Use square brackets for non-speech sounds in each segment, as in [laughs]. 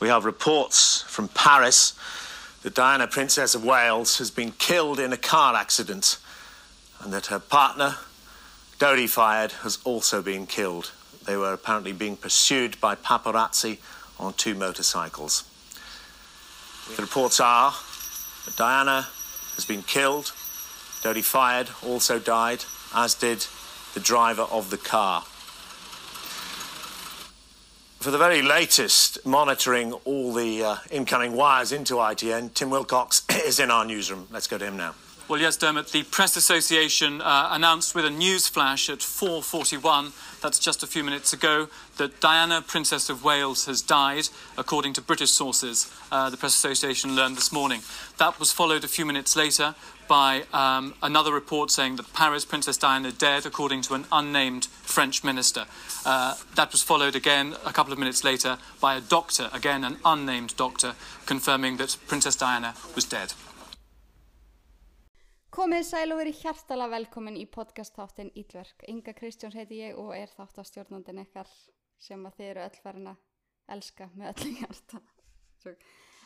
We have reports from Paris that Diana, Princess of Wales, has been killed in a car accident and that her partner, Dodie Fired, has also been killed. They were apparently being pursued by paparazzi on two motorcycles. The reports are that Diana has been killed, Dodie Fired also died, as did the driver of the car. For the very latest monitoring all the uh, incoming wires into ITN, Tim Wilcox [coughs] is in our newsroom. Let's go to him now. Well, yes, Dermot. The Press Association uh, announced with a news flash at 4:41, that's just a few minutes ago, that Diana, Princess of Wales, has died, according to British sources. Uh, the Press Association learned this morning. That was followed a few minutes later by um, another report saying that Paris Princess Diana dead, according to an unnamed French minister. Uh, that was followed again a couple of minutes later by a doctor, again an unnamed doctor, confirming that Princess Diana was dead. Komið sæl og verið hjartala velkomin í podcast-þáttin Ílverk. Inga Kristjáns heiti ég og er þáttastjórnandin ykkar sem að þið eru öll farin að elska með öllu hjarta. Svo-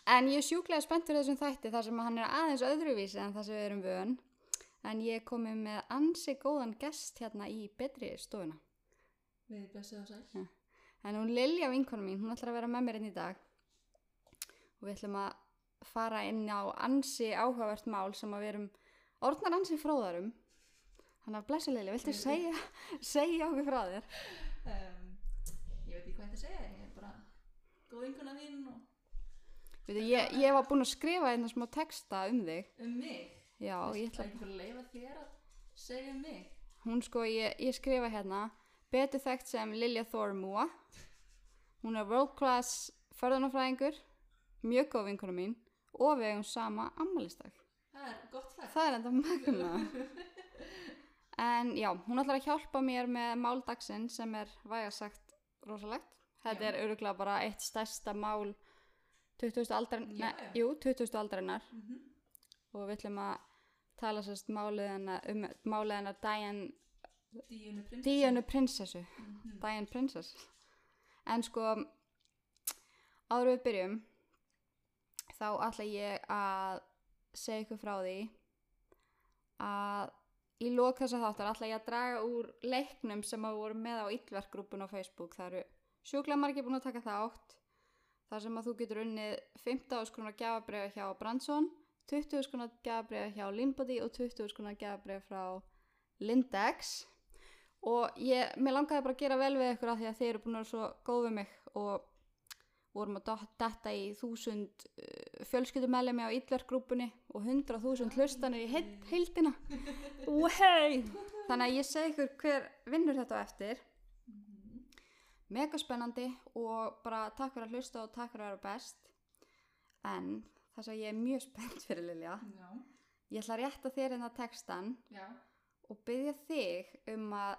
En ég er sjúklega spenntur þessum þætti þar sem að hann er aðeins öðruvísi en það sem við erum vön. En ég er komið með ansi góðan gest hérna í betri stofuna. Við blessið á sæl. En hún Lilja vinkona mín, hún ætlar að vera með mér inn í dag. Og við ætlum að fara inn á ansi áhugavert mál sem að við erum orðnar ansi fróðarum. Þannig að blessa Lilja, viltu segja, [laughs] segja okkur frá þér? Um, ég veit ekki hvað þetta segja, ég er bara góð vinkona þín og Veitu, ég, ég var búin að skrifa einna smá texta um þig. um mig. Já, ég Það ætla, er ekki bara að leifa þér að segja um mig. hún sko, ég, ég skrifa hérna, betur þekkt sem Lilja Thormúa. Hún er world class förðunafræðingur, mjög góð vinkona mín og við eigum sama ammælisdag. Það er gott þekkt. Það er enda magna. En já, hún ætlar að hjálpa mér með máldagsinn sem er vægasagt rosalegt. Þetta Já. er öruglega bara eitt stærsta mál 20. Já, aldarinnar, já. jú, 20. aldarinnar Mhm. og við ætlum að tala sérst málið hennar, um málið hennar Dian, Díunu prinsessu. Dianu prinsessu, Mhm. Dian prinsess. En sko, áður við byrjum, þá ætla ég að segja ykkur frá því að í lók þessa þáttar ætla ég að draga úr leiknum sem að voru með á yllverkgrúpun á Facebook. Það eru sjúklega margir búin að taka þátt þar sem að þú getur unnið 15 skrónar gjafabriða hjá Brandsson, 20 skrónar gjafabriða hjá Linbody og 20 skrónar gjafabriða frá Lindex og ég, mér langaði bara að gera vel við ykkur af því að þeir eru búin að vera svo góð við mig og vorum að dot- detta í þúsund fjölskyldumellemi á yllverkgrúpunni og 100.000 hlustanir í heild- heildina Wei! Þannig að ég segi ykkur hver vinnur þetta á eftir. Mega spennandi og bara takk fyrir að hlusta og takk fyrir að vera best. En það sem ég er mjög spennt fyrir Lilja, Já, ég ætla að rétta þér hérna inn á textan já. og byggja þig um að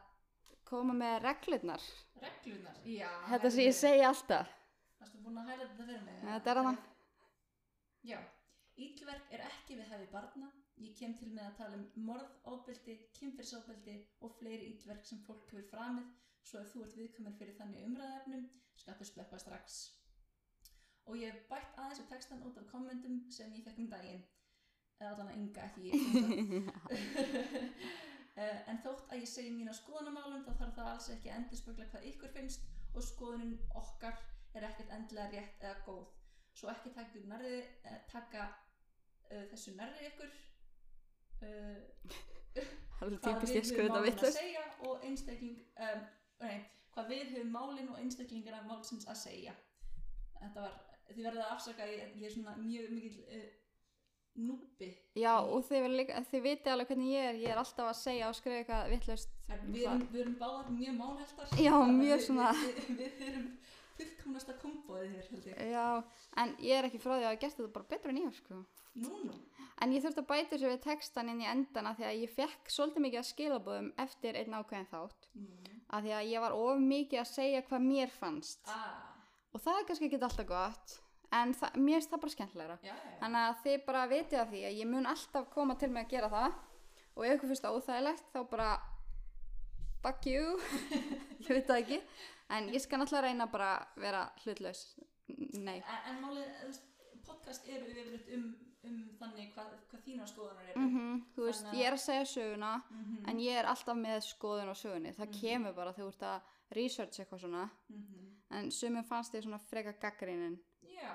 koma með reglurnar. Reglunar. Já. Þetta sem ég segi alltaf. Varstu búin að hæla þetta fyrir mig? Ja, þetta er hana. Já. Ítlverk er ekki við hefði barna. Ég kem til með að tala um morð, ofbeldi, kynfyrsofbeldi og fleiri ítlverk sem fólk hefur framið svo ef þú ert viðkominn fyrir þannig umræðefnum skattu slökka strax. Og ég hef bætt aðeins á textan út af kommentum sem ég fekk um daginn. Eða þannig að ynga ekki ég. Eh, en þótt að ég segi mína skoðanamálum þá þarf það alls ekki að endurspegla hvað ykkur finnst og skoðunum okkar er ekkert endilega rétt eða góð svo ekki taka, nærri, eh, taka uh, þessu nærri ykkur uh, Alveg hvað típist ég við að skrifa höfum þetta málin að vittlust. segja og einstakling um, nei, hvað við höfum málin og einstaklingar af málsins að segja þetta var, þið verða að afsaka að ég, ég er svona mjög mikill uh, núpi Já, og þið, verið líka, þið viti alveg hvernig ég er. Ég er alltaf að segja og skrifa eitthvað vittlust. En Við erum, við erum báðar mjög málhæltar Já, Þannig að mjög við- svona- Við, við, við erum fullkomnasta komboðið hér held ég Já, en ég er ekki frá því að hafa gert þetta bara betra en ég, sko. Nú, nú, En ég þurfti að bæta þessu við textan inn í endana því að ég fekk svolítið mikið að skilabóðum eftir einn ákveðin þátt. nú. Af því að ég var of mikið að segja hvað mér fannst. Ah, Og það er kannski ekki alltaf gott, en það, mér finnst það bara skemmtilegra. já, já, já. Þannig að þið bara vitið af því að ég mun alltaf koma til mig að gera það. Og ef ykkur finnst það óþægilegt, þá bara fuck [laughs] you, ég veit það ekki. En ég skal alltaf reyna bara að vera hlutlaus nei, en, en málið, þú veist, podcast eru yfirleitt um, um þannig hvað, hvað þínar skoðanar eru mhm, þú veist, Þannig að- ég er að segja söguna Mhm. en ég er alltaf með skoðun á sögunni, það Mhm. kemur bara þegar þú ert að research eitthvað svona, Mhm. en sumum fannst þið svona freka gaggrinin, já,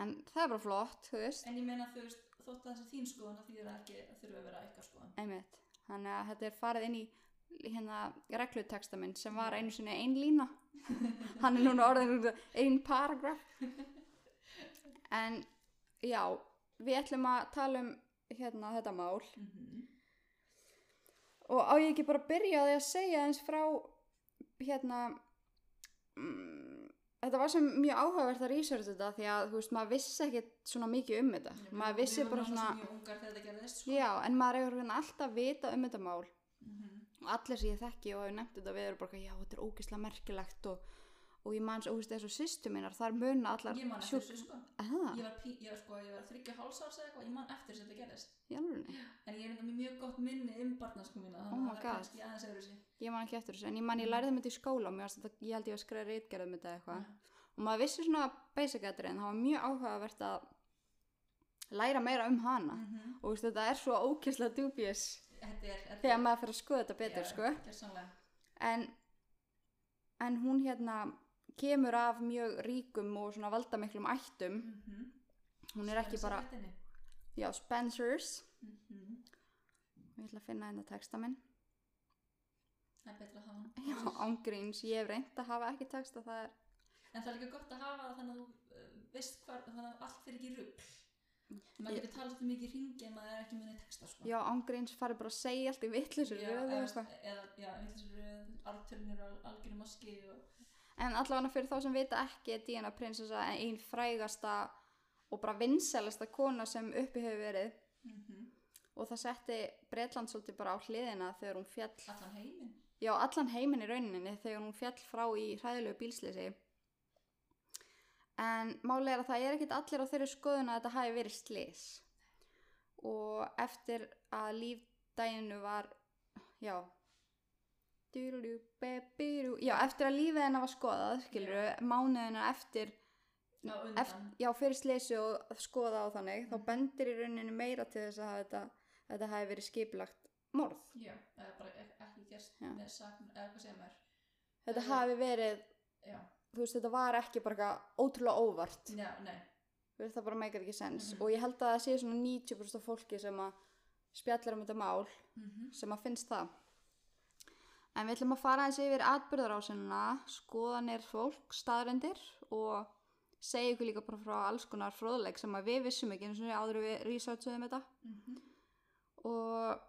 en það er bara flott, þú veist, en ég meina þú veist þótt að þessi þín skoðan að því það ekki að þurfa að vera eitthvað skoðan einmitt, þannig að þetta er farið inn í hérna regluteksta minn sem var einu sinni ein lína [laughs] hann er núna orðin út af ein paragraf en já við ætlum að tala um hérna þetta mál mm og á ég ekki bara að byrja á því að segja eins frá hérna mm, þetta var sem mjög áhugavert að research þetta því að þú veist maður vissi ekki svona mikið um þetta maður vissi bara svona mjög ungar þegar þetta gerðist sko. já en maður er einhvern veginn alltaf að vita um þetta mál Mhm. og allir sem ég þekki og hefur nefnt þetta við erum bara, eitthvað, já, þetta er ógeðslega merkilegt og, og ég manns, ógeðslega eins og sýstu mínar þar muna allar ég man eftir sjúk- þessu sko Aha, ég var, pí, ég var sko, ég var þryggja hálsárs eða eitthvað, ég man eftir þessu þetta gerðist í alvörunni. en ég er enda með mjög gott minni um barnasku mína Oh þannig my að það er God. kannski aðeins öðru sig ég man ekki eftir þessu en ég man Mhm. ég lærði þetta í skóla og mér varst þetta, ég held ég að skrifa reitgerð um þetta eitthvað og maður vissi svona basic atriðin það var mjög áhugavert að læra meira um hana Mhm. og veist, þetta er svo ógeðslega dubjus þetta er, er þegar maður fer að skoða þetta betur Já, sko. gjörsamlega. en, en hún hérna kemur af mjög ríkum og svona valdamiklum ættum Mhm. hún er ekki bara Spencer-ættinni. já, Spencers Mhm. ég ætla að finna hérna texta minn það er betra að hafa hann. já, ángríns, ég hef reynd að hafa ekki texta það er, en það er líka gott að hafa það þannig að þú uh, veist hvar þannig að allt fyrir ekki rugg maður Ég- getur talað um mikið ringi en maður er ekki munið texta sko. já, ángríns fari bara að segja allt í vittlisur Já, röðu og eða, eitthvað eða, já, vitleysur arturnir og algjörum maski og, en allavega fyrir þá sem vita ekki er Diana prinsessa einn frægasta og bara vinsælasta kona sem uppi hefur verið mm og það setti Bretland svolítið bara á hliðina þegar hún fjall, allan heiminn já allan heiminn í rauninni þegar hún fjall frá í hræðilegu bílsleysi en máli er að það er ekkit allir á þeirri skoðun að þetta hafi verið slys og eftir að lífdæginu var já dýrljú, bebýrjú já eftir að lífið hennar var skoðað skilur við, mánuðina eftir á undan Eft, já, fyrir sleysi og að skoða á þannig þá bendir í rauninu meira til þess að þetta, þetta hafi verið skipulagt morð. já, eða bara ek- ekki gerst Já. með sakn eða hvað sem er Þetta Já. hafi verið, já, þú veist, þetta var ekki bara eitthvað ótrúlega óvart. já, nei, Þú veist, það bara meikar ekki sens. Mhm. Og ég held að það sé svona 90% af fólki sem að spjallar um þetta mál mhm, sem að finnst það. En við ætlum að fara eins yfir atbyrðarásina, skoðanir fólk, staðrendir og segja ykkur líka bara frá alls konar fróðleik sem að við vissum ekki eins og áður en við researchuðum þetta. mhm og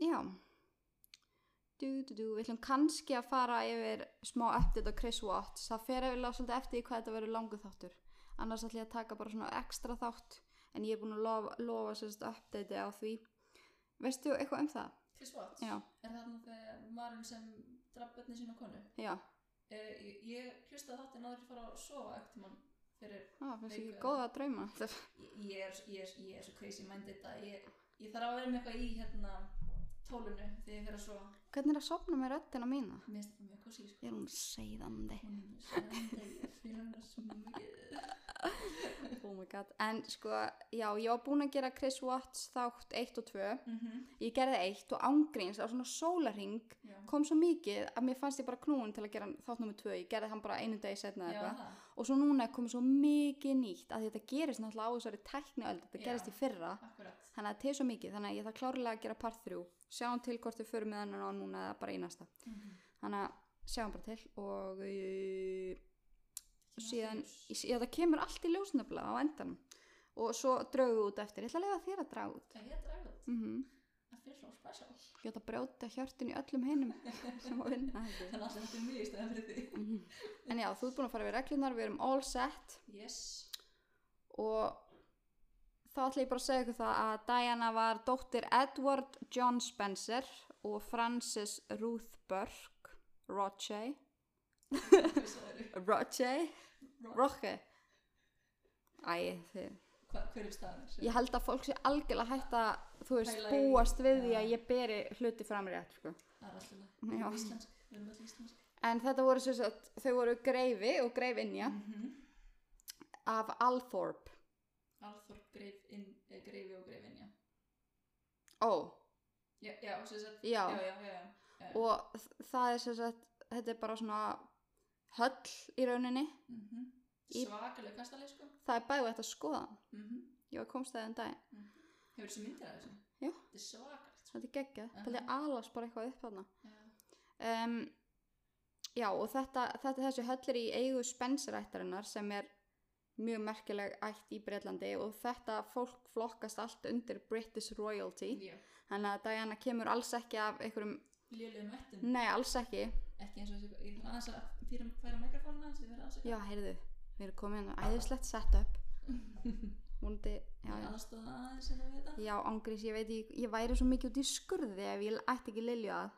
já du, du, du, við ætlum kannski að fara yfir smá update á Chris Watts það fer eða svolítið eftir því hvað þetta verður langu þáttur annars ætlum ég að taka bara svona ekstra þátt en ég er búin að lofa, lofa sérst update á því veistu eitthvað um það? Chris Watts, Já. er það nú þegar maðurinn sem draf bönni sína konu já, uh, ég, ég hlustaði þáttinn áður að fara að sofa eftir mann fyrir það finnst ekki Veiku. góða að drauma ég, ég, er, ég, er, ég er svo crazy minded að ég, ég þarf að vera með eitthvað í hérna tólunu þegar ég fer að sofa hvernig er að sopna með röddina mína? mér finnst það mjög kosí sko. er hún [laughs] seiðandi Hún er svo minded, ég fíla hana svo mikið. oh my god, en sko já, ég var búin að gera Chris Watts þátt 1 og 2 Mhm, ég gerði eitt og ángríns á svona sólarring já. kom svo mikið að mér fannst ég bara knúin til að gera hann þátt nummið tvö, ég gerði hann bara einu degi setna Já, eða eitthvað það, og svo núna er komið svo mikið nýtt að þetta gerist náttúrulega á þessari tækniöld þetta Já. gerist í fyrra, akkurat þannig að þetta er svo mikið þannig að ég þarf klárlega að gera part 3 sjáum til hvort við förum með hann á núna eða bara einasta Mhm. þannig að sjáum bara til og eh, Kemur síðan, allt í ljós. já það kemur allt í ljósnafla á endanum og svo draugum við út eftir, ég ætla að lega þér að draga út Það er dragið, mm það fyrir svo spesial ég ætla að brjóta hjörtin í öllum [laughs] hinum sem að vinna þetta Þannig að þetta er mjög í stæðan fyrir því Mhm. En já, þú ert búin að fara við reglunar, við erum all set Yes, og þá ætla ég bara að segja ykkur það að Diana var dóttir Edward John Spencer og Frances Ruth Burke, Roche, hvað sagðirðu? Roche, Ro- Roche. Æ, þið. Hvað, hver er staðan? ég held að fólk sé algjörlega hægt að, þú veist, Pæla í- búast við því já. að ég beri hluti fram rétt, sko. Það er alltaf leið. Já. Íslensk, við erum öll íslensk En þetta voru sem sagt, þau voru greifi og greifinja Mhm. af Althorp Alþór greif, inn, eh, greifi og greifin, já. ó, Já, já, og sem sagt, Já. já, já, já, já. Eh, og þ- það er sem sagt þetta er bara svona höll í rauninni, mhm. Í- Svakaleg kastaleg, sko. það er bæði hægt að skoða hann. Mhm. ég var komst það en daginn, Hefur þessi myndir af þessu? Já. Þetta er svakalegt, sko. þetta er geggjað Mhm. þetta er alast bara eitthvað upp þarna Já. um, já og þetta, þetta þessi höll er í eigu spensirættarinnar sem er mjög merkileg ætt í Breitlandi og þetta fólk flokkast allt undir British Royalty Já. þannig að Diana kemur alls ekki af einhverjum, Lélugum vettum. nei alls ekki Ekki eins og þessi, ég ætla aðeins að færa, færa mikrofónuna aðeins, ég verði aðeins að já heyrðu, við erum komin inn á æðislegt [laughs] setup Múndi, já, já. aðstoða aðeins en það við þetta. já ángrís, ég veit ég, ég væri svo mikið út í skurði ef ég ætti ekki Lilju að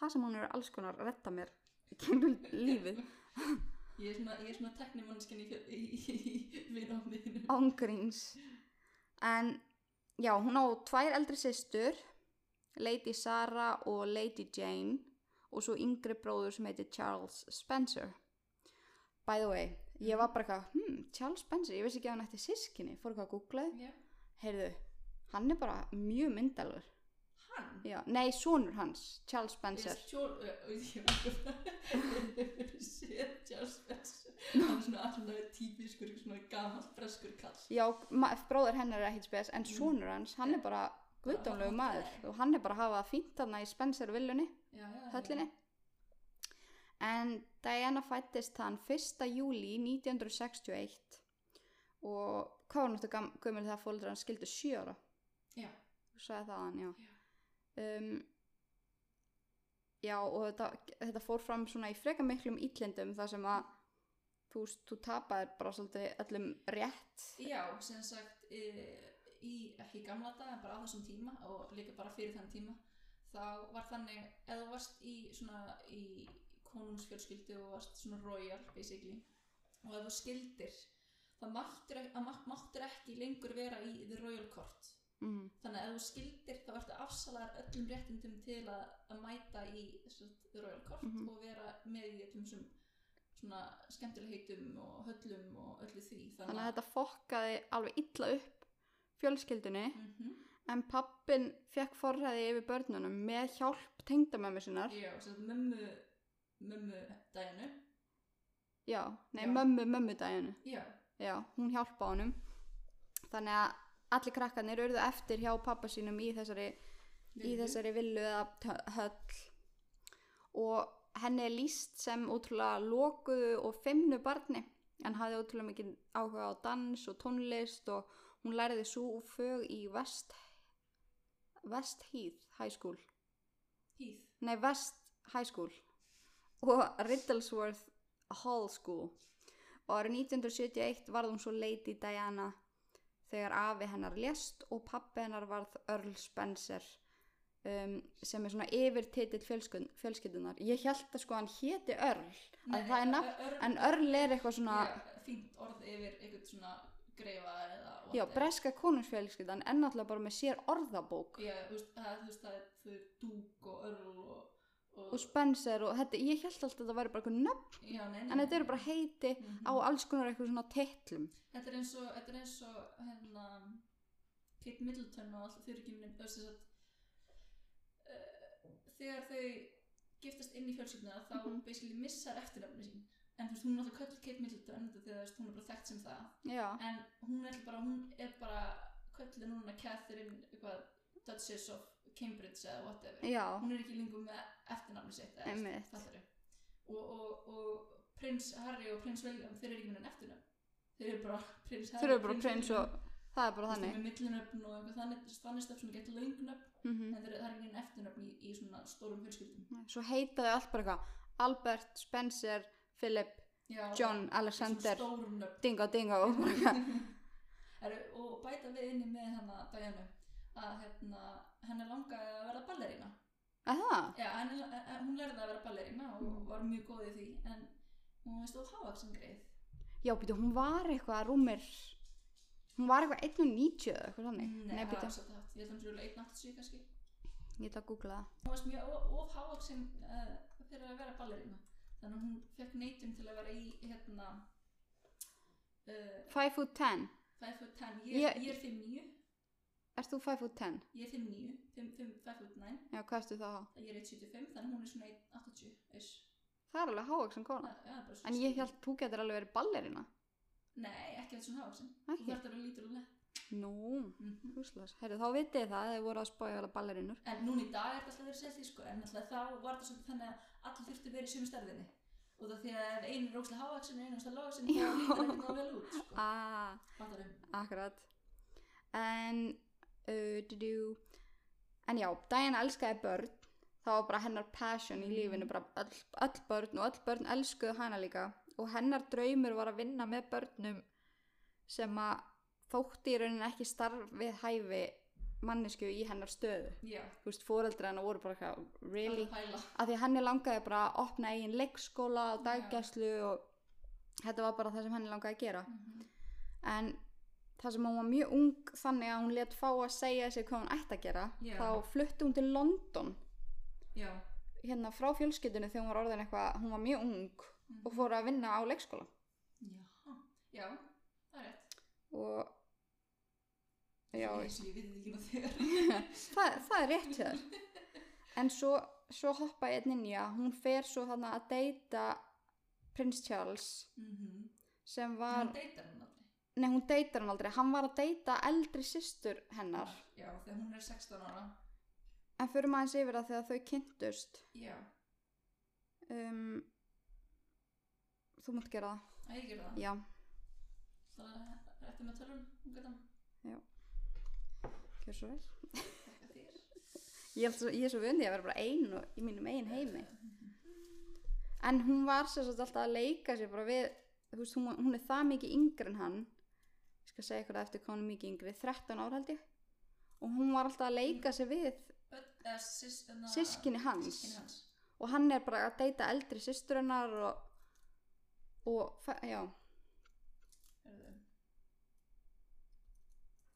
það sem hún er alls konar að retta mér í kemur lífið Ég er svona, ég er svona teknimannskinni í, fjöl- í, í, í vinofniðinu. ángríns en já, hún á tvær eldri systur Lady Sarah og Lady Jane og svo yngri bróður sem heitir Charles Spencer by the way, ég var bara eitthvað hmm, Charles Spencer, ég vissi ekki að hann ætti sískinni fór eitthvað að googlaði, Já. heyrðu hann er bara mjög myndalur Hann? já, nei, sonur hans, Charles Spencer Spencer Sér Charles Spencer hann er svona allavega típiskur svona gamall breskur kall já, ma- bróður hennar er ekkit spes Mm. en sonur hans, hann er bara guðdónlegu maður og hann er bara að hafa það fínt þarna í Spencer villunni já, já, höllinni. En Diana fættist þann 1. júli 1961 og hvað var náttúrulega gömul þegar fóldrar hann skildu 7 ára? já, Þú sagði það hann, já. Um, já og þetta, þetta fór fram svona í freka miklum ítlendum þar sem að þú, veist, þú tapaðir bara svolítið öllum rétt. já, sem sagt e, í ekki í gamla dag en bara á þessum tíma og líka bara fyrir þann tíma þá var þannig eða þú varst í svona í konungsfjölskyldu og varst svona royal basically og eða þú skildir þá máttur, ek- að má- máttur ekki lengur vera í the royal court Mm. þannig að ef þú skildir þá ertu afsalaðar öllum réttindum til að, að mæta í sem sagt, Royal Court Mhm. og vera með í öllum sem svona skemmtilegheitum og höllum og öllu því Þannig að þetta fokkaði alveg illa upp fjölskyldunni Mhm. en pappin fekk forræði yfir börnunum með hjálp tengdamömmu sinnar já, sem sagt, mömmu mömmu daginu Já, nei, Já. mömmu, mömmu daginu. já, Já, hún hjálpa honum. Þannig að allir krakkarnir urðu eftir hjá pappa sínum í þessari, í Villu. þessari villu eða tö- höll. Og henni er líst sem ótrúlega lokuðu og feimnu barni. En hafði ótrúlega mikið áhuga á dans og tónlist og hún læriði svo fög í West, West Heath High School. hýð Nei, West High School og Riddlesworth Hall School og árið 1971 varð hún svo Lady Diana þegar afi hennar lést og pappi hennar varð Earl Spencer um, sem er svona yfirtitill fjölskyld, fjölskyldunar. Ég held að sko hann héti Earl en, það er nafn, en Earl er eitthvað svona, eh, fínt orð yfir eitthvað svona greifa eða já, whatever. breska konungsfjölskyldan en náttúrulega bara með sér orðabók já, þú veist, það, þú veist, það er þau eru dúk og örl og, og Spencer og þetta, ég held alltaf að þetta væri bara eitthvað nöfn já, nei, nei, en þetta nei. eru bara heiti Mhm. á alls konar eitthvað svona titlum Þetta er eins og, þetta er eins og, hérna, Kate Middleton og alltaf þau eru ekki minn, þess að, uh, þegar þau giftast inn í fjölskylduna þá Mhm. basically missar eftirnafni sín. En þú veist, hún er alltaf kölluð Kate Middleton, þetta þegar þú veist, hún er bara þekkt sem það. já, En hún er bara, hún er bara kölluð núna Catherine, eitthvað, Duchess of Cambridge eða whatever. já, Hún er ekki lengur með eftirnafni sitt, eða, Einmitt. fattar þau. Og, og, og prins Harry og prins William, þeir eru ekki minn eftirnafn. Þeir eru bara [laughs] prins Harry þeir eru bara William. prins og það er bara þannig með millinöfn og eitthvað þannig þannig stöfn sem getur löngnöfn mm en það er, það er ekki einn eftirnöfn í, í svona stórum fjölskyldum svo heita þau allt bara eitthvað Albert, Spencer, Philip, Já, John, í svona Alexander stórum nöfn dingo, dingo og bara eitthvað er, og bæta við inni með hana Diana að hérna, henni langaði að vera ballerína að það, Já, henni, eh, eh, hún lærði að vera ballerína og Mm. var mjög góð í því en hún veist of hávaksin greið já býtu, hún var eitthvað rúmir hún var eitthvað 1.90 eða eitthvað þannig, Nei, Mm, nei það býtu, var svolítið hátt. ég held að hún sér 1.87 kannski ég ætla að googla það hún varst mjög o- of hávaksin uh, fyrir að vera ballerína þannig að hún fekk neytum til að vera í hérna uh, 5 foot 10 5 foot 10 ég, Ég- ég er 5'9 Erst þú 5 foot 10? ég er 5'9 5 5 5 foot 9 Já, hvað ertu þá? há? ég er 1.75 þannig hún er svona 1.80 ish. Það er alveg hávaksan Það- kona það er bara svona En ég skrítið. held þú getur alveg verið ballerina Nei, ekki að svona hafa sem. Ekki? Þú þarf að lítur og lett. Nú, Mm húslas Herru, þá vitið þið það, þið voru að spája alveg ballerinur En núna í dag er þetta alltaf verið að segja því, sko, en alltaf þá var þetta svolítið þannig að allir þurftu að vera í sömu stærðinni. Og það því að ef einu er ókslega hávaksin og einu er ókslega lávaksin, þá Já. lítur ekki það vel út, sko. Ah, Fattar um. akkurat En uh, du, du. En já, Diana elskaði börn Það var bara hennar passion í lífinu bara öll, öll börn og öll börn elskuðu hana líka og hennar draumur var að vinna með börnum sem að þótti í rauninni ekki starf við hæfi mannesku í hennar stöðu Já, þú veist, foreldra hennar voru bara eitthvað really, það er pæla. af því að henni langaði bara að opna eigin leikskóla og daggæslu og þetta var bara það sem henni langaði að gera Mhm. en það sem hún var mjög ung þannig að hún let fá að segja sér hvað hún ætti að gera Já. þá flutti hún til London Já. hérna frá fjölskyldinu þegar hún var orðin eitthvað hún var mjög ung Mhm. og fór að vinna á leikskóla Já. Já, það er rétt. og já, Ég veist, veist, ég veit þetta ekki [laughs] maður þegar. það, það er rétt hér [laughs] en svo, svo hoppa ég einn inn í að hún fer svo þarna að deyta prins Charles Mhm. sem Hún var, deytar hún aldrei. nei hún deytar hann aldrei hann var að deyta eldri systur hennar Já, þegar hún er 16 ára. en fyrir maður eins yfir að þegar þau kynntust Já, um, þú mátt gera það að ég gerði það. já, Það er eftir með tölun, hún gæta hann. gjör svo vel [laughs] Þakka þér. ég, held svo, ég er svo vundi að vera bara ein og, í mínum ein heimi en hún var sér svolítið alltaf að leika sér bara við, þú veist, hún, hún er það mikið yngri en hann ég skal segja ykkur það eftir hvað hún er mikið yngri 13 ára held ég og hún var alltaf að leika sér við Börn- eða sys- hérna- Systkini hans. Systkini hans. og hann er bara að deyta eldri systurinnar og, og fe- já, Heyrðu.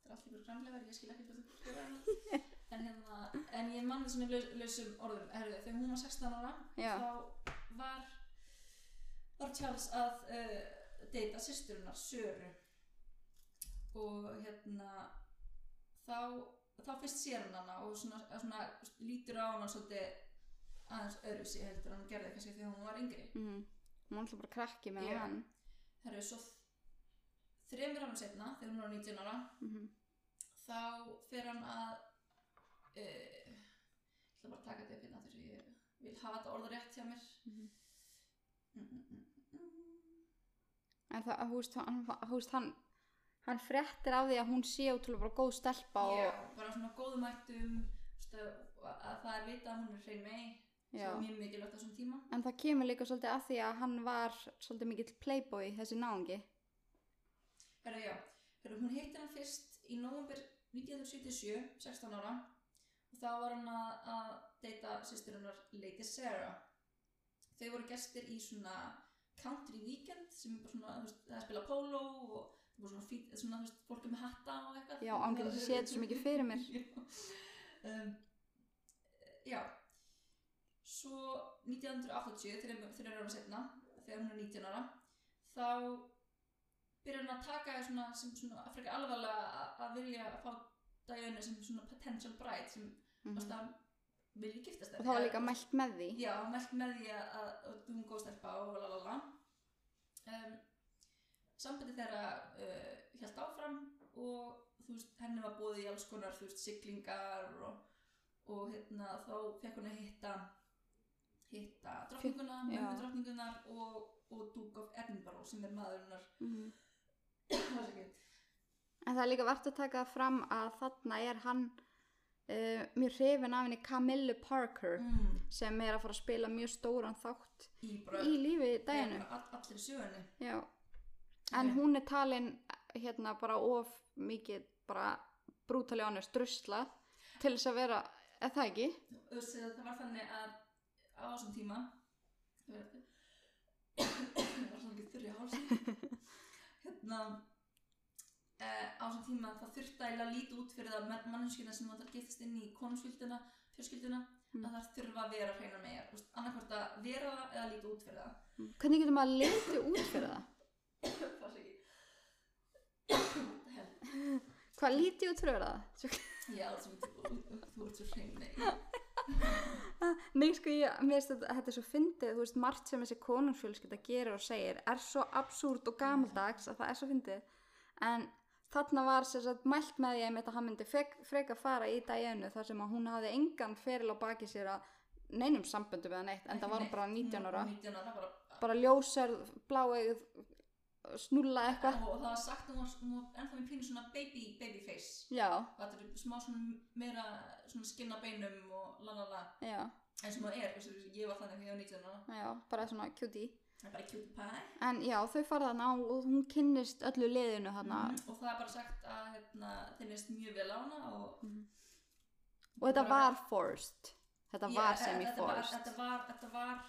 Þetta er allt ykkur grannlegar, ég skil ekki hvað þú skrifar en, hérna, en ég mann þessum í laus, lausum orðum Herðu, þegar hún var 16 ára Já. þá var var Charles að uh, deyta systurinnar Söru og hérna þá, þá fyrst sér hann hana og svona, svona lítur á hana svolítið aðeins öðruvísi heldur en hann gerði kannski þegar hún var yngri mm, hún er alltaf bara krakki með Já. hann Herru, svo þremur árum setna, þegar hún var 19 ára, mm þá fer hann að, uh, ég ætla bara að taka þetta upp hérna þegar ég vil hafa þetta orða rétt hjá mér. Mhm. Mm, mm, mm, mm. en það, þú veist, hann, þú veist, hann hann frettir af því að hún sé útrúlega bara góð stelpa Já, og, bara svona góðum ættum, að, að það er vitað að hún er hrein mei, já. það er mjög mikilvægt á þessum tíma. en það kemur líka svolítið af því að hann var svolítið mikill playboy þessi náungi Herra, já. Herra, hún hittir hann fyrst í november 1977, 16 ára og þá var hann að, að deyta sýsturinnar Lady Sarah. Þau voru gestir í svona country weekend sem er bara svona, þú veist, það er að spila polo og það voru svona, fít, svona þú veist, fólk er með hatta og eitthvað. já, ángríns að sé þetta svo mikið fyrir mér um, já. Svo 1980, þrejum- þrejum ára setna, þegar hún er 19 ára, þá byrjar hann að taka því svona, sem svona frekar alvarlega að- að vilja að fá Diana sem svona potential bride sem mm mm. að vilja giftast og það var líka mælt með því Já, mælt með því að, að, að hún góð stelpa og lalala um, Sambandi þeirra uh, held áfram og þú veist, henni var búið í alls konar þú veist, siglingar og, og hérna, þá fekk hún að hitta hitta drottninguna, já. mömmu drottningunar og, og Duke of Edinburgh sem er maðurinnar Mhm. afsakið. en það er líka vart að taka það fram að þarna er hann uh, mjög hrifin af henni Camillu Parker mm, sem er að fara að spila mjög stóran þátt í bara í lífi daginu bara all- allri sögunni Já. en Já. hún er talin hérna bara of mikið bara brútali honest druslað til þess að vera eða það ekki Þú veist, það var þannig að á þessum tíma það var- [coughs] það var svona ekki þurri hálsum [laughs] hérna eh, á þessum tíma það þurfti eiginlega að líta út fyrir það mannskina sem það getist inn í konusfjöldina fjölskyldina Mm. að það þurfa að vera hreinar megar annarkvort að vera það eða líta út fyrir það hvernig getur maður að liti út fyrir það Það sé ekki. Hvað lítið og tröla? Já, sem þú, þú ert svo hrein nei. Nei, sko, ég, mér finnst þetta, þetta er svo fyndið, þú veist, margt sem þessi konungsfjölskylda gerir og segir er svo absúrt og gamaldags að það er svo fyndið. En þarna var sér sagt mælt með ég með að hann myndi fek, freka fara í daginu þar sem að hún hafði engan feril á baki sér að neinum samböndum eða neitt, en það var hún bara 19 ára. 19 ára bara. Bara ljósar, bláegð, snulla eitthvað. Og það var sagt að hún var, hún var ennþá með pínu svona baby, baby face. Já, Það er smá svona meira svona skinna beinum og lalala. já, En sem það er, þú veist, ég var þannig þegar ég var 19 ára. já, bara svona cutie. Það er bara cutie pie. En já, þau fara þarna og hún kynnist öllu liðinu þarna Mhm, Og það er bara sagt að hérna, þeim veist mjög vel á hana og Mhm. og þetta Bara- var forced þetta Ég- var þetta- þetta var- semi-forced Þetta var, þetta var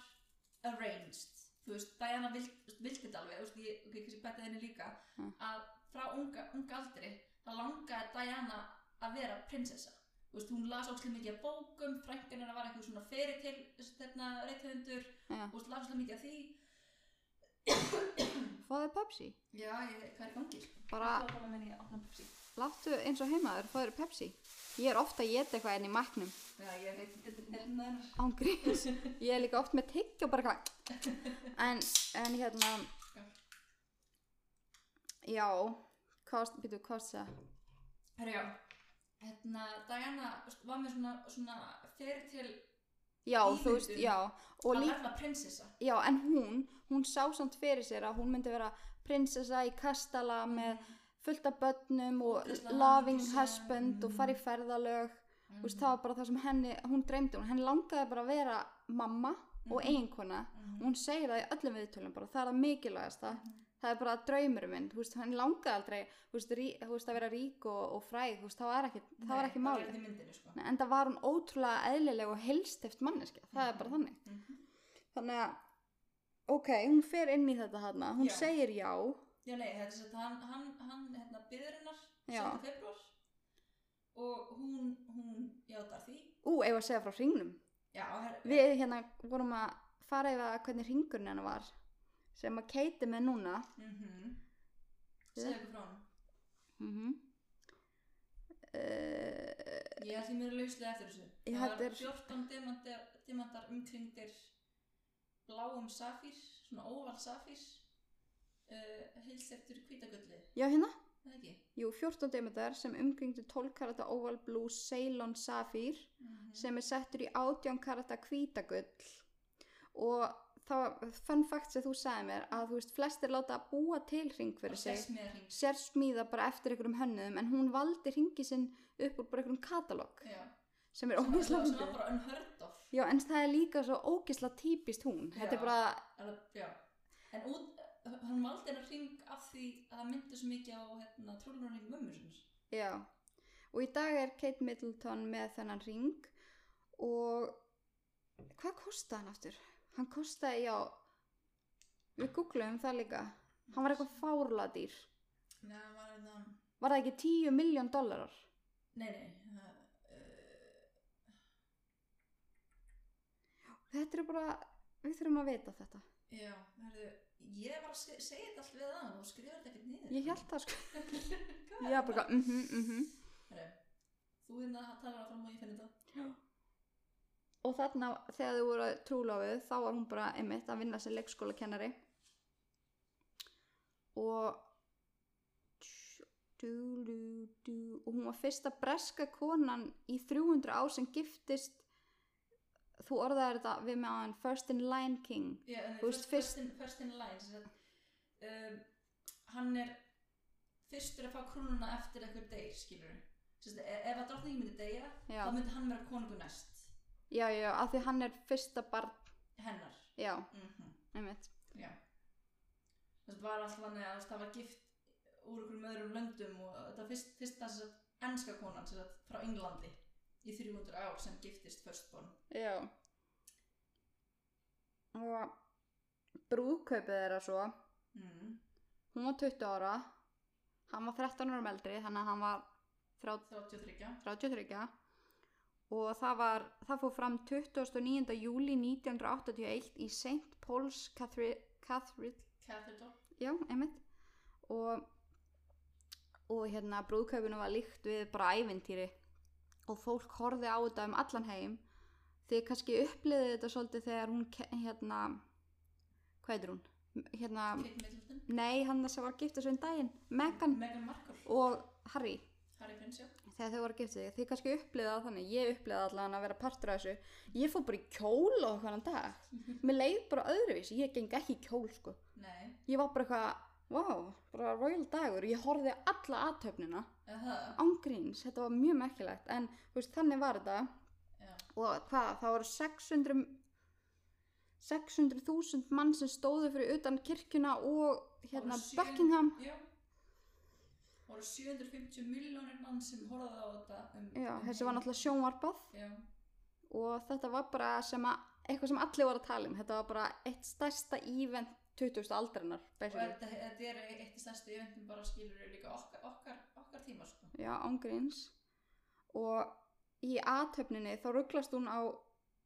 arranged Þú veist, Diana vild, vildi þetta alveg Þú veist, ég, ok, kannski betta henni líka Mm. að frá unga, unga aldri þá langaði Diana að vera prinsessa Þú veist, hún las óslega mikið af bókum frænkan hennar var eitthvað svona fyrir til þetta reythöfundur Já. Þú veist, las óslega mikið af því fáðu Pepsi Já, ég, hvað er í gangi? bara Það var bara með ég opna pepsi láttu eins og heimaður fáðu Pepsi ég er ofta að geta eitthvað enn í mæknum Já, ég veit, þetta er hérna hennar [laughs] ángriðs, ég er líka oft með tygg og bara hvað en, en hérna já kost, býtu, kost það Herra, já Hérna, Diana var með svona, svona fyrir til já, þú veist, Ímyndun. já og að líka verða prinsessa Já, en hún, hún sá samt fyrir sér að hún myndi vera prinsessa í kastala með fullt af börnum og Ógeðslega loving hamingjusöm, husband og fara í ferðalög mm. veist, það var bara það sem henni, hún dreymdi hún henni langaði bara að vera mamma og eiginkona og hún segir það í öllum viðtölum bara, það er það mikilvægasta það er bara draumur minn, þú veist, henni langaði aldrei þú veist, rí, þú veist, að vera rík og, og fræg þú veist, það var ekki, það var ekki Það var málið ekki í myndinu, sko. Nei, en það var hún ótrúlega eðlileg og helstift manneskja, það er bara þannig Mhm. þannig að ok, hún fer inn í þetta hana hún Já. segir já, Já, nei, þetta er svo að hann, hann, hann hérna, byrður hennar Já. 7. februar og hún, hún játar því. ú, eigum við að segja frá hringnum Já, her, við hérna vorum að fara yfir að hvernig hringurinn hennar var sem að Kate er með núna Mm -hmm. Segðu eitthvað frá hann. mm Mhm. uh, Ég held ég mér að lauslega eftir þessu. Ég Það held var er- 14 demantar, demantar umkringdir bláum safír, svona óval safír, uh, heils eftir kvítagöllu, já hérna, það ekki? jú, 14 demundar sem umgringdu 12 karata oval blue Ceylon Sapphire Mhm. sem er settur í 18 karata hvítagull og það fun fact sem þú sagði mér að þú veist flestir láta að búa til hring fyrir sig Sess með hring. sér smíða bara eftir einhverjum hönnuðum en hún valdi hringi sinn upp úr bara einhverjum katalog Já. sem er Sem var- ógisla Sem var bara unheard of. já en það er líka svo ógisla típist hún þetta Já. er bara, Alveg, já. En út, hann valdi hennar hring af því að það myndi svo mikið á hérna, trúlunarhring mömmu sinns. já og í dag er Kate Middleton með þennan hring og hvað kostaði hann aftur? hann kostaði, já við googluðum það líka hann var eitthvað fárladýr Nei, hann var hérna... var það ekki 10 miljón dólarar? Nei, nei, það... Uh, þetta er bara, við þurfum að vita þetta já, herðu, ég var að se segja þetta allt við það og skrifa þetta ekkert niður. ég held það sko, Hvað er já þetta? bara, mhm, mhm Herðu, þú hérna talar áfram og ég finn þetta. og þarna þegar þau voru trúlofið þá var hún bara einmitt að vinna sem leikskólakennari og du, du, du, og hún var fyrsta breska konan í 300 ár sem giftist þú orðaðir þetta við með á hann first in line king Já, en Þú veist, first, first, in, first in line, sem sagt, um, hann er fyrstur að fá krúnuna eftir eitthvað deyr, skilur við. e- Ef að drottningi myndi deyja, Já. þá myndi hann vera konungu næst, já, já, já, af því hann er fyrsta barn hennar. já, Mm einmitt Já Það var alltaf þannig að þú veist, það var gift úr einhverjum öðrum löndum og þetta var fyrst, fyrsta sem sagt, enska konan sem sagt, frá Englandi í 300 ár sem giftist firstborn já og brúðkaupið þeirra svo mm. hún var 20 ára hann var 13 árum eldri þannig að hann var 30 33 33 og það, var, það fór fram 29. júli 1981 í St. Paul's Cathedral Cathedral já, einmitt og og hérna brúðkaupinu var líkt við bara ævintýri og fólk horfið á þetta um allan heim þið kannski uppliðið þetta svolítið þegar hún ke- hérna hvað heitir hún? hérna, Kate Middleton, nei hann sem var giftið svo einn um daginn, Megan Meghan Markle, og Harry Harry Prins, já. þegar þau voru að gifta sig, þið kannski uppliða það þannig ég uppliða allan að vera partur af þessu ég fór bara í kjól og hvernig dag mér leið bara öðruvísi, ég geng ekki í kjól sko, Nei, ég var bara eitthvað wow, bara royal dagur, ég horfði á alla aðtöfnina, eða það, ángríns þetta var mjög merkilegt, en þú veist, þannig var þetta já, og hvað, það voru 600 600.000 mann sem stóðu fyrir utan kirkjuna og Það hérna voru sjö- Buckingham Já. Það voru 750 milljónir mann sem horfaði á þetta um, já, um þessi var heim. náttúrulega sjónvarpað Já, og þetta var bara sem að, eitthvað sem allir voru að tala um þetta var bara eitt stærsta event 2000 aldarinnar og basically. þetta, þetta er eitt í stærstu eventum bara skilur líka okkar, okkar, okkar tíma sko. já, ángríns og í aðtöfninni þá rugglast hún á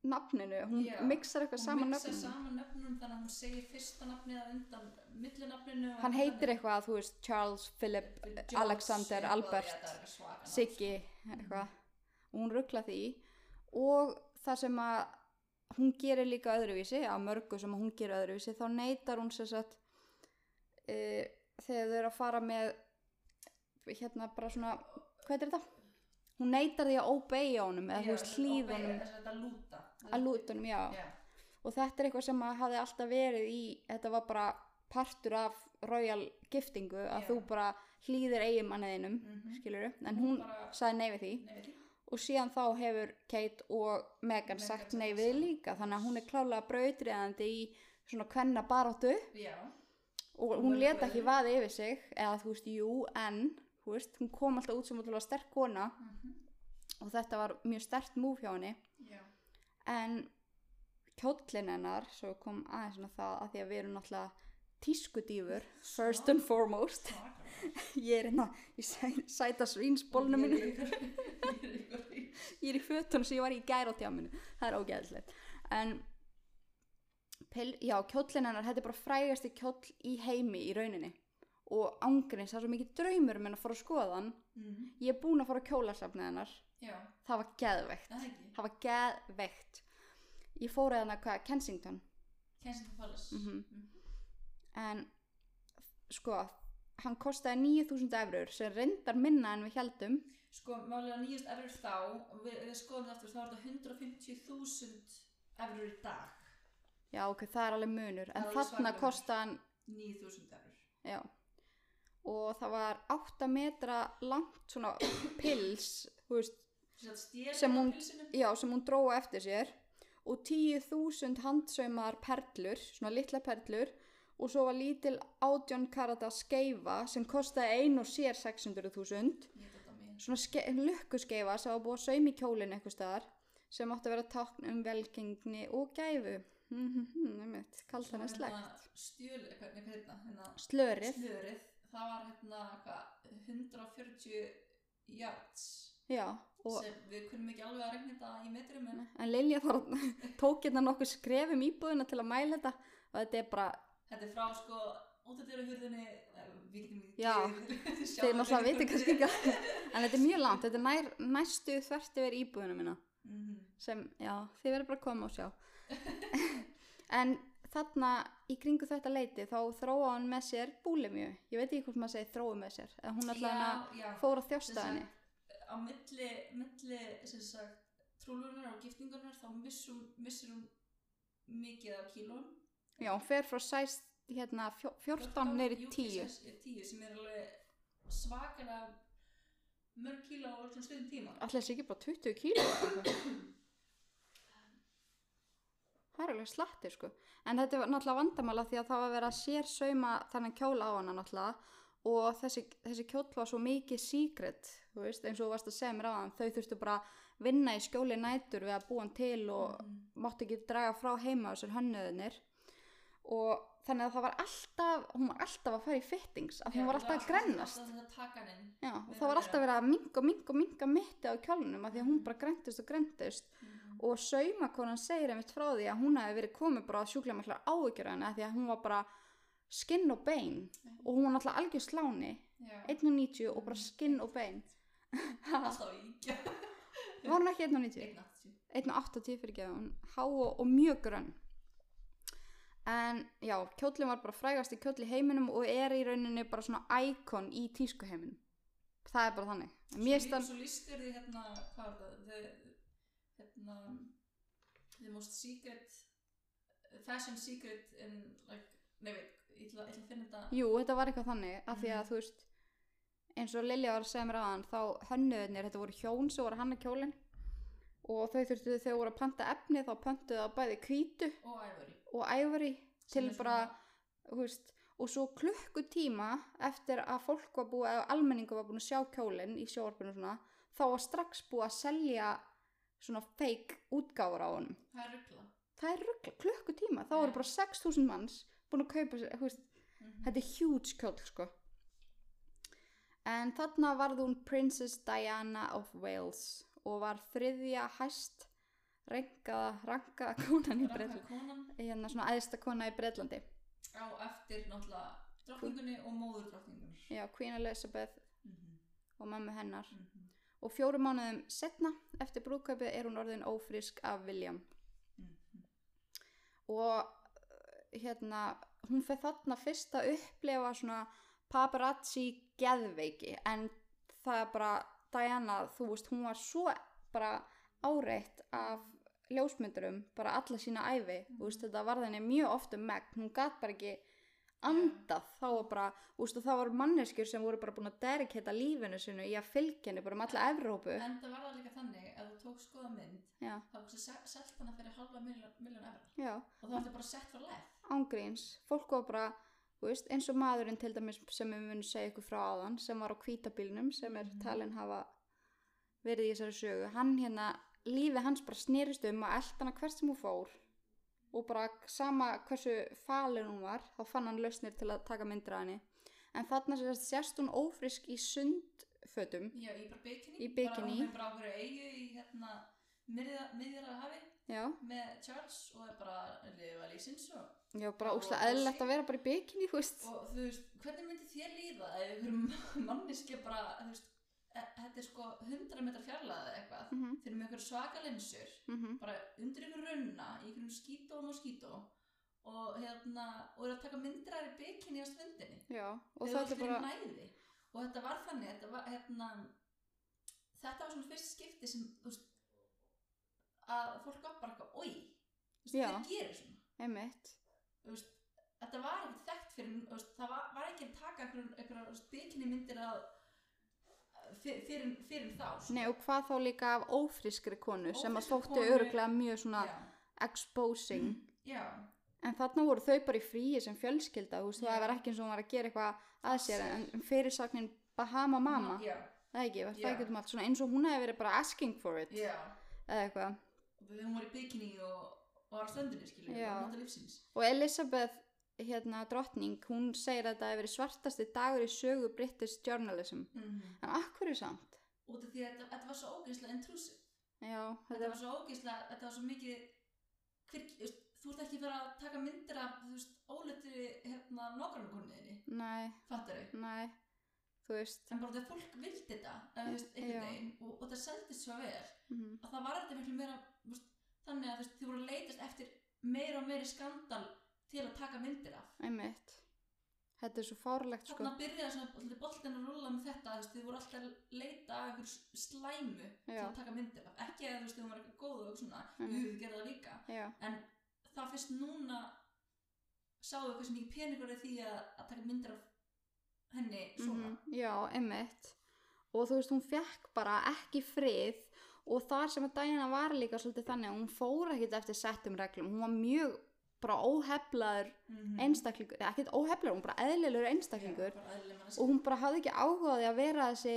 nafninu, hún Já, mixar eitthvað saman mixar nöfninu saman nöfnum þannig að hún segir fyrsta nafnið að undan millinafninu hann heitir eitthvað, þú veist, Charles, Philip Alexander, Albert, Siggi eitthvað og hún ruggla því og það sem að hún gerir líka öðruvísi að mörgu sem hún gerir öðruvísi þá neytar hún sér satt e, þegar þau eru að fara með hérna bara svona hvað er þetta? hún neytar því að óbeigja honum eða þú veist hlýð honum að lúta að lúta honum, já Já, og þetta er eitthvað sem að hafi alltaf verið í þetta var bara partur af royal giftingu að Já. þú bara hlýðir eiginmanniðinum mm Mhm. en hún Bara- sagði nei við því nei, veit ég. og síðan þá hefur Kate og Megan Meghan sagt sagt nei það við sama. líka þannig að hún er klálega brautriðandi í svona hvenna baráttu já, og Hún hún er leta bara- ekki vaði yfir sig eða þú veist, jú, en þú veist, hún kom alltaf út sem útrúlega sterk kona mhm, og þetta var mjög stert múf hjá henni já, en kjóllin hennar, svo kom aðeins svona það að því að við erum náttúrulega tískudýfur, first and foremost [laughs] svakalega. ég er hérna í sæ- sæta svínsbólnum Ég mínu er ykkur- ég er ykkur í- ég er í fötunum sem ég var í gæra á tjáminu það er ógæðislegt en pil, já, kjóllin hennar þetta er bara frægasti kjóll í heimi í rauninni og ángrins, það er svo mikið draumur minn að fara að skoða hann Mhm, ég er búin að fara að kjólasafnið hennar Já, það var geðveikt, það er ekki það var geðveikt ég fór að hennar hvað, Kensington Kensington Palace Mhm. Mhm. en sko, hann kostaði 9000 eurur sem reyndar minna en við heldum Sko, málega nýjast efrur þá og við, við skoðum það aftur, þá er þetta 150.000 efrur í dag já ok, það er alveg munur Það en er alveg þarna svakalegur. kostaði hann 9.000 efrur Já. Og það var 8 metra langt svona pils, þú veist, Sem, sagt stél Sem á hún- pilsinu? já, sem hún dróa eftir sér og 10.000 handsaumar perlur, svona litla perlur og svo var lítil átjón karata skeifa sem kostaði ein og sér 600.000 Ég veit þetta á mig. svona ske- lukkuskeifa sem var búið að saumi kjólinn eitthvað staðar sem átti að vera tákn um velgengni og gæfu mhm, mhm, einmitt, kallt Svo hann að hérna slægt Stjöl, eitthvað, nefnir hérna, hérna slörið, Slörið, það var hérna hvað, 140 yards já og sem við kunnum ekki alveg að regna þetta í metrum en En Lilja þar [laughs] tók hérna nokkuð skrefum íbúðina til að mæla þetta og þetta er bara, þetta er frá sko útadöru hurðinni við getum ekki [laughs] Já, þeir náttúrulega viti kannski ekki að- en þetta er mjög langt, þetta er nær, næstu þvert yfir íbúðina mína mm sem, já, þið verður bara að koma og [laughs] sjá en þarna í kringu þetta leiti þá þróa hann með sér búlimju ég veit ekki hvort maður segir þróa með sér en hún alltaf hann já, já. fór að þjósta henni á milli, milli sem sagt, trúlunar og giftingunar þá missum, missir hún mikið á kílón já, hún fer frá sæst hérna fjó- 14 neyri 10 10 sem er alveg svakana mörg kíló á sem stöðum tíma Alltaf þessi ekki bara 20 kíló eða eitthvað? Það er alveg slatti sko En þetta var náttúrulega vandamála því að það var verið að sér sauma þannig kjóla á hana náttúrulega og þessi, þessi kjóll var svo mikið secret, þú veist, eins og þú varst að segja mér á þau þurftu bara að vinna í skjóli nætur við að búa hann til og máttu ekki draga frá heima þessar hönnuðinir og þannig að það var alltaf, hún var alltaf að fara í fittings, af því hún var alltaf að grennast Það var alltaf að taka hann inn Já, Mm. og Meira það var meira. alltaf verið að minga og minga og minga mitti á kjálnum af því að hún bara græntist og græntist og saumakonan segir einmitt frá því að hún hafi verið komið bara að sjúklega mikla áhyggjur af henni af því að hún var bara skinn og bein og hún var náttúrulega algjör sláni Já. 1.90 og bara skinn og bein Alltaf [laughs] íkja. var hún ekki 1.90? 1,80. 1,80 fyrir ekki hún há og, og mjög grönn en já, kjóllin var bara frægast í kjóll í heiminum og er í rauninni bara svona íkon í tísku heiminum það er bara þannig Svo mér lí- stann Svo lístir því hérna, hvað var það, the, hérna, the most secret, fashion secret in like, nei veit, ég ætla, ég ætla að finna þetta. Jú, þetta var eitthvað þannig af því Mhm. að þú veist eins og Lilja var að segja mér aðan þá hönnuðinir, þetta voru hjón sem voru að hanna kjólin og þau þurftu þau voru að panta efni þá pöntuðu á bæði hvítu Og Ivory. og ævari sem til er bara svona- þú veist, og svo klukkutíma eftir að fólk var búið eða almenningu var búin að sjá kjólinn í sjóarpinu svona, þá var strax búið að selja svona fake útgáfur á honum Það er ruggla. það er rugl, klukkutíma, þá voru bara 6000 manns búin að kaupa sér, þú veist þetta er huge kjóll sko en þarna varð hún Princess Diana of Wales og var þriðja hæst rankaða, rankaða konan í Bretlandi [laughs] Ragnar konan hérna svona æðsta kona í Bretlandi á eftir náttúrulega drottningunni og móður drottningunni. já, Queen Elizabeth Mm -hmm. og mamma hennar Mm -hmm. og fjórum mánuðum setna eftir brúðkaupið er hún orðin ófrísk af William og uh, hérna hún fer þarna fyrst að upplefa svona paparazzi geðveiki en það er bara Diana, þú veist, hún var svo bara áreitt af ljósmyndurum, bara alla sína æfi þú veist, þetta varð henni mjög oft um megn hún gat bara ekki andað þá var bara, þú veist, og það var manneskjur sem voru bara búin að dedikata lífinu sinu í að fylgja henni bara um alla Evrópu En það var það líka þannig að þú tók skoða mynd, já, þá var þessi selt hana fyrir halva miljón efra já og það var þetta bara sett frá leð. ángríns, fólk var bara þú veist, eins og maðurinn til dæmis sem við munum segja ykkur frá áðan sem var á kvítabílnum sem Mhm. er talin hafa verið í þessari sögu hann hérna, lífi hans bara snerist um að elda hana hvert sem hún fór og bara sama hversu falin hún var, þá fann hann lausnir til að taka myndir að henni en þarna sem sagt sérst hún ófrisk í sundfötum Já, í bara bikini. Í bikini. Bara hún er bara á hverju eigu í hérna miðjara, miðjara hafi já, með Charles og er bara að lifa lísins og, já bara Já, úslega og- eðlilegt að vera bara í bikini, þú veist og þú veist, hvernig myndi þér líða ef einhver [laughs] manniski bara, þú veist, e- þetta er sko 100 metrar fjarlæði eða eitthvað mm Mhm. þeir eru með einhver svaka linsur mhm bara undir einhver runna í einhverjum skítóm og skító og hérna, og eru að taka myndir að þeir bikini á stundinni já, og það Þegar er þú bara allir næði og þetta var þannig þetta var, hérna, þetta var svona fyrst skipti sem þú veist, að fólk var bara eitthvað oi, Já. það gerir svona einmitt, Þú veist, þetta var ekkert þekkt fyrir þú veist, það var, var ekki að taka einhverjum- einhverjar bikini myndir að fyr- fyrir, fyrir þá sko. Nei og hvað þá líka af ófriskri konu sem að Ófrískri þótti konu, öruglega mjög svona já, Mm. exposing já, en þarna voru þau bara í fríi sem fjölskylda þú veist Já. það var ekki eins og hún var að gera eitthvað að sér en en fyrirsagnin Bahama Mama já, það ekki, var það Já. ekki um allt svona eins og hún hefði verið bara asking for it já eða eitthvað við höfum voru í bikini og, og var á stöndinni skilur, Já. og nota lífsins og Elisabeth hérna drottning, hún segir að það hefði verið svartasti dagur í sögu British journalism mm. en akkur er samt út af því að þetta, þetta var svo ógeðslega intrusive já, þetta þetta var svo ógeðslega, þetta var svo mikið hver, þú veist, þú ert ekki að fara að taka myndir af, þú veist, óleitri hérna nágrannkonniðinni, næ, fattar þau næ þú veist en bara þegar fólk vildi þetta eða, þú veist, Já. einhvern veginn, og, og það seldist svo vel að mm það var þetta miklu meira þú veist, þannig að þú veist, þið voru að leitast eftir meira og meiri skandal til að taka myndir af einmitt þetta er svo fárlegt sko þarna byrjaði svona boltin að rúla með þetta þú veist, þið voru alltaf að leita að einhver slæmu til Já. að taka myndir af ekki að þú veist, þið voru eitthvað góð og svona Mhm. við við gerðum það líka já en það fyrst núna sáðu eitthvað sem ekki peningur því að, að taka myndir af henni svona Mhm, Já, emmitt og þú veist, hún fekk bara ekki frið og þar sem að Diana var líka svolítið þannig að hún fór ekkit eftir settum reglum, hún var mjög bara óheflaður mm einstaklingur eða ekkit óheflaður, hún bara eðlilegur einstaklingur og einstaklingur hún bara hafði ekki áhugaði að vera þessi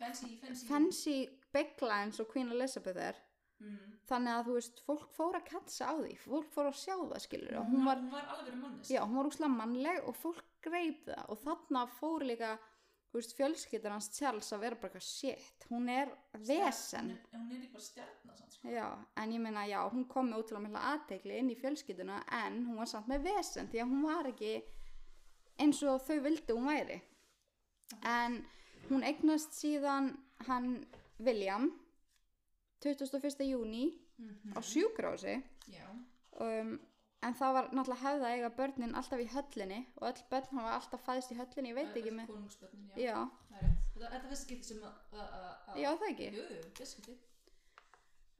fancy, fancy, fancy begla eins og Queen Elizabeth er Mm. þannig að þú veist, fólk fór að katsa á því fólk fór að sjá það, skilur og hún, hún var var, hún var alveg verið mannes Já, hún var úrslega mannleg og fólk greip það og þarna fór líka þú veist, fjölskyldan hans Charles að vera bara eitthvað shit, hún er vesen Stjarn- hún er eitthvað stjarnar sann sko. já, en ég meina já, hún kom með útrúlega mikla aðtegli inn í fjölskylduna en hún var samt með vesen því að hún var ekki eins og þau vildi hún væri en hún eignast síðan hann William 21. júni á sjúkrási já, um, en það var náttúrulega hefð að eiga börnin alltaf í höllinni og öll börn hafa alltaf fæðst í höllinni, ég veit ekki öll með konungsbörnin, já, já, það er rétt þetta þetta er fyrst skipti sem að að- að- að- já það ekki jú, jú, fyrst skipti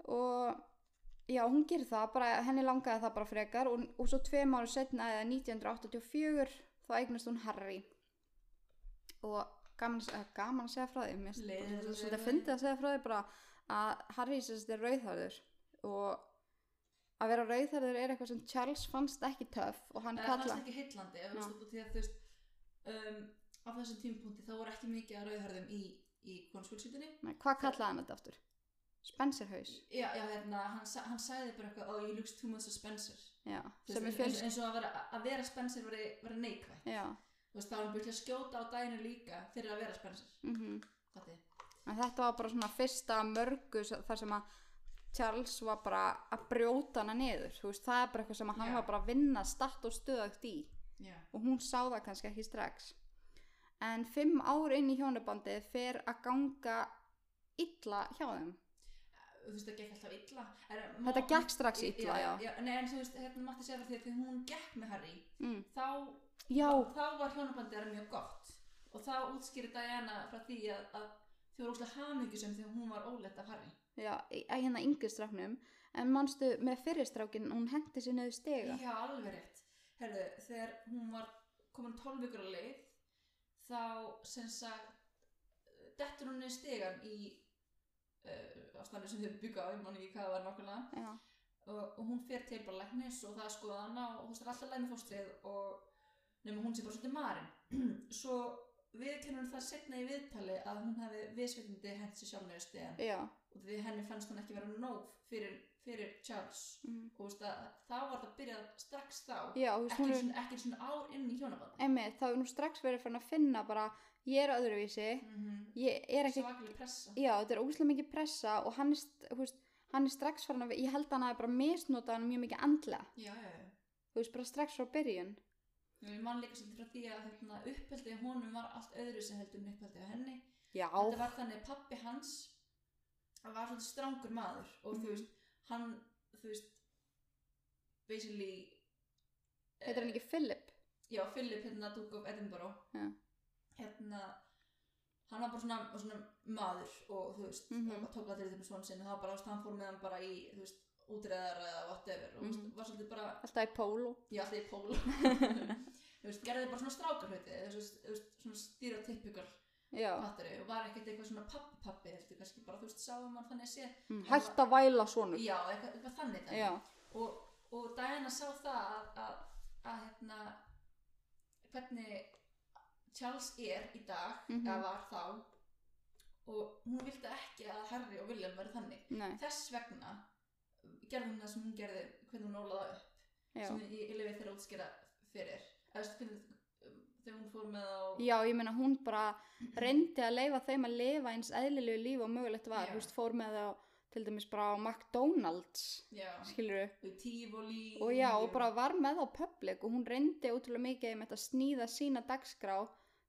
og já, hún gerir það bara, henni langaði það bara frekar og, og svo tveim ára setna eða 1984 þá eignast hún Harry og gaman, eh, gaman að segja frá því mér finnst þetta Leiðinlegt að segja frá fyndið að segja frá því bara að Harry sérst er rauðhörður og að vera rauðhörður er eitthvað sem Charles fannst ekki töff og hann það kalla fannst Eh, ekki heillandi ef Já. við stóttum til að þú veist um, á þessum tímpunkti þá voru ekki mikið að rauðhörðum í, í konungsfjölskyldinni Nei, hvað kallaði hann þetta aftur? Spencerhaus já, já, hérna, hann, sa- hann sagði bara eitthvað oh, you look too much of Spencer já, sem Þú er veist, eins, fjölskyld eins og að vera, að vera Spencer veri, veri neikvægt já, þú veist, þá er hann byrjað að skjóta á daginu líka fyrir að vera Spencer mhm Fatti. En þetta var bara svona fyrsta af mörgu s- þar sem að Charles var bara að brjóta hana niður, þú veist, það er bara eitthvað sem að hann Já. var bara að vinna statt og stöðagt í já, og hún sá það kannski ekki strax. En fimm ár inn í hjónabandið fer að ganga illa hjá þeim. þú veist, það gekk alltaf illa er, Þetta gekk strax illa, já. já, nei, en þú veist, hérna mátti segja fyrir því að hún gekk með Harry Mm. þá Já, þá var hjónabandið er mjög gott og þá útskýri Diana frá því að, að þau voru óslega hamingjusum þegar hún var ólétt af Harry já, í- að hérna yngri strafnum, en manstu með fyrri strákin, hún hendi sér niður stega. Já, alveg rétt Herðu, þegar hún var komin 12 vikur á leið þá sem sagt dettur hún niður stegan í uh, ástæðinu sem þau byggja á ég man ekki hvað það var nákvæmlega Já, og, og hún fer til bara læknis og það er skoða hana og hún er alltaf læg með fóstrið og nema hún sé bara svolítið marinn [clears throat] svo viðkennur hún það setna í viðtali að hún hefði viðsveitindi hent sér sjálfnæðu stegan já, og því henni fannst hún ekki vera nóg fyrir, fyrir Charles Mhm. og þú veist að þá var það byrjað strax þá já, þú veist, ekki, hún er... er... svona, ekki svona ár inn í hjónaband Einmitt, þá er hún strax verið fann að finna bara, ég er öðruvísi, mm -hmm. ég er ekki svakalega pressa já, þetta er ógæslega mikið pressa og hann er, st- þú veist, hann er strax farin að, ég held að hann hafi bara misnotað hann mjög mikið andlega, já, já, já þú veist, bara strax frá byrjun Ég man líka svolítið frá því að hérna, uppeldið honum var allt öðru sem heldur en uppeldið á henni já, þetta var þannig að pappi hans hann var svolítið strangur maður og Mhm. þú veist, hann þú veist, basically eh, heitir hann ekki Philip já, Philip hérna Duke of Edinburgh Já. hérna hann var bara svona, var svona maður og þú veist, mm Mhm. -hmm. tók allir þeim svona sinni, það var bara, þú veist, hann fór með hann bara í þú veist, útreðar eða whatever og þú Mhm. veist, var svolítið bara alltaf í pól og Já, alltaf í [laughs] pól Þú veist, gerði bara svona strákarhauti þú veist, þú veist, svona stýra typikar já, pattari og var ekkert eitthvað svona pappi pappi heldur kannski bara, þú veist, sáum hann þannig að sé Mm, hætt að væla svona Já, eitthvað, eitthvað þannig já, og, og Diana sá það að, að, að hérna hvernig Charles er í dag Mhm. eða var þá og hún vildi ekki að Harry og William verið þannig nei, þess vegna gerði hún það sem hún gerði hvernig hún ólaði upp já sem ég, ég lefið þeirra að útskýra fyrir Eða, veistu, hvernig, um, þegar hún fór með á já, ég meina hún bara reyndi að leifa þeim að lifa eins eðlilegu lífi og mögulegt var, Já. þú veist, fór með þá til dæmis bara á McDonalds já, skilur og í tífóli og já, og bara var með á public og hún reyndi útrúlega mikið um þetta að snýða sína dagskrá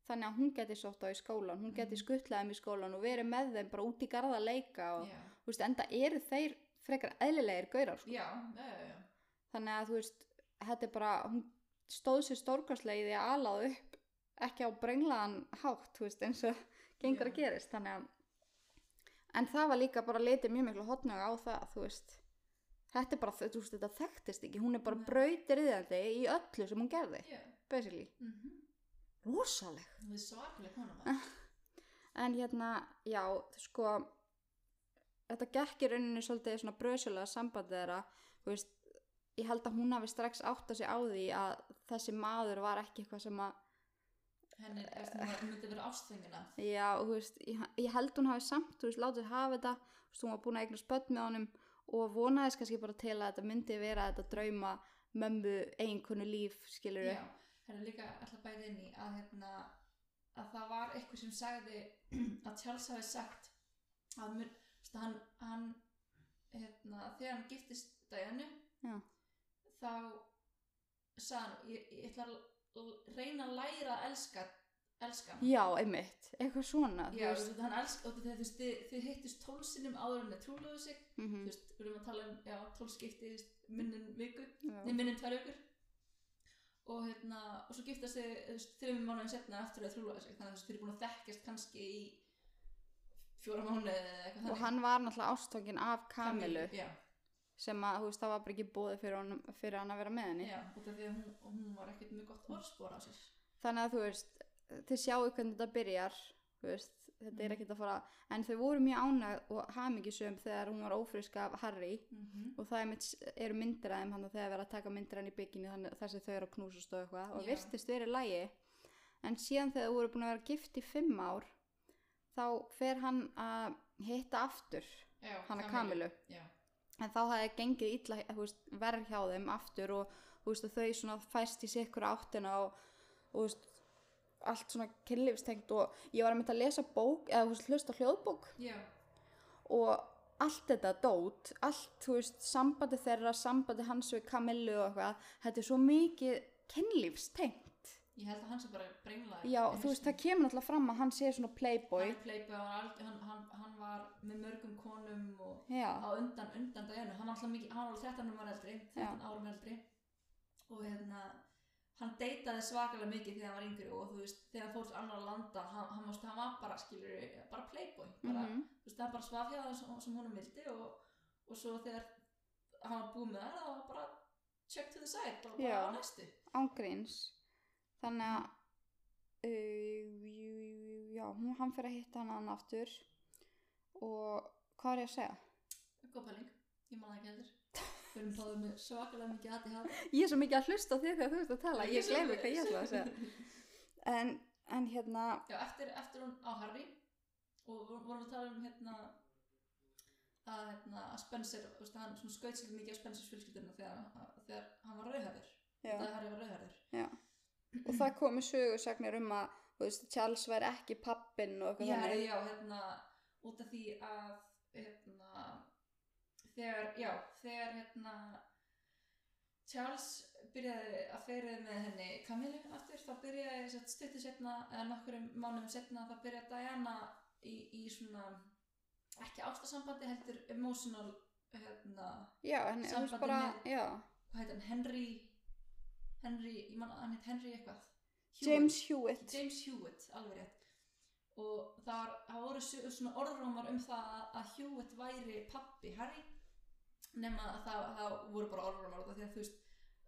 þannig að hún geti sótt á í skólan, hún geti Mhm. skuttlaði þeim í skólan og verið með þeim bara út í garða að leika og, já, þú veist, enda eru þeir frekar eðlilegir gaurar, sko. já, já, já, já. þannig að þú veist, þetta er bara, hún stóð sér stórkastlega í því að alaða upp ekki á brenglaðan hátt, þú veist, eins og gengur að Já. gerist, þannig að en það var líka bara litið mjög miklu hotnög á það, þú veist þetta er bara, þú veist, þetta þekktist ekki hún er bara Nei. brautriðandi í öllu sem hún gerði já. basically, Mm rosaleg það er svakalega konar [laughs] maður en hérna, já, sko þetta gekk í rauninni svolítið svona bröðsjölega sambandi þeirra þú veist, ég held að hún hafi strax átt að sig á því að þessi maður var ekki eitthvað sem að, henni, eftir hún myndi vera ástfengina já, þú veist ég, ég held hún hafi samt, þú veist, látið hafa þetta þú veist, hún var búin að eigna spött með honum og vonaðist kannski bara til að þetta myndi vera þetta drauma mömmu eiginkonu líf, skilur já, henni líka alltaf bæði inn í að hérna að það var eitthvað sem sagði [clears throat] að Charles hafi sagt að mun, stu, hann, hann hérna, þegar hann giftist Dianu Já. þá sagði hann ég, ég ætla að l- reyna að læra að elska, elska hann já, einmitt, eitthvað svona þú Já, þú veist. veist, hann elska, og þegar þú veist, þið, þið hittust tólsinnum áður en þið trúluðu sig, þú Mhm, veist, við erum að tala um, já, tólskipti, minnum viku, já. Nei, minnum tvær vikur og hérna, og svo giftast þið þú veist, þrjum mánuðin setna eftir að þrjúla sig þannig að þú veist, þið eru búin að þekkjast kannski í fjóra mánuði eða eitthvað og þannig. hann var náttúrulega ástokkin af Kamilu já, sem að, þú veist, það var bara ekki bóði fyrir, honum, fyrir hann að vera með henni já, út af því að hún, og hún var ekkert með gott orðspor á sér þannig að þú veist, þið sjáu hvernig þetta byrjar þú veist, þetta er Mhm. ekkert að fara en þau voru mjög ánægð og hamingisum þegar hún var ófrisk af Harry mm og það einmitt s- eru myndir af þeim hann þegar verið að taka myndir af hann í bygginu þannig þar sem þau eru að knúsast og eitthvað og Já. virtist verið lægi en síðan þegar þau voru búin að vera gift í fimm ár þá fer hann að hitta aftur já, hana Kamilu já, en þá hafði gengið illa þú veist, verð hjá þeim aftur og þú veist, og þau svona fæst í sikkur áttina og, og þú veist, allt svona kynlífstengt og ég var að mynda að lesa bók eða þú veist, hlusta á hljóðbók já, og allt þetta dót, allt, þú veist, sambandi þeirra, sambandi hans við Kamillu og eitthvað, þetta er svo mikið kynlífstengt. ég held að hann sem bara brengla Já, þú veist, það kemur náttúrulega fram að hann sé svona playboy. hann er playboy, hann, var alg- hann, hann, hann var með mörgum konum og Já, á undan, undan daginu hann var alltaf mikið, hann var alveg 13 árum eldri 13 árum eldri og hérna, hann deytaði svakalega mikið þegar hann var yngri og þú veist þegar hann fór til annar landa, hann, hann, veist, hann var bara skilur, bara playboy bara, mhm, þú veist, hann bara svaf hjá það sem, sem honum vildi og, og svo þegar hann var búið með það, það var bara check to the side og bara Já. á næstu ángríns. Þannig að, uh, jú, jú, jú, já, hún, hann fer að hitta hann hann aftur og hvað er ég að segja? góð pæling, ég man það ekki heldur við erum báðið með svakalega mikið aðið hann Ég er svo mikið að hlusta á þig þegar þú ert að tala, ég gleymi hvað ég ætla að segja. En, en hérna, Já, eftir, eftir hún á Harry og vor- vorum að tala um hérna að, hérna, að Spencer, þú veist, hann svona skaut sér mikið á Spencers fjölskyldurinn þegar, að- þegar hann var rauðhæður, já. þegar Harry var rauðhæður. og það komi sögursagnir um að þú veist, Charles væri ekki pappinn og eitthvað Já, þannig já, hérna, út af því að, hérna, þegar, já, þegar, hérna, Charles byrjaði að ferið með henni Kamilu aftur, þá byrjaði sett, stuttu setna, eða nokkurum mánum setna, þá byrjaði Diana í, í svona, ekki ástasambandi, heldur emotional, hérna, já, henni, þú veist Sambandi bara með- já. hvað heit hann, Henry, Henry, ég man, hann heit Henry eitthvað. James Hewitt James Hewitt, alveg rétt og þar það voru su- svona orðrómar um það að- að Hewitt væri pappi Harry nema að það, það voru bara orðrómar út af því að þú veist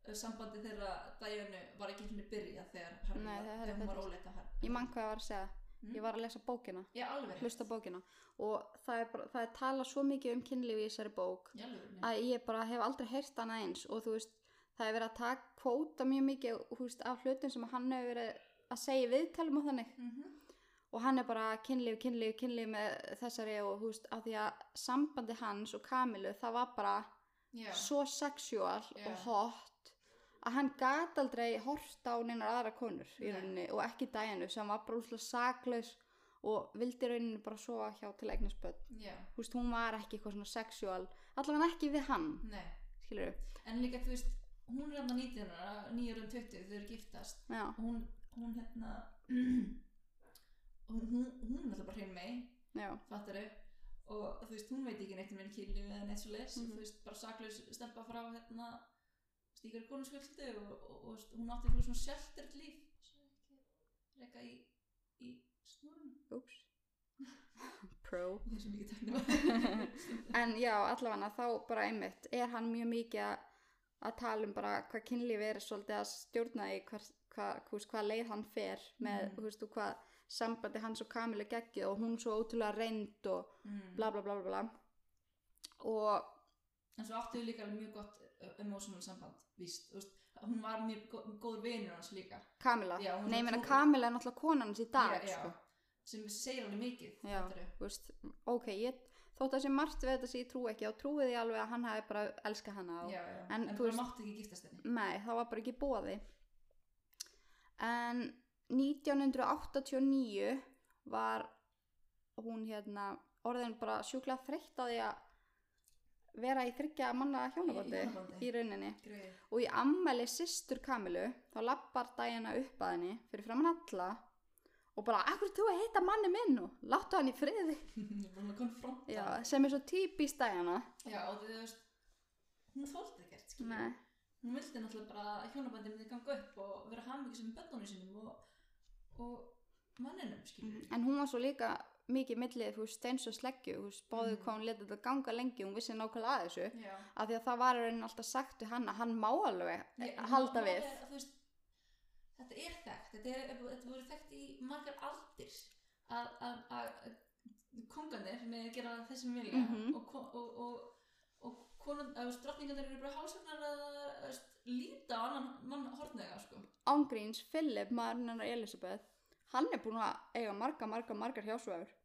eh, sambandi þeirra dæjunu var ekki henni byrja þegar, Harry Nei, var, það er þegar hún var betur. óleita Harry ég man hvað ég var að segja, Mm. ég var að lesa bókina Já, alveg rétt hlusta á bókina og það er, bara, það er tala svo mikið um kynlífi í þessari bók Já, alveg rétt að ég bara hef aldrei heyrt hana eins og þú veist, það er verið að taka kvóta mjög mikið þú veist, af hlutum sem hann hefur verið að segja í viðtalum og þannig mm -hmm. og hann er bara kynlíf, kynlíf, kynlíf með þessari og þú veist, af því að sambandi hans og Kamilu, það var bara Já, svo sexual Já. og hot að hann gat aldrei hort á neinar aðra konur í Nei. rauninni og ekki dæjanu sem var bara úslega saklaus og vildi í rauninni bara sofa hjá til eignisböld já, þú veist, hún var ekki eitthvað svona sexual allavega ekki við hann, nei skilur en líka þú veist, hún er hann að 19 ára, 9 ára um 20 þau eru giftast já, hún, hún hérna [clears throat] hún, hún, hún er alltaf bara hrein mei já, fattaru og þú veist, hún veit ekki neitt um enn kynlu eða neitt svo les Mhm. þú veist, bara saklaus stelpa frá hérna stíkari konusfjöldu og, og, og, og hún átti eitthvað svona sheltered líf svo ekki reka í, í snúrunum úps [laughs] pro og þessu mikið [laughs] tæknum En já, allavega þá bara einmitt er hann mjög mikið að- að tala um bara hvað kynlífi er svolítið að stjórna í hver, hva, hús, hvað leið hann fer með, Mm. mm. hústu, hvað sambandi hans og Kamilu geggið og hún svo ótrúlega reynd og mm. bla bla bla bla bla og en svo áttu þau líka alveg mjög gott uh, emotional samband, víst, þú veist hún var mjög gó- góður vinur hans líka Kamila, Já, hún er nei, ég meina trú- Kamila er náttúrulega konan hans í dag, Já, já, sko sem segir alveg mikið Já. fattaru Þú veist, ok, ég, þótt að sé margt við þetta sem ég trú ekki, þá trúið ég alveg að hann hafi bara elska hana og já, já. En en, en þú bara veist- máttu ekki giftast henni Nei, það var bara ekki bóði. En 1989 var hún hérna orðin bara sjúklega þreytt á því að vera í þryggja manna hjónabandi Í hjónabandi. í rauninni greið. og í ammæli systur Kamilu þá lappar Diana upp að henni fyrir framann alla og bara, akkur þú að hitta manni minn og láttu hann í friði Ég var [laughs] hún að konfronta. Já, sem er svo típist Diana Já, og þú veist, hún þóldi ekkert, skiljum. Nei. Hún vildi náttúrulega bara að hjónabandi myndi ganga upp og vera hafmyggisum með börnunum sínum og, og manninum, skiljum. en hún var svo líka mikið millið þú veist, steins og sleggju, þú veist, báðu hvað hún letið þetta ganga lengi, hún vissi nákvæmlega að þessu Mm. Já. af því að það var í rauninni alltaf sagt við hann að hann má alveg eh, Ég- halda það við er, þú veist, þetta er þekkt þetta, er, þetta voru þekkt í margar aldir að, að, að að kongarnir með að gera það sem vilja Mhm. og, ko- og, og, og konun, að, þú veist, drottningarnir eru bara hálsögnar að þú veist, líta á annan mann hortnega sko. ángríns Philip, maðurinn hennar Elisabeth hann er búin að eiga marga, marga, margar hjásvæður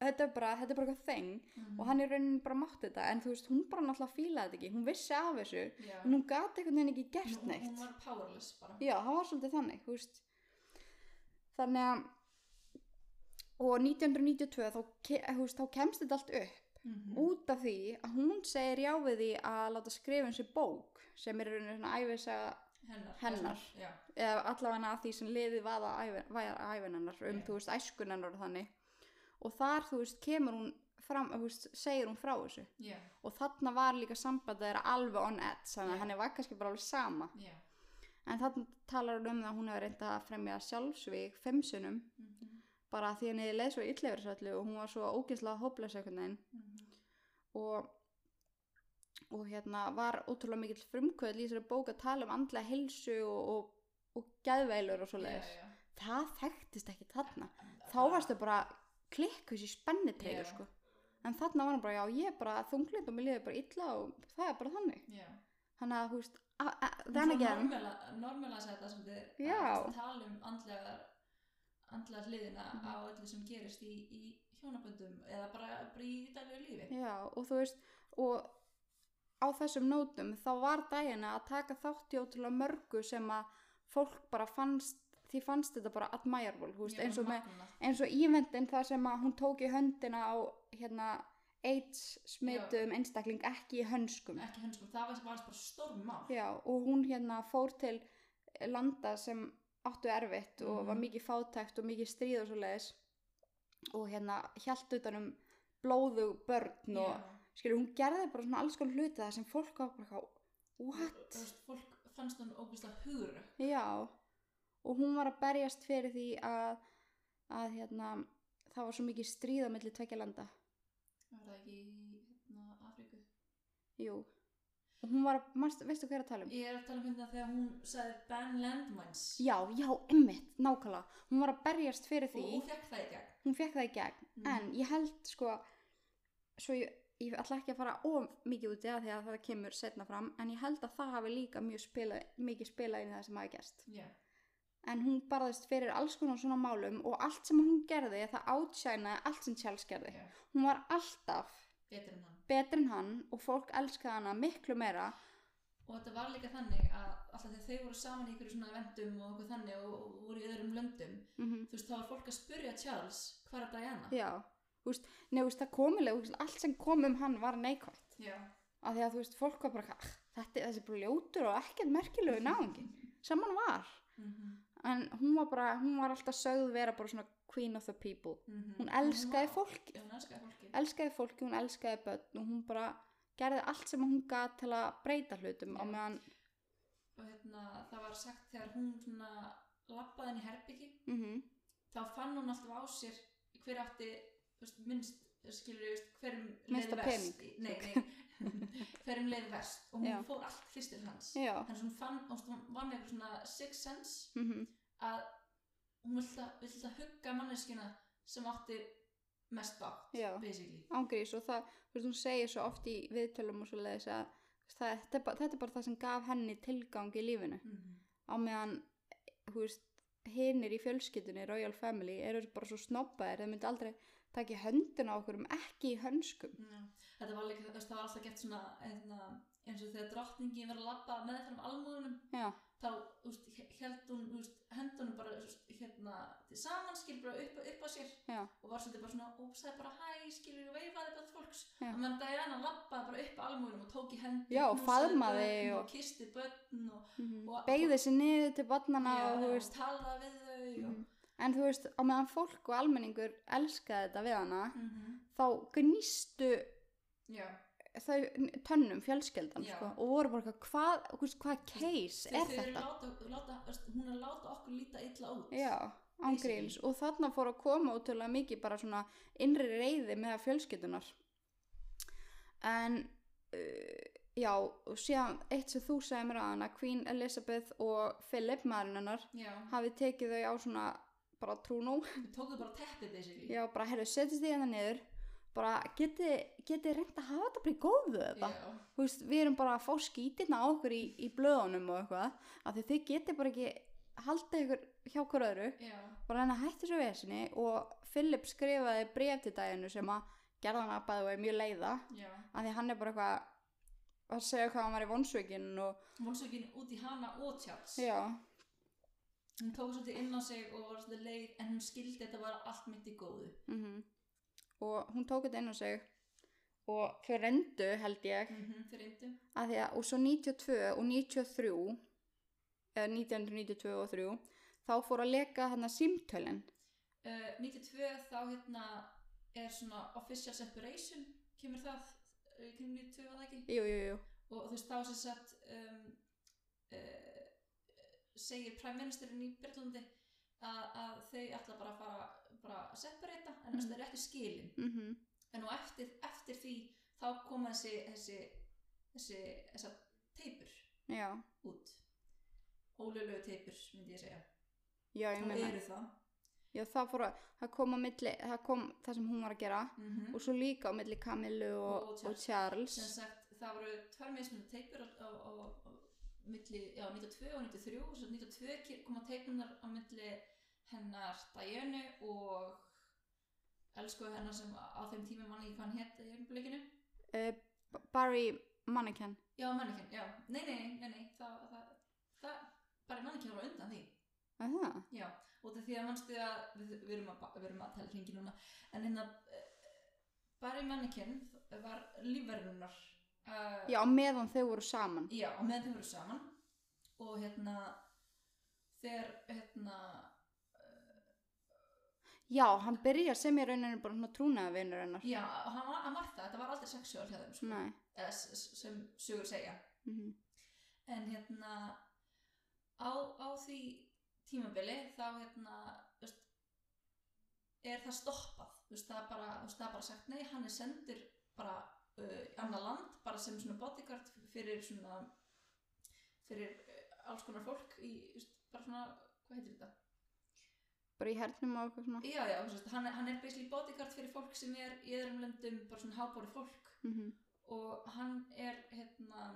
þetta er bara, þetta er bara eitthvað þeng Mhm. og hann er rauninni bara mátt þetta en þú veist, hún bara náttúrulega fílaði þetta ekki hún vissi af þessu, Já. en hún gat einhvern veginn ekki Hún- gert neitt hún var powerless bara Já, það var svolítið þannig, þú veist. Þannig að, og 1992 þá, ke- þú veist, þá kemst þetta allt upp Mhm. út af því að hún segir já við því að láta skrifa eins og bók sem er í rauninni svona æfisa, hennar, Hennar. Já. eða allavega að því sem liði vaða æfinennar um, Já. þú veist, æskunennar og þannig. Og þar, þú veist, kemur hún fram, þú veist, segir hún frá þessu. Já. Og þarna var líka samband þeirra alveg on edge, þannig að Já. henni var kannski bara alveg sama. Já. En þarna talar hún um það að hún hefur reyndað að fremja sjálfsvík fimm sinnum Mhm. bara af því henni leið svo illa yfir þessu öllu og hún var svo ógeðslega hóplösa einhvern veginn Mhm. og, og hérna var ótrúlega mikill frumkvöld í þessari bók að tala um andlega hilsu og, og, og gæðveilur og svo leiðis. Já, já. Það þekktist ekki þarna. Þá varstu bara klikkus í spennitreigur Já. sko. En þarna var hann bara, já, ég er bara þunglind og mér liður bara illa og það er bara þannig. Já. Þannig að, þú veist, a- a- then again, normalasa þetta sem þið Já. að tala um andlega andlega hliðina Mhm. á öllu sem gerist í, í hjónaböndum eða bara, bara í daglegu lífi Já, og þú veist, og á þessum nótum þá var dagina að taka þátt í ótrúlega mörgu sem að fólk bara fannst, því fannst þetta bara admirable, þú veist, Ég eins og, bara með, magna. eins og ívendin það sem að hún tók í höndina á, hérna, AIDS smitum einstakling ekki í hönskum. ekki hönskum, það var, var bara stórmál Já, og hún hérna fór til landa sem áttu erfitt og Mhm. var mikið fátækt og mikið stríð og svo leiðis og hérna hjælt utanum blóðu börn og skilur, hún gerði bara svona alls konar hluti það sem fólk var bara eitthvað, what? Þú veist, fólk fannst hún ógustlega hugur Já, og hún var að berjast fyrir því að, að hérna, það var svo mikið stríð á milli tvekja landa, var það ekki í hérna, Afríku jú. Og hún var, manst, veistu hver er að tala um? ég er að tala um hérna þegar hún sagði ban landmines Já, já, einmitt, nákvæmlega. Hún var að berjast fyrir því, og, og fekk það í gegn hún fekk það í gegn, Mm. en ég held sko, svo ég, ég ætla ekki að fara of mikið út í það því að það kemur setna fram, en ég held að það hafi líka mjög spila, mikið spilað inn í það sem hafi gerst. Já. en hún barðist fyrir alls konar svona málum og allt sem hún gerði það átsænaði allt sem Charles gerði Já. hún var alltaf betur en hann betri en hann og fólk elskaði hana miklu meira og þetta var líka þannig að alltaf þegar þau voru saman í ykkur svona eventum og eitthvað þannig og, og voru í öðrum löndum mm þú veist, þá var fólk að spyrja Charles hvað er Diana? já, þú veist, nei, þú veist, það komileg veist, allt sem kom um hann var neikvægt Já. af því að þú veist, fólk var bara eitthvað, "Ah, þetta er þessi bara ljótur og ekkert merkilegu náðingi sem hann var Mm -hmm. en hún var bara, hún var alltaf sögð vera bara svona queen of the people Hún elskaði fólkið. Hún elskaði fólki. elskaði fólki, hún elskaði börn og hún bara gerði allt sem hún gat til að breyta hlutum á Já. meðan Og hérna, það var sagt þegar hún svona lappaði henni herbyggi, mm þá fann hún alltaf á sér hver átti, þú veist, minnst, skilur ég, hverjum Minnst á um leið verst. Nei, [laughs] nei, hverjum leið verst. Og hún Já. fór allt fyrst til hans. Já. Þannig að hún fann, og hún var með eitthvað svona six sense Mm að hún vildi að- vildi að hugga manneskina sem átti mest bátt, Já. basically. ángrís og það, þú veist, hún segir svo oft í viðtölum og svo leiðis að það, þetta, er bara, þetta er bara það sem gaf henni tilgang í lífinu Mm á meðan, þú veist, hinnir í fjölskyldunni, Royal Family, eru bara svo snobbaðir, þeir myndi aldrei taka í höndina á okkur um ekki í hönskum. Já, þetta var líka, þú veist, það var alltaf gert svona einna, eins og þegar drottningin var að labba með þeim almúðunum Já, þá, þú veist, held hún, þú veist, hendunum bara þú veist, hérna, saman skilur bara upp, upp á sér já, og var svolítið bara svona, óps, það er bara hæ, skilur og veifaði bara til fólks Já. og meðan Diana lappaði bara upp almúlum og tók í hendi Já, og knúsaði faðmaði börn og- og kisti börn og, mhm. Og- beigði sér niður til barnana Já, og þú veist talaði við þau og, Mhm. en þú veist, á meðan fólk og almenningur elskaði þetta við hana Mhm. þá gnýstu Já, þau tönnum fjölskeldan Já. sko, og voru bara eitthvað, hvað, þú veist, hvað case þau er þau eru þetta? láta, láta, veist, hún er að láta okkur líta illa út Já, Basically. ángríns og þarna fór að koma útrúlega mikið bara svona innri reyði með fjölskyldunar en uh, já, og síðan eitt sem þú segir mér að hana, Queen Elizabeth og Philip maðurinn hennar Já, hafi tekið þau á svona bara trúnó, þau tóku bara teppið basically já bara herru setjast því hérna niður bara getið geti reynd að hafa þetta bara í góðu þetta Já. þú veist, við erum bara að fá skítirna á okkur í, í blöðunum og eitthvað af því þau getið bara ekki haldið ykkur hjá hver öðru Já, bara hann að hætti svo vesinni og Philip skrifaði bref til daginu sem að gerðan að bæðu er mjög leiða já. af því hann er bara eitthvað að segja hvað hann var í vonsvögin og Vonsökin út í hana og Charles. já, Hún tók svolítið inn á sig og var svolítið leið en hún skildi þetta var allt mitt í góðu. mhm og hún tók þetta inn á sig og þau rendu held ég Mm -hmm. Þeir reyndu. að því að og svo 92 og 93 eða 1992 og 3 þá fór að leka hann að símtölin Uh, 92 þá hérna er svona official separation, kemur það, uh, kemur 92 var það ekki? jú, jú, jú, Og þú veist þá sem sagt um, uh, segir præmministerinn í Byrlandi að, að þau ætla bara að fara bara að separata en mm. það er ekki skilin. mhm En og eftir, eftir því þá koma þessi, þessi, þessi, þessa teipur. já, út ólöglegu teipur myndi ég segja já, ég og meina eru það já, það fór að, það kom á milli það kom það sem hún var að gera mm -hmm. og svo líka á milli Kamilu og, Og og, Charles. Charles sem sagt það voru tvær mismunum teipur á, á, á, á milli, já, 92 og 93 og svo 92 ke- koma teipunar á milli hennar Dianu og elsku hennar sem á þeim tíma manni hvað hann hétt í öfnblikinu uh, Barry Mannequin já, mannikinn, já, nei, nei, nei, nei það, það, það, bara mannikinn voru undan því Er það? Já, út af því að mannstu að við, við, erum að, ba- við erum að tala hringi núna en hérna eh, Barry Mannequin var lífverðunar uh, Já, á meðan þau voru saman já, og með þau voru saman og hérna þegar hérna Já, hann byrja sem ég rauninu bara svona trúnaða vinur hennar já, hann var að marta, þetta var aldrei sexuál hjá þeim sko, Nei eða s- s- sem sögur segja mm -hmm. en hérna á, á því tímabili þá hérna þú veist, er það stoppað þú veist, það, er bara, þú veist, það er bara sagt nei, hann er sendur bara uh, í annað land, bara sem svona bodyguard fyrir svona fyrir uh, alls konar fólk í, þú veist, bara svona, hvað heitir þetta? Bara í hernum og eitthvað svona Já, já, þú veist, hann, er- hann er basically bodyguard fyrir fólk sem er í öðrum löndum, bara svona hábóri fólk mm og hann er hérna,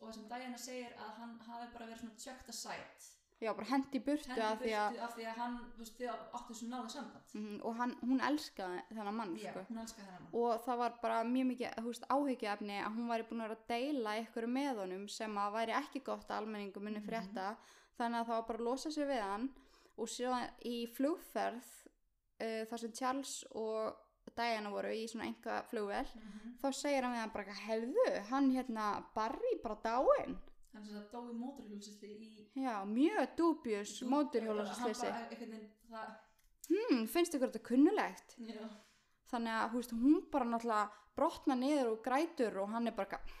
og það sem Diana segir að hann hafi bara verið svona checked aside Já, bara hendi í burtu hendi af því að burtu af því að hann, þú veist, þið áttu þessu náðu samband mm Og hann, hún elskaði þennan mann já, sko. hún elskar þennan mann Og það var bara mjög mikið húst, áhyggjuefni að hún væri búin að vera að deila ykkur með honum sem að væri ekki gott að almenningum minni Mhm. frétta þannig að það var bara að losa sig við hann og síðan í flugferð uh, þar sem Charles og Diana voru í svona enga flugvel Mhm. þá segir hann við hann bara eitthvað, hefðu, hann hérna Barry bara dáinn hann sem það dói móturhjólsisli í já, mjög dubjus móturhjólasleysi Hann bara einhvern veginn, það, hmm, finnst ykkur þetta kunnulegt já, þannig að húst, hún bara náttúrulega brotna niður og grætur og hann er bara eitthvað,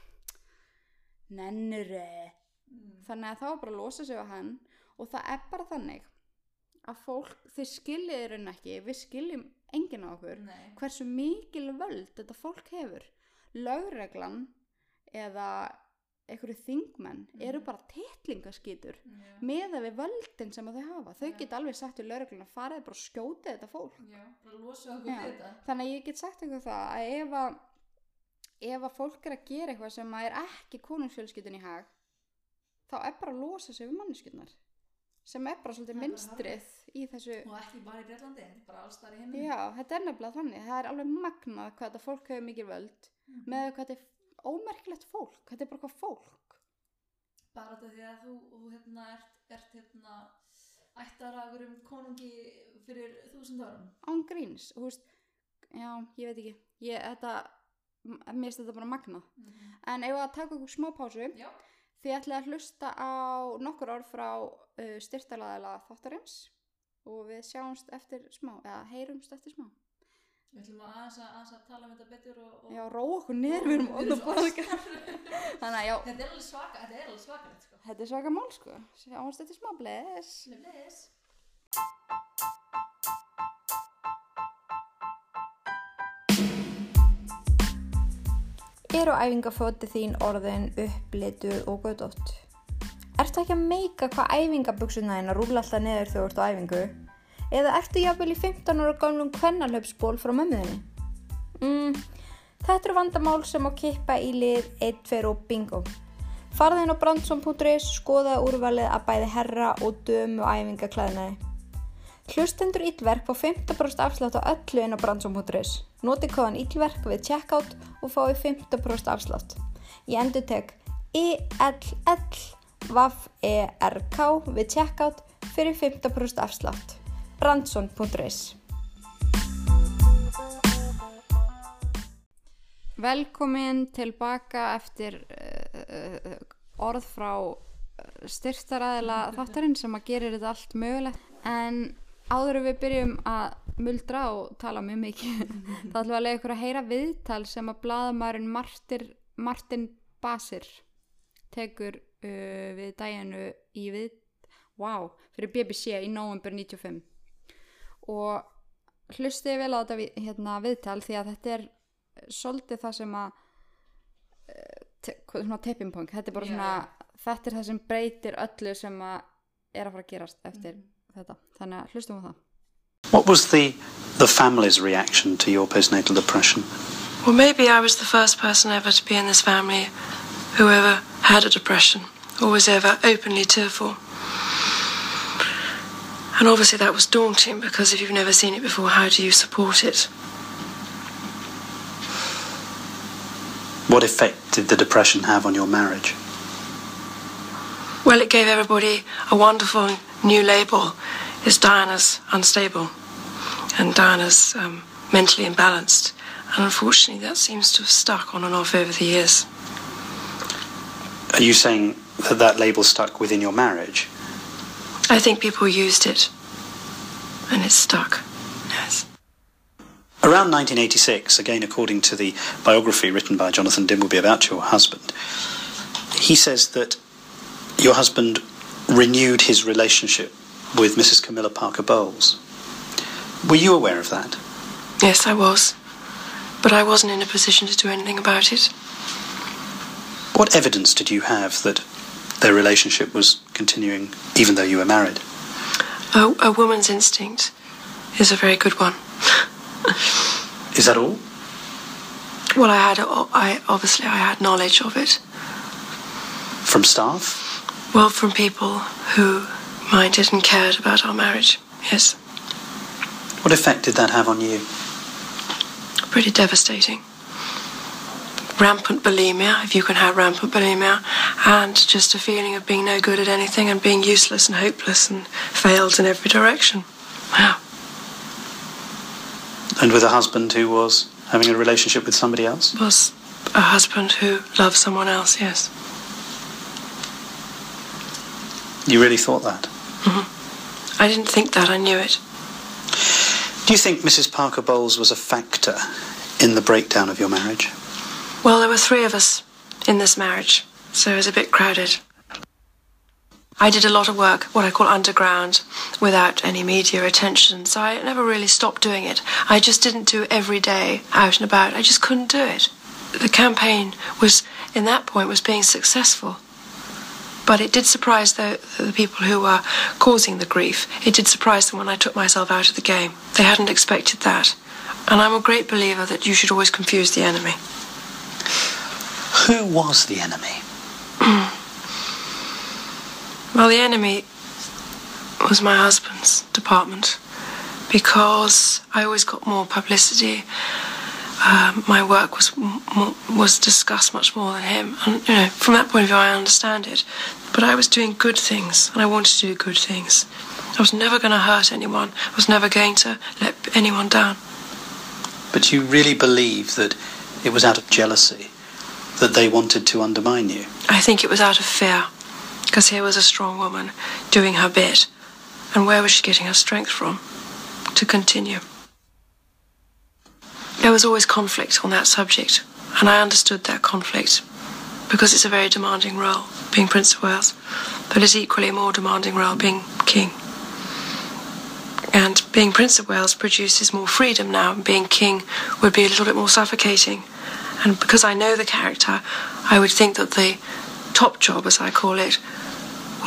nennir mm, þannig að það var bara að losa sig á hann og það er bara þannig að fólk, þið skiljið í raun ekki við skiljum enginn á okkur nei hversu mikil völd þetta fólk hefur lögreglan eða einhverju þingmenn Mhm. eru bara titlingaskýtur já, með að við völdin sem að þau hafa þau Já. geta alveg sagt við lögregluna farið bara og skjótið þetta fólk já, bara losa okkur við Já. þetta þannig að ég get sagt eitthvað það að ef að ef að fólk er að gera eitthvað sem að er ekki konungsfjölskyldun í hag þá er bara að losa sig við manneskjurnar sem er bara svolítið Það er bara minnstrið í þessu og ekki bara í Breitlandi, þetta er bara alls þar í heiminum já, þetta er nefnilega þannig, það er alveg magnað hvað þetta fólk hefur mikil völd Mhm. með hvað þetta er ómerkilegt fólk þetta er bara hvað fólk bara þetta því að þú, þú hérna, ert, ert hérna ættaragur um konungi fyrir þúsund árum án gríns þú veist, já, ég veit ekki ég, þetta, m- mér finnst þetta bara magna Mhm. en ef að taka okkur smá pásu Já, því ég ætla að hlusta á nokkur orð frá uh, styrtalaðila þáttarins og við sjáumst eftir smá, eða heyrumst eftir smá við ætlum að aðeins að, aðeins að tala um þetta betur og, og já, ró okkur niður, við erum orðin að svo borga ostar. þannig að já, Þetta er alveg svaka, þetta er alveg svakalegt sko. þetta er svaka mál sko sjáumst eftir smá, bless Bless. Eru æfingaföti þín orðin upplituð og gödótt? Ertu ekki að meika hvað æfingabuxuna þín að rúla alltaf neður þegar þú ert á æfingu? Eða ertu jafnvel í 15 ára gamlum kvennalöpsból frá mömmuðinni? Mm, þetta eru vandamál sem má kippa í lið 1, 2 og bingo. Farðu inn á brandsson.is, skoða úrvalið að bæði herra og dömu æfingaklæðnaði. Hlustendur Íllverk fá 15% afslátt á öllu inn á brandsum.is. Noti kóðan Íllverk við checkout og fái 15% afslátt. Ég E endur tek ILLVAFERK E við checkout fyrir 15% afslátt. brandsson.is Velkomin tilbaka eftir uh, uh, orð frá styrtaræðila þáttarinn sem að gerir þetta allt mögulegt en áður en við byrjum að muldra og tala mjög mikið þá ætlum við að lega ykkur að heyra viðtal sem að blaðamærin Martir, Martin Basir tekur uh, við daginu í við wow, fyrir BBC í november 95 og hlustið vel á þetta við, hérna, viðtal því að þetta er svolítið það sem að eh, te- hvað- svona tipping point þetta er bara Já, svona, þetta er það sem breytir öllu sem að er að fara að gerast eftir Mhm. þetta, þannig að hlustum á það What was the the family's reaction to your postnatal depression? Well, maybe I was the first person ever to be in this family who ever had a depression or was ever openly tearful. And obviously, that was daunting because if you've never seen it before, how do you support it? What effect did the depression have on your marriage? Well, it gave everybody a wonderful new label. It's Diana's unstable and Diana's um, mentally imbalanced. And unfortunately, that seems to have stuck on and off over the years. Are you saying that that label stuck within your marriage? I think people used it and it stuck. Yes. Around 1986, again according to the biography written by Jonathan Dimbleby about your husband, he says that your husband renewed his relationship with Mrs. Camilla Parker Bowles. Were you aware of that? Yes, I was. But I wasn't in a position to do anything about it. What evidence did you have that their relationship was continuing even though you were married? A, a woman's instinct is a very good one. Is that all? Well, I had, I obviously, I had knowledge of it. From staff? Well, from people who minded and cared about our marriage. Yes, What effect did that have on you? pretty devastating. Rampant bulimia, if you can have rampant bulimia, and just a feeling of being no good at anything and being useless and hopeless and failed in every direction. Wow. And with a husband who was having a relationship with somebody else? was a husband who loved someone else, yes. You really thought that? I didn't think that, I knew it. Do you think Mrs. Parker Bowles was a factor in the breakdown of your marriage? Well, there were three of us in this marriage, so it was a bit crowded. I did a lot of work, what I call underground, without any media attention, so I never really stopped doing it. I just didn't do every day out and about, I just couldn't do it. The campaign was, in that point, was being successful. But it did surprise the, the people who were causing the grief. It did surprise them when I took myself out of the game. They hadn't expected that. And I'm a great believer that you should always confuse the enemy. Who was the enemy? Well, the enemy was my husband's department because I always got more publicity. Um, my work was m- more, was discussed much more than him, and you know, from that point of view, I understand it. But I was doing good things, and I wanted to do good things. I was never going to hurt anyone. I was never going to let anyone down. But you really believe that it was out of jealousy that they wanted to undermine you? I think it was out of fear, because here was a strong woman doing her bit, and where was she getting her strength from to continue? There was always conflict on that subject, and I understood that conflict because it's a very demanding role being Prince of Wales, but it's equally a more demanding role being King. And being Prince of Wales produces more freedom now, and being King would be a little bit more suffocating. And because I know the character, I would think that the top job, as I call it,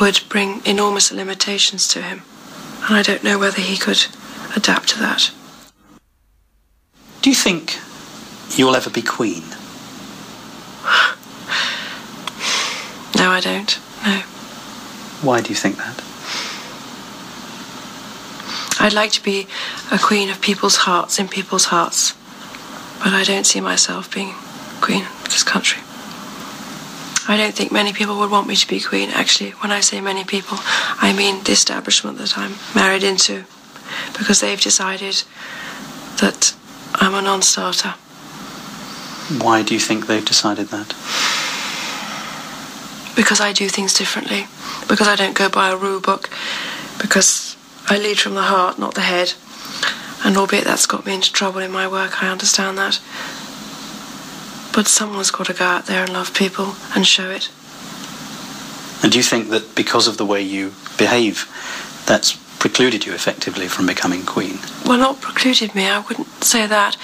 would bring enormous limitations to him. And I don't know whether he could adapt to that. Do you think you'll ever be queen? No, I don't. No. Why do you think that? I'd like to be a queen of people's hearts, in people's hearts. But I don't see myself being queen of this country. I don't think many people would want me to be queen. Actually, when I say many people, I mean the establishment that I'm married into, because they've decided that I'm a non starter. Why do you think they've decided that? Because I do things differently, because I don't go by a rule book, because I lead from the heart, not the head. And albeit that's got me into trouble in my work, I understand that. But someone's got to go out there and love people and show it. And do you think that because of the way you behave, that's precluded you effectively from becoming queen? Well, not precluded me, I wouldn't say that.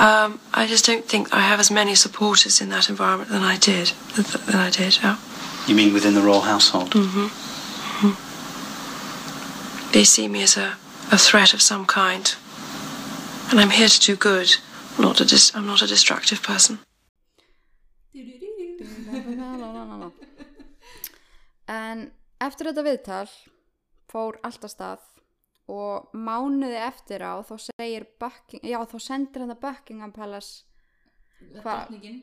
Um, I just don't think I have as many supporters in that environment than I did. Th- than I did. Yeah. You mean within the royal household? hmm They see me as a, a threat of some kind. And I'm here to do good. Not a dis- I'm not a destructive person. En eftir þetta viðtal fór allt að stað og mánuði eftir á þá segir Bucking, já þá sendir hann að Buckingham Palace Hva- Drottningin,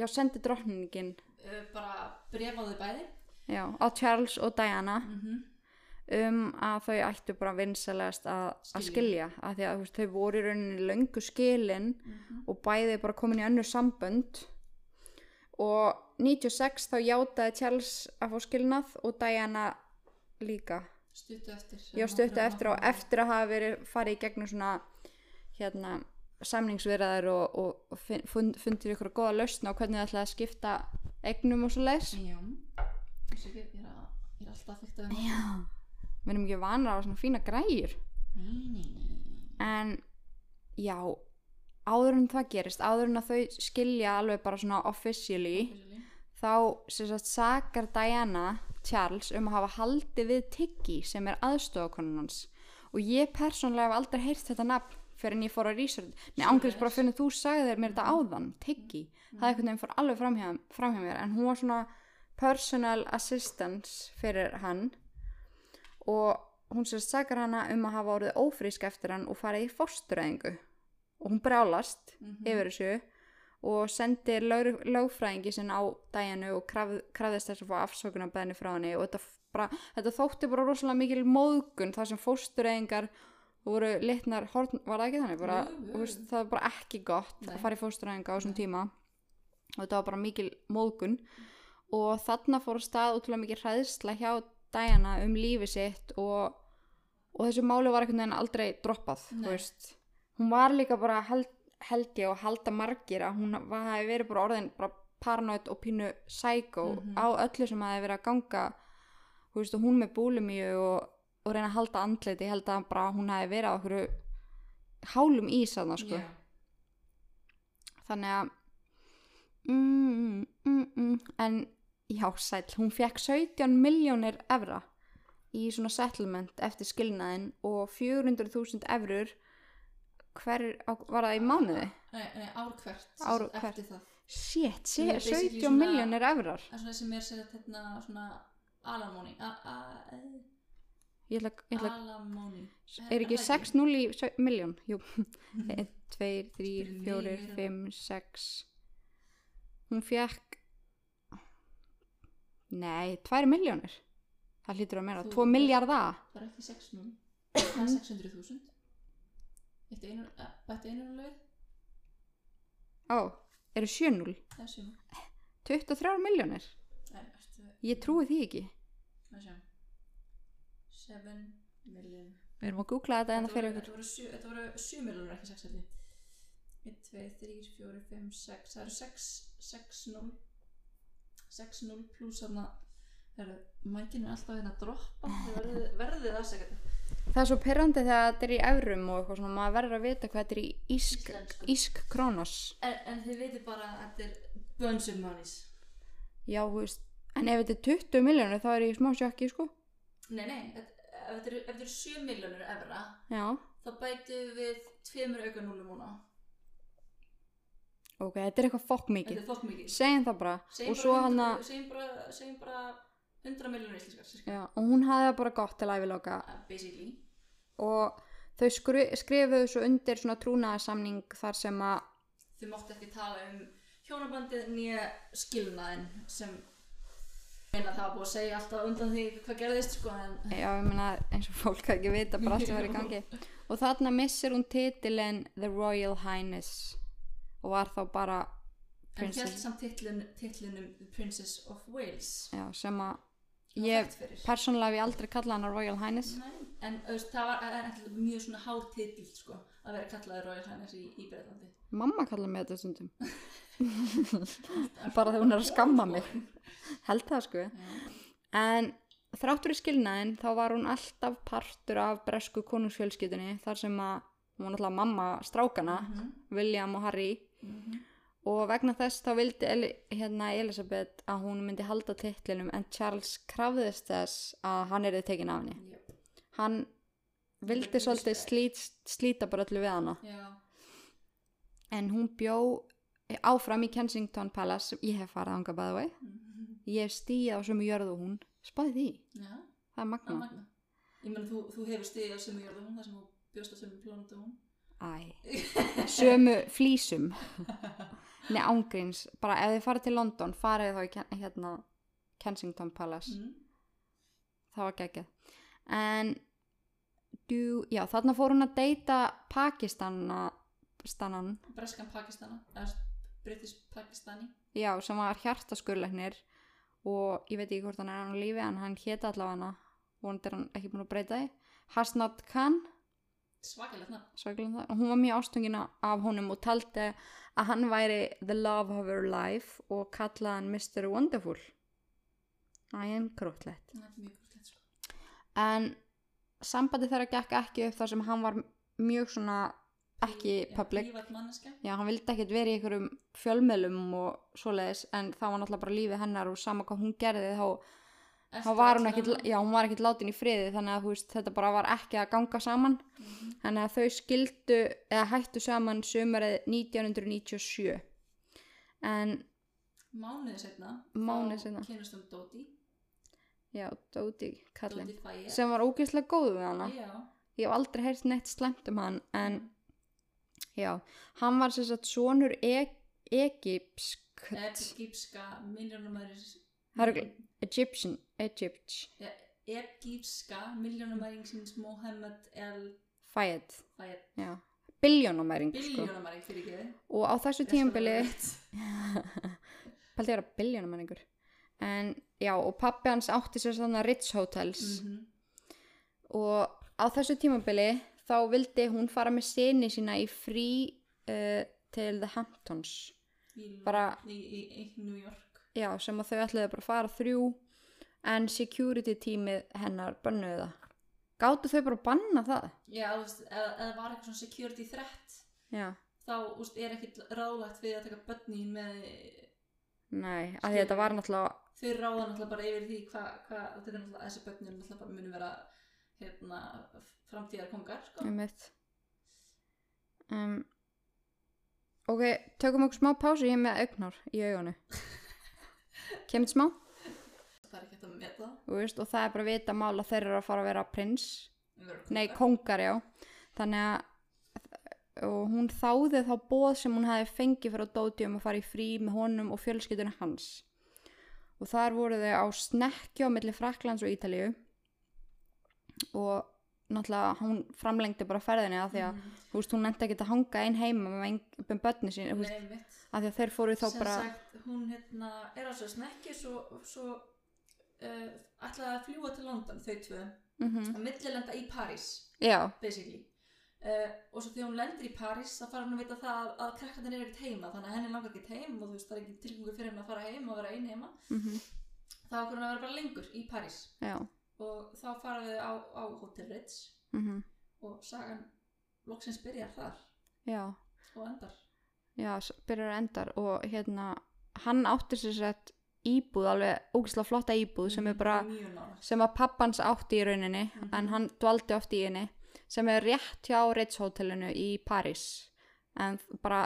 já sendir drottningin uh, bara bref á þau bæði. já, á Charles og Diana Mhm. um að þau ættu bara vinsalegast að, að skilja að því að þú veist, þau voru í rauninni löngu skilin og bæði bara komin í önnur sambönd og 96 þá játaði Charles að fá skilnað og Diana líka Stuttu eftir. já stöttu eftir á eftir að hafa verið farið í gegnum svona hérna samningsverðar og, og, og fin- fund, fundir ykkur góða lausn á hvernig það ætlaði að skipta eignum og svo leis Já. Þessu ekki, ég er, að, ég er alltaf þekkt að... um. já við erum ekki vanar á svona fína græjur Nei, nei, nei. en já áður en það gerist, áður en að þau skilja alveg bara svona officially þá sem sagt sakar Diana Charles um að hafa haldið við Tiggy sem er aðstofakonun hans og ég persónlega hef aldrei heyrt þetta nafn fyrir en ég fór að research nei ángriðs bara fyrir en þú sagðir mér Mhm. þetta áðan Tiggy, það er einhvern veginn fór alveg framhjá, framhjá mér en hún var svona personal assistance fyrir hann og hún sem sagt sakar hana um að hafa orðið ófrísk eftir hann og farið í fósturæðingu og hún brálast Mhm. yfir þessu og sendir lög, lögfræðingi sinn á dæjanu og kraf, krafðist þess að fá afsökunarbæðinu frá henni og þetta, f- bara, þetta þótti bara rosalega mikil móðgun þar sem fóstureyðingar voru litnar horn, var það ekki þannig bara, Jú, jú. jú, veist, það var bara ekki gott Nei. að fara í fóstureyðinga á þessum tíma og þetta var bara mikil móðgun og þarna fór að stað útrúlega mikil hræðsla hjá dæjana um lífi sitt og, og þessu máli var einhvern veginn aldrei droppað þú Nei. veist hún var líka bara held, held ég og halda margir að hún var, hafi verið bara orðin bara paranoid og pínu psycho Mhm. á öllu sem hafi verið að ganga þú veist, og hún með búlimíu og, og reyna að halda andlit ég held að bara hún hafi verið á okkur hálum ís að það sko Já. þannig að mm, mm, mm, en já, sæll, hún fekk 17 miljónir evra í svona settlement eftir skilnaðin og 400.000 evrur hver á, var það í mánuði? Nei, nei, ár hvert. sem Ár sagt, hvert. Eftir það. Shit, Sem er sé- basically 17 svona- miljónir evrar Það er svona sem er sett hérna svona alamóni. A- a- eh, ég ætla, ég ætla, Alamóni. er ekki það 6 0 í sau- milljón? [laughs] Jú, 1, 2, 3, Spyrir mig 4, meira. 5, 6 hún fekk nei, 2 milljónir það hlýtur að meira, Þú- 2 miljardar Það er ekki 6 núna. það [coughs] er 600.000 Eitt einu- eh, bætti einu lög Ó, eru 7-0? það er sjö 23 miljónir? það er eftir Ég trúi því ekki. að sjá 7 million Við erum að googla þetta en það fyrir ykkur. þetta voru 7 þetta voru 7 millionar ekki 6 heldur 1, 2, 3, 4, 5, 6 það eru 6 6, 0 6, 0 pluss þarna það eru mækinn er alltaf hérna að droppa Þið verðið, verðið afsaka þetta Það er svo perrandi þegar þetta er í evrum og eitthvað svona, maður verður að vita hvað þetta er í ísk, Íslensku. ísk krónos. en, en þið veitir bara að þetta er bunch of monies Já, þú veist, en ef þetta er 20 miljónir þá er ég í smá sjokki, sko. nei, nei, þetta- ef þetta eru- ef þetta eru 7 millionar evra Já, þá bætum við tveimur auka núlum núna ok, þetta er eitthvað fokk þetta mikið. er fokk mikið Segjum það bara. og svo hann að, segjum bara, segjum bara 100 miljónir íslenskar sirka. já, og hún hafði það bara gott til æviloka Uh, basically og þau skru, skrifuðu svo undir svona trúnaðarsamning þar sem að, þau máttu ekki tala um hjónabandið nýja skilnaðin sem meina það var búið að segja alltaf undan því hvað gerðist sko en já, ég meina eins og fólk að ekki vita bara allt sem var í [laughs] gangi. Og þarna missir hún titilin The Royal Highness og var þá bara en held prinsess, samt titlun, titlinum The Princess of Wales já, sem að Hún var ég þekkt fyrir. persónulega hef ég aldrei kallað hana Royal Highness. Nei, en þú veist, það var það er alltaf mjög svona hár titill sko að vera kallaði Royal Highness í, í Breitlandi Mamma kallaði mig þetta stundum. bara þegar hún er að skamma mig. Held það sko. En þráttur í skilnaðin þá var hún alltaf partur af bresku konungsfjölskyldunni þar sem að hún var náttúrulega mamma strákana, William og Harry og vegna þess þá vildi Eli, hérna Elisabeth að hún myndi halda titlinum en Charles krafðist þess að hann erði tekin af henni. Jöp. Hann vildi svolítið slít, slíta bara öllu við hana já, en hún bjó eh, áfram í Kensington Palace sem ég hef farið ánga by the [laughs] way ég hef stíð á sömu jörðu og hún spáði því, já, það er það er magna magna ég menn þú, þú hefur stigið á sem ég hún þar sem hún bjóst á sem plándu hún Æ, sömu flísum Nei, ángríns bara ef þið farið til London, farið þá í Ken- hérna, Kensington Palace mm. það var geggjað en du, já, þarna fór hún að deyta Pakistana stannan, breskan Pakistana eða british Pakistani já, sem var hjartaskurleiknir og ég veit ekki hvort hann er hann á lífi en hann héti allavega hana vonandi er hann ekki búin að breyta því Hasnat Khan svakalegt nafn sorglega um það, og hún var mjög ástungin af honum og taldi að hann væri the love of her life og kallaði hann Mr. Wonderful Æn krótlegt það er mjög gott sko. en sambandi þeirra gekk ekki upp þar sem hann var mjög svona ekki Já, public prívat manneskja já, hann vildi ekkert vera í einhverjum fjölmjölum og svoleiðis en það var náttúrulega bara lífið hennar og sama hvað hún gerði þá, þá Eftir var hún allan ekkit, annan. já, hún var ekkit látin í friði þannig að þú veist, þetta bara var ekki að ganga saman þannig að þau skildu eða hættu saman sumarið 1997 en mánuði setna Mánuði seinna. kynast hún Dóti já, Dóti kallinn Dóti Fæja sem var ógeðslega góð við hana já, ég hef aldrei heyrt neitt slæmt um hann en já, hann var sem sagt sonur e Egypsk epigípska miljónumæris Herregl- Egyptian Egypt, epigípska miljónumæringsins Mohammed El Fayed Fæja já, biljónumæring sko. biljónumæring fyrir ekki og á þessu tímabili pælti ég að biljónumæringur en já, og pappi hans átti sér svona Ritz Hotels og á þessu tímabili þá vildi hún fara með sinni sína í frí uh, til The Hamptons Bara- í, í, í New York já, sem að þau ætliði bara að fara þrjú en security tímið hennar bönnuði það gáttu þau bara að banna það já, þú veist, eða eða var eitthvað svona security threat já, þá úst, er ekkit ráðlagt við að taka börnin með nei, af því að þetta var náttúrulega þau ráða náttúrulega bara yfir því hvað hva, þetta er náttúrulega þessi börnin náttúrulega bara munum vera hérna, framtíðar kongar sko. um um, ok, tökum okkur smá pásu ég er með augnar í augunu kemur smá það er ekki hægt að meta þú veist, og það er bara vita mál að þeir eru að fara að vera prins það vera nei, kóngar. kongar, já þannig að og hún þáði þá bóð sem hún hefði fengið fyrir að dóti um að fara í frí með honum og fjölskyldunni hans og þar voru þau á snekkju á milli Fraklands og Ítalíu og náttúrulega hún framlengdi bara ferðinni af því að Mhm. þú veist, hún nefndi ekki að hanga einn heima með, eng- með börni sín þú veist, Nei, mitt. af því að þeir fóru þá sem bara sagt, hún hérna, er á svo snekki svo, svo uh, ætlaði að fljúa til London þau tvö mm og millilenda í París já, basically uh, og svo þegar hún lendir í París þá fara hún að vita það að, að krakkarnir eru ekkert heima þannig að henni langar ekkert heim og þú veist það er ekki tilgengur fyrir henni að fara heim og vera ein heima mm þá okkur hún að vera bara lengur í París já og þá fara þau á, á Hotel Ritz mm og sagan loksins byrjar þar já, og endar já, s- byrjar að endar og hérna, hann átti sér sett íbúð, alveg ógislega flotta íbúð sem er bara, mjög nála sem að pappans átti í rauninni en hann dvaldi oft í henni sem er rétt hjá Ritz hótelinu í París en þ- bara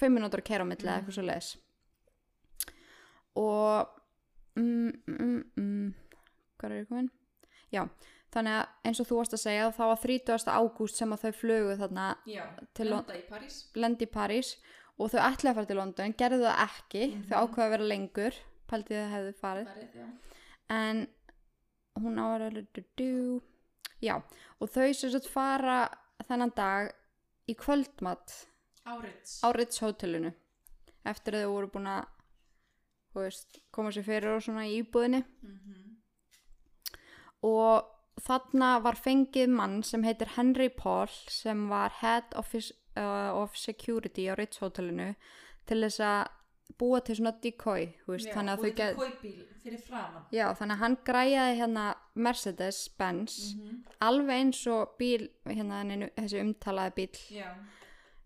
5 minútur að kera á milli eða eitthvað svo leis og mm, mm, mm, hvað er ég komin? Já, þannig að eins og þú varst að segja þá var 30. ágúst sem að þau flugu þarna já, Til Lon- enda í París lendi í París og þau ætlaði að fara til London, gerðu það ekki þau ákveða að vera lengur, pæltið þau hefðu farið Parið, já. en hún áraðu já, og þau sem sagt fara þennan dag í kvöldmatt á Ritz á Ritz hótelinu eftir að þau voru búin að þú veist, koma sér fyrir og svona í íbúðinni Mhm. og þarna var fengið mann sem heitir Henry Paul sem var Head of, uh, of Security á Ritz hótelinu til þess að búa til svona decoy þú veist, Já, þannig og að þau þetta er get... kaupbíl fyrir framan Já, þannig að hann græjaði hérna Mercedes-Benz Mhm. alveg eins og bíl hérna þenni- þessi umtalaði bíl já,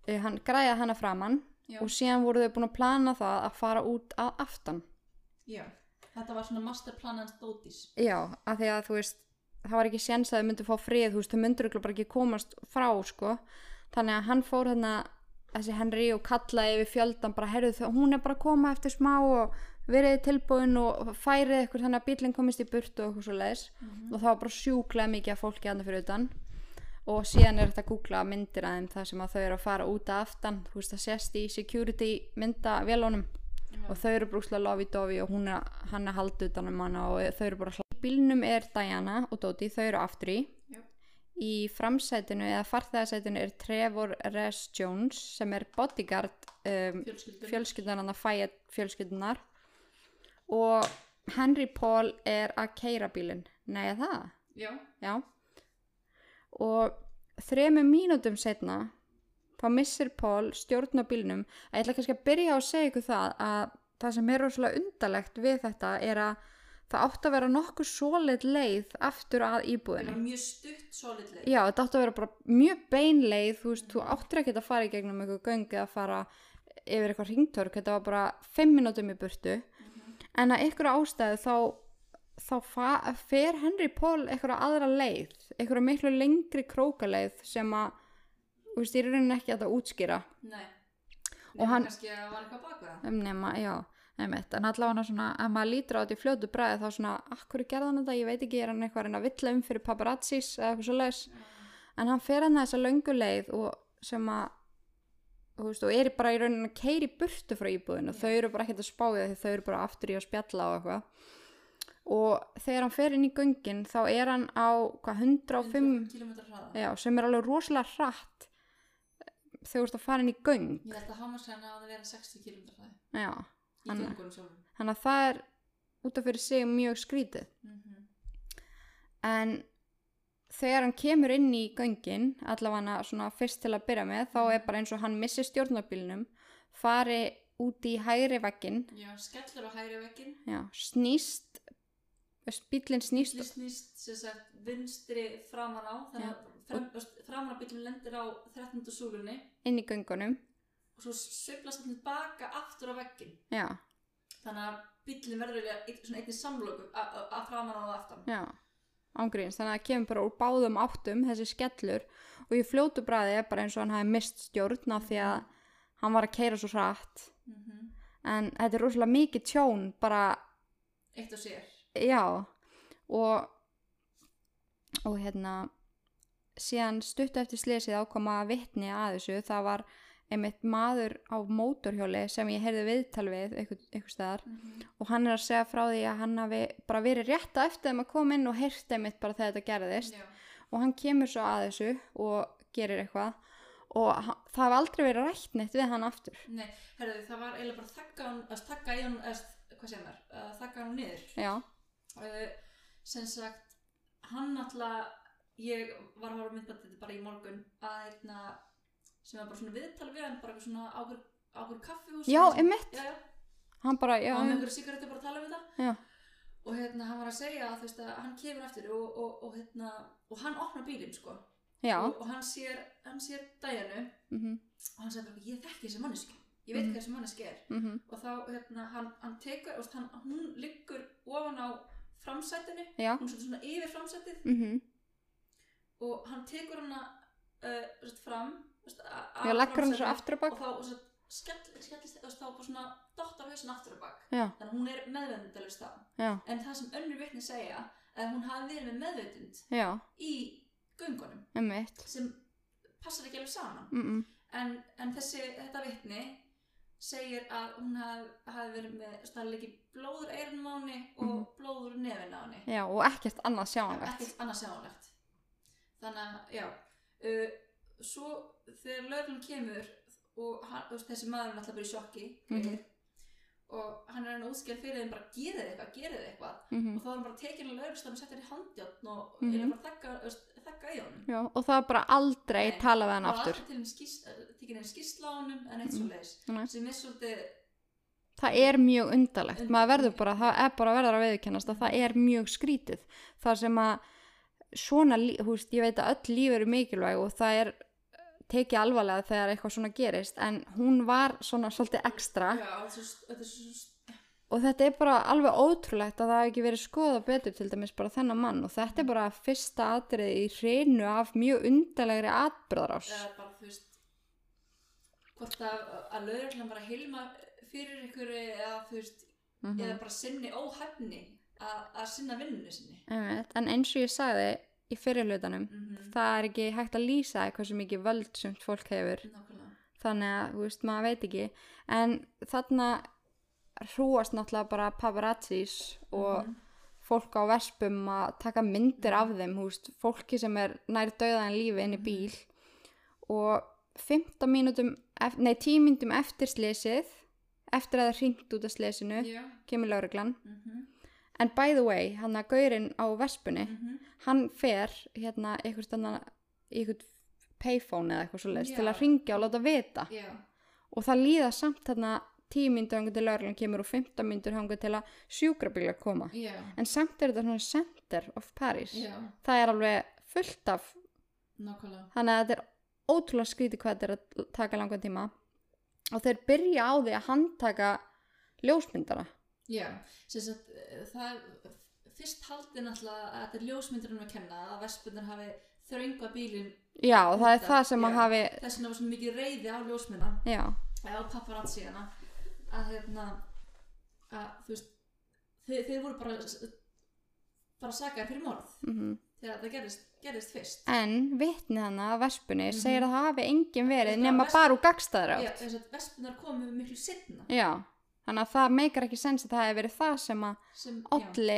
Eh, hann græjaði hana framann já, og síðan voru þau búin að plana það að fara út að aftan já þetta var svona masterplan hans Dótís Já, af því að þú veist það var ekki séns að þau myndu fá frið þú veist, þau myndur bara ekki komast frá sko. þannig að hann fór þarna þessi Henry og kallaði yfir fjöldan bara herðu þau, hún er bara að koma eftir smá og verið tilbúin og færið ykkur þannig að bílinn komist í burtu og eitthvað svo leiðis og það var bara sjúklega mikið af fólki hann fyrir utan og síðan er þetta að googla myndir aðeim þar sem að þau eru að fara út að aftan þú veist það sést í security mynda vélónum og þau eru brúkslega lofi-dofi og hún er, hann er haldið utanum hana og þau eru bara hlá. Í bílnum er Diana og Dóti, þau eru aftur í. Já. Í framsætinu eða farþæðasætinu er Trevor Rhys Jones sem er bodyguard um, fjölskyldun fjölskyldunar, hann að fæja fjölskyldunar og Henry Paul er að keira bílinn. Nei, er það? já, Já. Og þremur mínútum setna þá missir Paul stjórn á bílnum að ég ætla kannski að byrja á að segja ykkur það að það sem er rosalega undarlegt við þetta er að það átt að vera nokkuð svolít leið aftur að það íbúðinni. var mjög stutt solid leið Já, þetta átt að vera bara mjög bein leið, þú veist, þú áttur ekki að fara í gegnum eitthvað göngi að fara yfir eitthvað ringtörk, þetta var bara fimm mínútum í burtu, en að ykkur ástæðu þá, þá fa- fer Henry Paul eitthvað aðra leið, eitthvað miklu lengri krókaleið sem að, þú veist, ég er raunin ekki hægt að útskýra nei Og hann- kannski að það var eitthvað bak við það um nema, já, einmitt en allavega svona, ef maður lítur á þetta í fljótu bræði þá svona, akkur gerði hann þetta, ég veit ekki er hann eitthvað að reyna að villa um fyrir paparazzis eða eitthvað svo leis, en hann fer hann þessa löngu leið og sem að þú veist, og er bara í rauninni að keiri burtu frá íbúðinu, þau eru bara ekkert að spája því þau eru bara aftur í að spjalla og eitthvað og þegar hann fer inn í göngin þá er hann á hvað, 105 km hraða já, sem er alveg rosalega hratt eh, þegar þú ert að fara inn í göng ég held að hámarsæðan að það vera 60 km hraða já, í Hann- göngunum sjálfum þannig að það er út af fyrir sig mjög skrítið Mhm. en þegar hann kemur inn í göngin allavega svona fyrst til að byrja með þá er bara eins og hann missir stjórnabílnum fari út í hægri veggin já, skellur á hægri vekkin já, snýst bílinn snýst snýst sem sagt vinstri framan á þannig að fram, framan á bílum lendir á 13. súlunni inn í göngunum og svo sveiflast hann tilbaka aftur á vekkin já, þannig að bílum verður eiginlega einn- svona einnig samlóku að framan á það aftan já ángríns, þannig að það kemur bara úr báðum áttum þessi skellur og ég fljótu bræði er bara eins og hann hafi mist stjórn af því að hann var að keira svo hratt mm en þetta er rosalega mikið tjón bara, eitt og sér já og og hérna síðan stutt eftir slesið ákoma vittni að þessu, það var einmitt maður á mótorhjóli sem ég heyrði viðtal við einhver, einhver staðar og hann er að segja frá því að hann hafi bara verið rétt á eftir þeim að koma inn og heyrst einmitt bara þegar þetta gerðist já, og hann kemur svo að þessu og gerir eitthvað og hann, það hefur aldrei verið rætt neitt við hann aftur Nei, herðu, það var eiginlega bara að þakka hann, að þakka í hann, að hvað segir maður, að þakka hann niður. já, Uh, sem sagt, hann náttúrulega, ég var að horfa myndbættið bara í morgun, að hérna, sem var bara svona viðtala við hann, bara eitthvað svona áhver, áhver kaffihús. Já, eitthvað svona- einmitt. Já, já, hann bara já, já. Og með einhverju sigarettu bara að tala við það. já, og hérna hann var að segja að, þú veist, að hann kemur eftir og, og, og, hérna, og hann opnar bílinn sko já og, og hann sér, hann sér dæjanu mhm, og hann segir bara ég þekki þessi manneski ég veit hvað þessi manneski er mhm, og þá hérna hann, hann tekur og hann, hún liggur ofan á framsætinu já hún er svolítið svona yfir framsætið mhm, og hann tekur hana uh, svolítið fram þú veist, a- að já, leggur hann framsætinu svo aftur á og bak þá og svo skell, skellist þú veist, þá bara svona dottar hausin aftur á bak já, þannig að hún er meðvendalust það já, en það sem önnur vittni segja að hún hafi verið með meðvitund já, í göngunum einmitt sem passar ekki alveg saman mhm, en, en þessi, þetta vittni segir að hún hafi, hafi verið með stærleiki blóður eyrunmáni og mm -hmm. blóður nefináni já, og ekkert annað sjáanlegt ekkert annars sjáanlegt þannig að, já uh, svo þegar lögreglun kemur og hann, þú veist, þessi maður er alltaf bara í sjokki Mhm. og hann er hann útskjál fyrir þeim bara gerið þið eitthvað, gerið þið eitthvað mhm, og þá var hann bara tekin að laurustan og sett hann í handjátt og Mhm. mm -hmm. bara þakka, veist, þakka í honum já, og það er bara aldrei Nei, talað við hann og aftur Mm. alltaf til hann tekin einn skýrsla á honum en eitt svo leiðis Nei. sem er svolítið það er mjög undarlegt maður verður Undarlegt. bara, það er bara verður að viðkennast að það er mjög skrítið þar sem að svona, lí- þú veist, ég veit að öll líf eru mikilvæg og það er tekið alvarlega þegar eitthvað svona gerist en hún var svona svolítið ekstra já, þetta er svo- þetta er svo og þetta er bara alveg ótrúlegt að það hafi ekki verið skoða betur til dæmis bara þennan mann og þetta er bara fyrsta atriði í hreinu af mjög undarlegri atbyrðarás eða bara þú veist hvort að, að laurustan bara heilma fyrir ykkur eða þú veist Mhm. eða bara sinni óhefni að, að sinna vinnunni sinni Einmitt, en eins og ég sagði í fyrirlutanum Mhm. það er ekki hægt að lýsa því hversu mikið völd sem fólk hefur nákvæmlega þannig að, þú veist, maður veit ekki en þarna hrúast náttúrulega bara paparazzis og Mhm. fólk á verspum að taka myndir af þeim, þú veist fólki sem er nær döðan lífi Mhm. inn í bíl og 15 mínútum, ef- nei 10 mínútum eftir slesið eftir að það hringt út af slesinu já, kemur lögreglan, mhm, en by the way hann að gaurinn á verspunni mhm, hann fer hérna eitthvað stanna, eitthvað payphone eða eitthvað svo Já. til að ringja og láta vita já, og það líða samt þarna 10 myndur hangur til laurlan kemur og 15 myndur hangur til að sjúkrabíla koma já, en samt er þetta svona center of Paris já það er alveg fullt af nákvæmlega þannig að þetta er ótrúlega skríti hvað þetta er að taka langan tíma og þeir byrja á því að handtaka ljósmyndara Já, sem sagt, eh, það fyrst haldið náttúrulega að þetta er ljósmyndurinn að kenna að vespunar hafi þrönga bílinn já og það er Þetta, það sem að já. hafi þess vegna var svo mikið reyði á ljósmynda já, eða á paparazzina að hérna að þú veist þeir, þeir voru bara bara sakaði fyrir morð mhm þegar það gerðist, gerðist fyrst en vitnið hana að vespunni segir að það hafi enginn verið Það nema vesp- bara úr gagstaðra Mhm. Já, þess að vespunar komu miklu setna já, þannig að það meikar ekki sens að það hefði verið það sem að sem, já, olli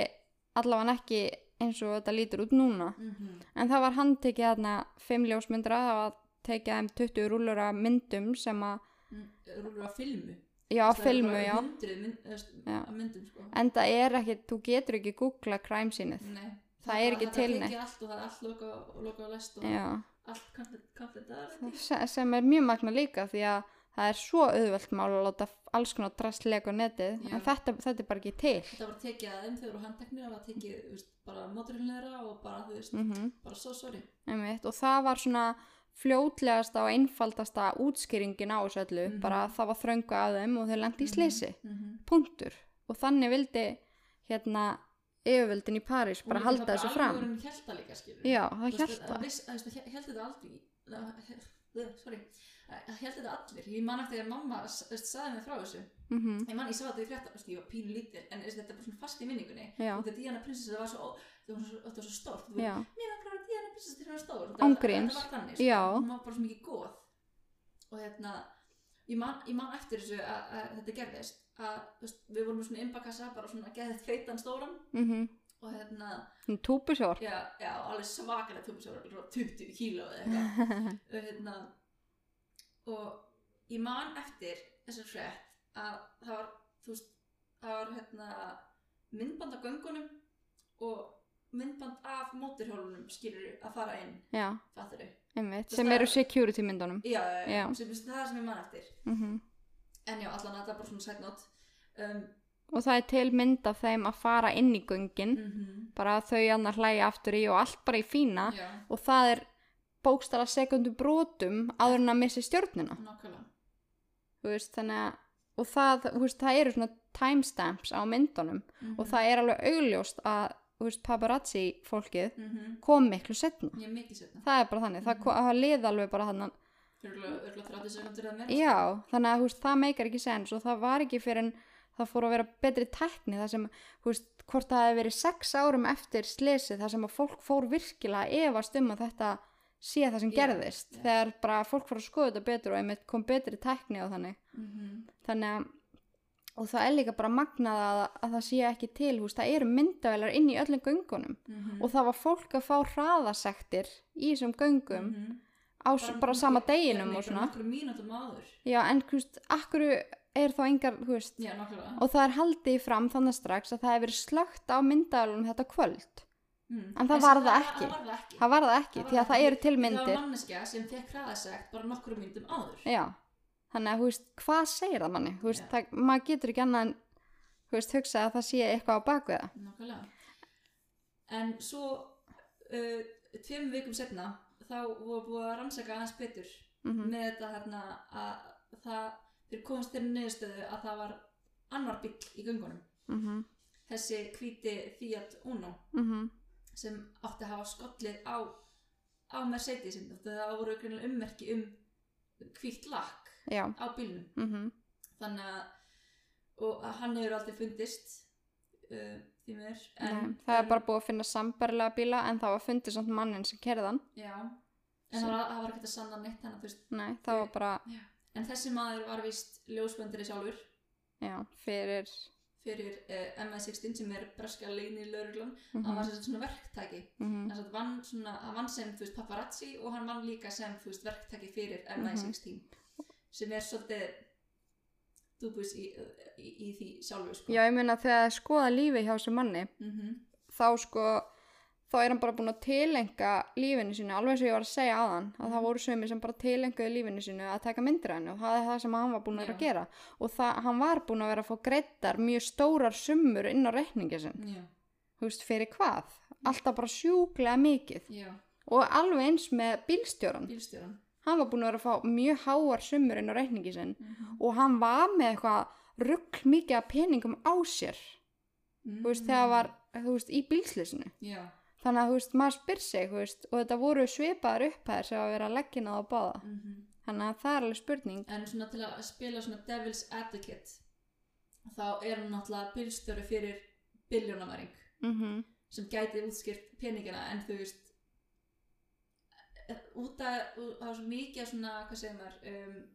allavega ekki eins og þetta lítur út núna mhm, en það var handtekið þarna fimm ljósmyndra, það var tekið þeim 20 rúllur af myndum sem að mm, rúlur að Mhm. filmu já, Það eru filmu, bara já, hundruð mynd, þú veist, Já. af myndum sko en það er ekki þú getur ekki googla crime sínið Nei, Það er ekki til Það er neitt. ekki allt og það er allt loka og loka og læst og já, allt kaffið kaffið það. Se- sem er mjög magna líka því að það er svo auðvelt mál að láta alls konar drastlega á netið, Já. en þetta, þetta er bara ekki til Þetta var tekið að þeim þegar voru handteknir og það tekið þú veist, bara móturhulnera og bara þú veist, mhm bara so sorry. Einmitt, og það var svona fljótlegasta og einfaldasta útskýringin á þessu öllu, Mhm. bara það var þröngu að þeim og þau lendi í slisi, Mm -hmm. punktur og þannig vildi hérna yfirvöldin í París bara halda þessu fram Það var hjælta líka skilur. já, það Þú veist, hjálpa að viss- að þú veist, Héldu þetta aldrei, uh, sorry, héldu þetta allir. Ég man eftir að mamma s- þú veist, sagði mig frá þessu. mm Ég man, ég sá þetta í frétta, þú veist, ég var pínu lítil, en þú veist, þetta er bara svona fast í minningunni. Já. Og þetta Diana prinsessa var svo, ó- þetta var svo, þetta var svo stórt, þú veist, já, mér langar að Diana prinsessa til hérna stór Ángríns. þetta var þannig, Já. sko. hún var bara svo mikið góð og hérna ég man, ég man eftir þessu að, að þetta gerðist að þú veist, við vorum með svona inbakassa bara svona geðið feitan stóran mhm, og og hérna Túpusjór. já, já, alveg svakar að tómsjóra 20 kíló eða eitthvað og hérna og ég man eftir þessu frétt að það var þú veist, það var hérna myndband af göngunum og myndband af móturhjólunum skilur að fara inn Já, fattur þau, einmitt. Þú Sem veist eru það- security myndunum. já, já, já. Já. Sem, þú veist, það er sem ég man eftir Mhm. en já, allan að þetta er bara svona sætnót um, Og það er til mynd af þeim að fara inn í göngin. mm Bara að þau annar hlæja aftur í og allt bara í fína. já, Og það er bókstara sekundu brotum áður en að missi stjórnina. nákvæmlega Þú veist, þannig að, og það, þú veist, það eru svona timestamps á myndunum. Og það er alveg augljóst að, þú veist, paparazzi fólkið mm -hmm. kom miklu setna. ég er mikið setna Það er bara þannig, það, ko- það liði alveg bara þannig fyrir örgulega 30 sekundur eða meira Já, þannig að þú veist, það meikar ekki sens og það var ekki fyrir en það fór að vera betri tækni þar sem, þú veist, hvort það hefði verið sex árum eftir slesið þar sem að fólk fór virkilega að efast um að þetta sé það sem Já, gerðist já. þegar bara fólk fór að skoða þetta betur og einmitt kom betri tækni á þannig mm -hmm. þannig að og það er líka bara magnað að, að það sé ekki til, þú veist, það eru myndavelar inn í öllum göngunum mhm, og það var fólk að fá hraðasektir í þessum göngum Mhm. á s- bara, sama deginum og svona Nokkur mínútum áður. Já, en þú veist, akkur er þá engar, þú veist, Já, nákvæmlega. og það er haldið fram þannig strax að það hefur verið slögt á myndavælunum þetta kvöld. mm. en sem það var það ekki. Það var það ekki. Það var það ekki, var því að það eru til Það myndir. var manneskja sem fekk hraðasegt bara nokkur mínútum áður. Já, þannig að, þú veist, hvað segir það manni? Þú veist, Já. það, maður getur ekki annað en, þú veist, hugsa að það sé eitthvað á bakvið það. Nákvæmlega. En svo uh, tveim vikum setna þá voru búið að rannsaka aðeins betur Mhm. með þetta hérna að það, þeir komast þeirra niðurstöðu að það var annar bíll í göngunum. Mhm, Þessi hvíti Fiat Uno mhm, sem átti að hafa skollið á, á Mercedesin. Það voru greinilega ummerki um hvítt lakk já, á bílnum. mhm, þannig að og að hann hefur aldrei fundist uh, því mér nei. Það er bara búið að finna sambarilega bíla en það var fundið samt mannin sem kerði hann. já, en það var, það var ekkert að sanna neitt þannig að þú veist Nei, það var bara, en þessi maður var vist ljósböndari sjálfur já, fyrir, fyrir uh, MI16 sem er breska leini lauruglan mm Mhm. hann var sem sagt svona verktæki mhm, þannig að hann, svona, hann vann sem þú veist, paparazzi og hann vann líka sem þú veist, verktæki fyrir Mhm. MI16 sem er svolítið dúbus í, í, í því sjálfur sko. já, ég meina þegar það skoða lífi hjá þessu manni, Mhm. þá sko þá er hann bara búin að tilenga lífinu sínu alveg eins og ég var að segja á hann að það voru sömi sem bara tilenguðu lífinu sínu að taka myndir af henni og það er það sem hann var búin að vera Já. að gera og það, hann var búin að vera að fá greiddar mjög stórar summur inn á reikningi sinn já, þú veist fyrir hvað, alltaf bara sjúklega mikið já, og alveg eins með bílstjóran bílstjóran hann var búin að vera að fá mjög háar summur inn á reikningi sinn og hann var með eitthvað rugg mikið af peningum á sér þú veist þegar var, þú veist, í bílslisinu já, þannig að þú veist, maður spyr sig þú veist, og þetta voru svipaðar upphæðir sem að vera að leggja náða á báða mhm þannig að það er alveg spurning en svona til að spila svona devil's advocate þá er hann náttúrulega bílstjóri fyrir biljónamaring mm Mhm. -hmm. sem gæti útskýrt peningina en þú veist eh, út að það er svo mikið af svona, hvað segir maður um,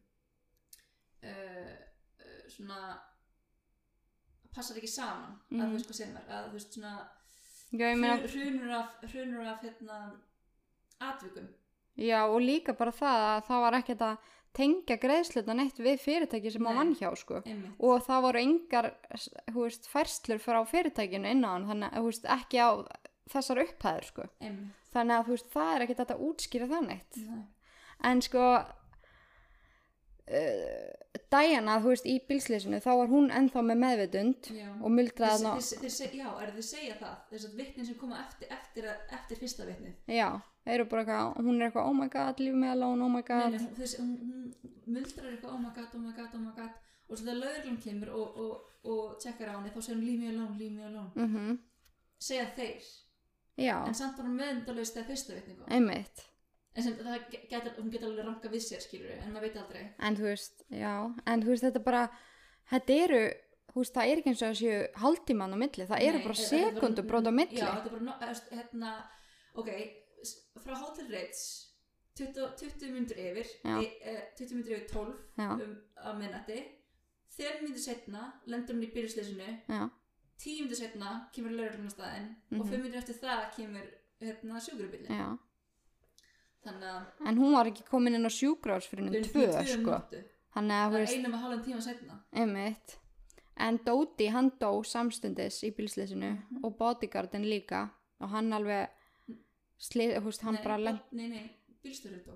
uh, uh, svona passar ekki saman að Mhm. þú veist hvað segir maður að þú veist svona já, ég meina, hrun- hrunur af, hrunur af hérna atvikum já, og líka bara það að það var ekkert að tengja greiðslutan neitt við fyrirtæki sem Nei. hann vann hjá sko. einmitt og það voru engar s- þú veist, færslur frá fyrirtækinu inn á hann þannig að þú veist, ekki á þessar upphæður sko. einmitt þannig að þú veist, það er ekkert hægt að útskýra það neitt Nei. en sko uh, Diana, þú veist, í bílsleysinu þá var hún ennþá með meðvitund Já. og Þeir- muldraði hann þeir- þeir seg- Já, er þið segja það þess að vitnin sem koma eftir, eftir, að- eftir fyrsta vitnið já, eru bara eitthvað, hún er eitthvað oh my god, leave me alone, oh my Nei, god nei, hún- þess- hún, hún muldrar eitthvað oh my god, oh my god, oh my god og svo þegar lögurlum kemur og, og, og tjekkar á henni þá segir hún leave me alone, leave me alone mhm, segja þeir, já, en sko- samt var hún meðendalaust þegar fyrsta vitnið kom einmitt en sem, það ge- getur, hún getur alveg ranka við sér skilur en maður veit aldrei en þú veist, já, en þú veist þetta bara, þetta eru þú veist, það er ekki eins og þessu haldtíman á milli, það eru Nei, bara þetta er sekundubrót á milli Já, þetta er bara, no- eða, þú veist, hérna, ok, s- frá Hotel Ritz, 20, 20 myndur yfir, Já. e, e, 20 myndur yfir 12 Já. um, á minnati, 3 myndur setna, lendur hún í byrjuslesinu, já, tíu myndir setna kemur lögurinn á staðinn og Mhm. fimm myndir eftir það kemur hérna sjúkurubillin já. þannig að En hún var ekki komin inn á sjúkrás fyrir Þau henni eru tvö, tvö sko. mínútu. Þannig að, það þú er veist, einum og hálfum tíma setna einmitt. En Dóti, hann dó samstundis í bílslýsinu Mhm. og bodyguardin líka. Og hann alveg, slið, þú veist, hann nei, bara bo- lent. nei, nei, bílstjórinn dó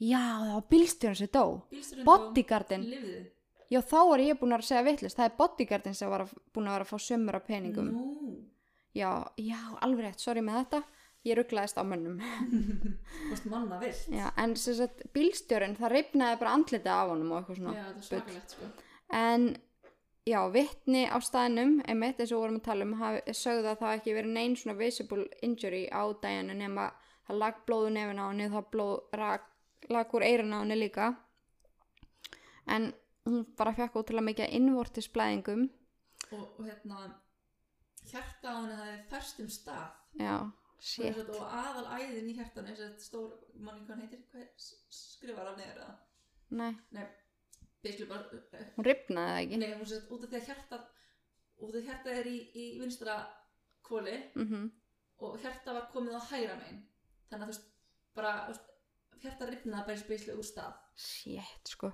Já, það var bílstjórn sem dó. bílstjórinn Bodyguardin. dó lifði Já, þá er ég búin að segja vittlust. Það er bodyguardin sem var að, búin að vera að fá sömur af peningum. nú Já, já, alveg rétt, sorry með þetta. Ég rugglaðist á mönnum. [laughs] hvort manna vilt Já, en sem sagt, bílstjórinn, það reyfnaði bara andlitið af honum og eitthvað svona. Já, þetta er bull. svakalegt sko En, já, vittni á staðnum, einmitt, eins og við vorum að tala um, hafi- sögðu að það hafi ekki verið neinn svona visible injury á daginu nema það lag blóðu nefin á henni, það blóð rak, lag úr eirun á henni líka. En hún bara fekk ótrúlega mikið af innvortisblæðingum, og, og hérna hjarta á henni það er færst um stað já, Sem shit, sagt, og aðal æðin í hjartanu eins og þetta stór, manni hvað hann heitir hvað s- skrifar hann eða nei, nei, basically bara eh, hún ripnaði það ekki. nei, hún sér út af því að hjartað út af því að hjartað er í, í vinstra kóli Mm og hjarta var komið á hægra megin þannig að þú veist bara þú veist, hjarta rifnaði bara spesli úr stað Sjétt, sko.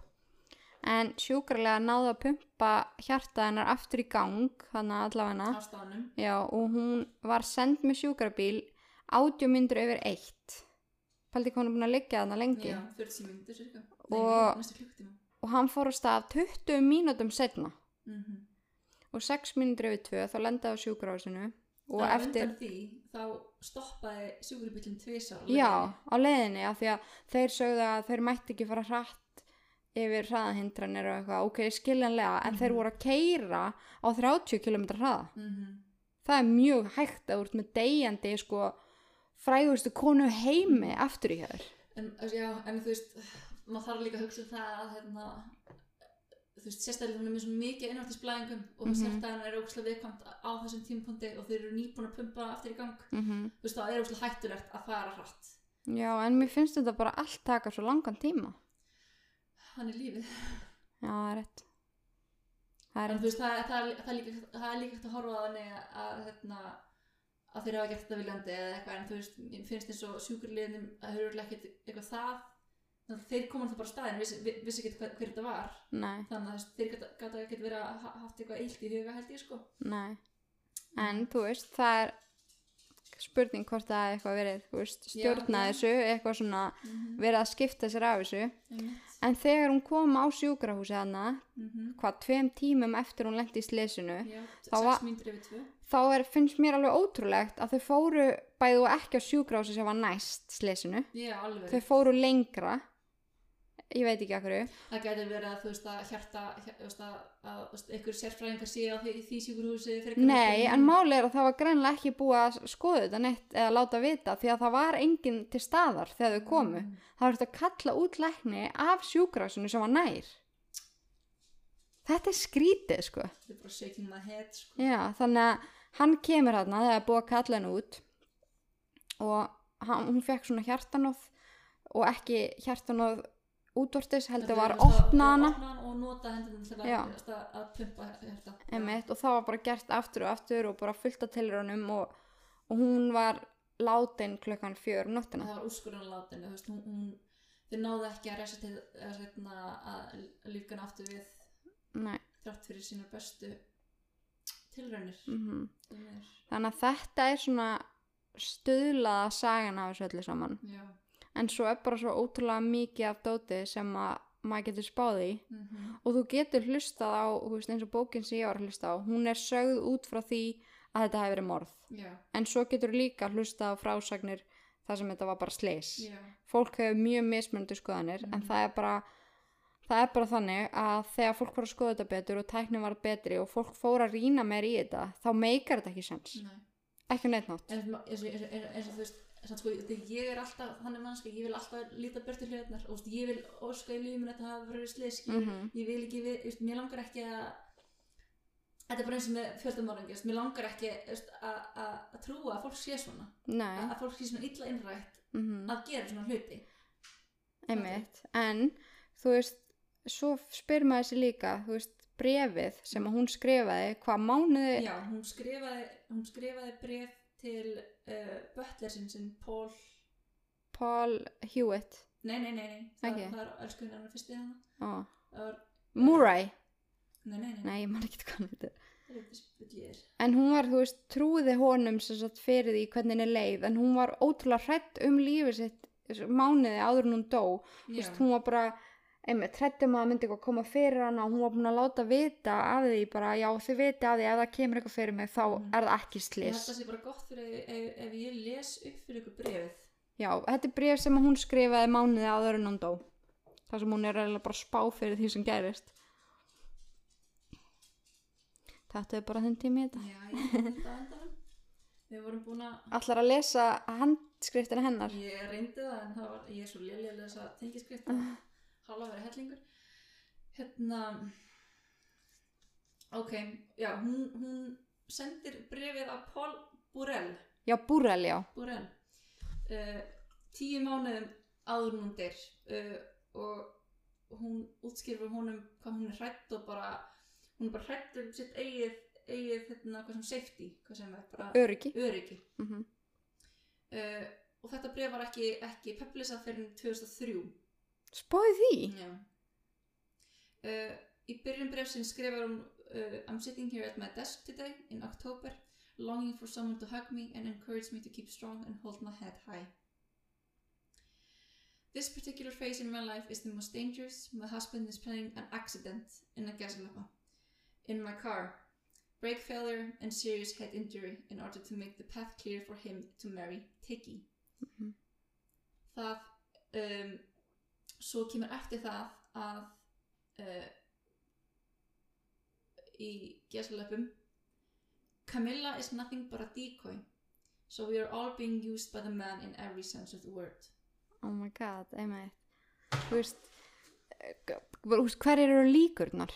En sjúkrarlega náðu að pumpa hjarta hennar aftur í gang, þannig á allavega. staðnum Já, og hún var send með sjúkrabíl átjó myndur yfir eitt. Paldi hvað hún er búin að liggja þarna lengi. já, 40 mínútur cirka Og- nei, næstu klukkutíma Og hann fór á stað 20 mínútum setna. mm -hmm. Og 6 mínútur yfir 2 þá lendaði á sjúkrahúsinu. Og á eftir, undan því þá stoppaði sjúkurubillin tvisar já, á leiðinni, af því að þeir sögðu að þeir mætti ekki fara hratt yfir hraðahindranir og eitthvað, ok, skiljanlega, en Mhm. þeir voru að keira á 30 km hraða. mm það er mjög hægt að þú ert með deyjandi sko frægustu konu heimi aftur í hér en, þú veist, já, en þú veist maður þarf líka að hugsa um það að hérna, þú veist, sérstaklega hún er með svo mikið innvartisblæðingum og mm Mhm. -hmm. er ógslag viðkvæmt á þessum tímapunkti og þeir eru nýbúin að pumpa hana aftur í gang mm -hmm. þú veist, það er ógslag hættulegt að fara hratt já en mér finnst þetta bara allt taka svo langan tíma hann er lífið já það er rétt það er en þú rétt veist, það, það, er- það, er líka, það er líka hægt að horfa á þannig að, að, hérna, að þeir hafa gert þetta viljandi eða eitthvað, en þú veist, mér finnst eins og sjúkurliðinum að þeir eru ekkert eitthvað það þannig að þeir koma alltaf bara á staðin vissi, vi- vissi ekki hver, hver þetta var nei, þannig að þú veist, þeir gata, gata ekkert verið að ha- haft eitthvað eilt í huga held ég sko nei en þú veist það er spurning hvort það er eitthvað verið þú veist, Já, stjórna já. þessu eitthvað svona verið að skipta sér af þessu einmitt en þegar hún kom á sjúkrahúsi hana mm -hmm. hvað, tveim tímum eftir hún lendi í slesinu Já, Þá 6 var- mínútur yfir 2 þá er, finnst mér alveg ótrúlegt að þau fóru bæðu ekki á sjúkrási sem var næst slesinu. Já, alveg Þau fóru lengra, ég veit ekki okkur. Það gæti verið að þú veist að hjarta hér, þú veist, að, að þú veist, einhver sérfræðingar sé á því, því sjúkurhúsi frekar Nei, heldur en máli er að það var greinlega ekki búið að skoða þetta neitt eða láta vita því að það var enginn til staðar þegar þau komu. Það var þetta að kalla út lækni af sjúkrásinu sem var nær. Þetta er skrítið, sko. Þetta er bara shaking my head sko Já, þannig að hann kemur hérna þegar er búið að kalla henni út og hann, hún fekk svona hjartanóð og ekki hjartanóð útvortis heldur var opnað hana opnaðan og nota hendunum til Já. að, að, að pumpa hjarta emitt, og það var bara gert aftur og aftur og bara fullt af tilraunum og, og hún var látin klukkan fjör það nóttina. var úrskurinn látinu þú veist, hún, hún, þau náðu ekki að resa til að, setna, að lífgan aftur við Nei, þrátt fyrir sína bestu tilraunir mhm. Því miður. Þannig að þetta er svona stuðlaða sagan af þessu öllu saman. já En svo er bara svo ótrúlega mikið af dótið sem að maður getur spáð í. mm og þú getur hlustað á þú veist, eins og bókin sem ég var að hlusta á hún er sögð út frá því að þetta hefur verið morð já, en svo getur líka hlustað á frásagnir þar sem þetta var bara sleis já, fólk hefur mjög mismunandi skoðanir en það er bara það er bara þannig að þegar fólk var að skoða þetta betur og tæknin var betri og fólk fór að rýna meir í þetta þá meikar þetta ekki sens nei ekki á neitt nátt en þú- eins og, eins og, eins og þú veist samt sko, þegar ég er alltaf þannig mannska ég vil alltaf líta börtu hlutarnar og þú veist, ég vil óska í lífum þetta hafa verið slisk ég, Mhm. ég vil ekki, við, veist, mér langar ekki að þetta er bara eins og með fjöldamorðingi mér langar ekki þú veist, að- að að trúa að fólk sé svona nei, að að fólk sé svona illa innrætt mhm að gera svona hluti einmitt, en þú veist, svo spyr maður sér líka, þú veist, brefið sem að hún skrifaði hvað mánuði Já, hún skrifaði, hún skrifaði bref til uh, bötlersinn sinn, Paul Paul Hewitt Nei, nei, nei, nei, það, Ok. það er elskuðin hennar fyrst í hana á, Það var, Murray, nei, nei, nei, nei, ég man ekki hvað hann heitir það er eitthvað spillir en hún var, þú veist, trúði honum sem sagt fyrir því hvernig henni leið en hún var ótrúlega hrætt um lífið sitt þessu mánuði áður en hún dó Þú Já, veist, hún var bara einmitt hrættum að það myndi eitthvað koma fyrir hana og hún var búin að láta vita af því bara já þið viti af því ef það kemur eitthvað fyrir mig þá Mhm. er það ekki ég slis held að sé bara gott fyrir ef, ef, ef ég les upp fyrir ykkur brefið já þetta er bréf sem að hún skrifaði mánuði áður en hún dó þar sem hún er eiginlega bara að spá fyrir því sem gerist þetta er bara þinn tími í þetta Já, ég held að þetta endanum Við vorum búin að, allar að lesa handskriftina hennar ég reyndi það en það var, ég er svo lélega að lesa tengiskrift og hálfa verið hellingur Hérna Ok, já, hún, hún sendir brefið að Paul Burrell já Burrell já Burrell uh, Tíu mánuðum áður en hún dyr uh, og hún útskýrfur honum hvað hún er hrætt og bara hún er bara hrætt um sitt eigið, eigið hérna, hvað sem safety, hvað sem er bara öryggi öryggi mm uh, og þetta bref var ekki, ekki publisað fyrir 2003 spáði því Já. Uh, í byrjun brefsin skrifar hún uh, I'm sitting here at my desk today in October longing for someone to hug me and encourage me to keep strong and hold my head high. This particular phase in my life is the most dangerous. My husband is planning an accident in a gas lamp in my car. Brake failure and serious head injury in order to make the path clear for him to marry Tiki. Það um, svo kemur eftir það að uh, í gesalöpum Camilla is nothing but a decoy so we are all being used by the man in every sense of the word oh my god, einmitt þú veist eh, þú veist, hverjir eru líkurnar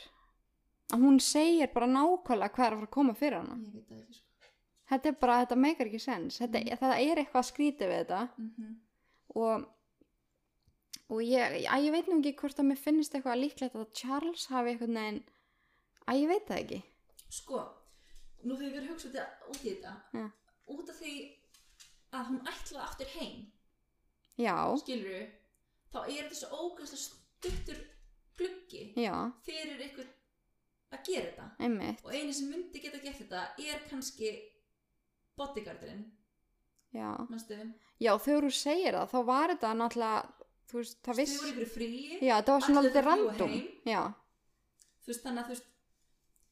að hún segir bara nákvæmlega hvað er að fara að koma fyrir hana ég veit það ekki sko þetta er bara, þetta meikar ekki sens þetta, það er eitthvað að skrýta við þetta mm -hmm. og og ég, að ég veit nú ekki hvort að mér finnist eitthvað líklegt að Charles hafi eitthvað neginn að ég veit það ekki sko, nú þegar við erum hugsað þetta- út í þetta Ja. út af því að hún ætlaði aftur heim já, skilur við þá er þetta svo ógæslega stuttur gluggi já, fyrir ykkur að gera þetta einmitt og eini sem myndi geta gett þetta er kannski bodyguardurinn já, manstu, já þegar þú segir það þá var þetta náttúrulega þú veist, þau það voru viss ykkur fríi já, það var svona Allir alltaf fljúga random heim. já, þú veist þannig að þú veist,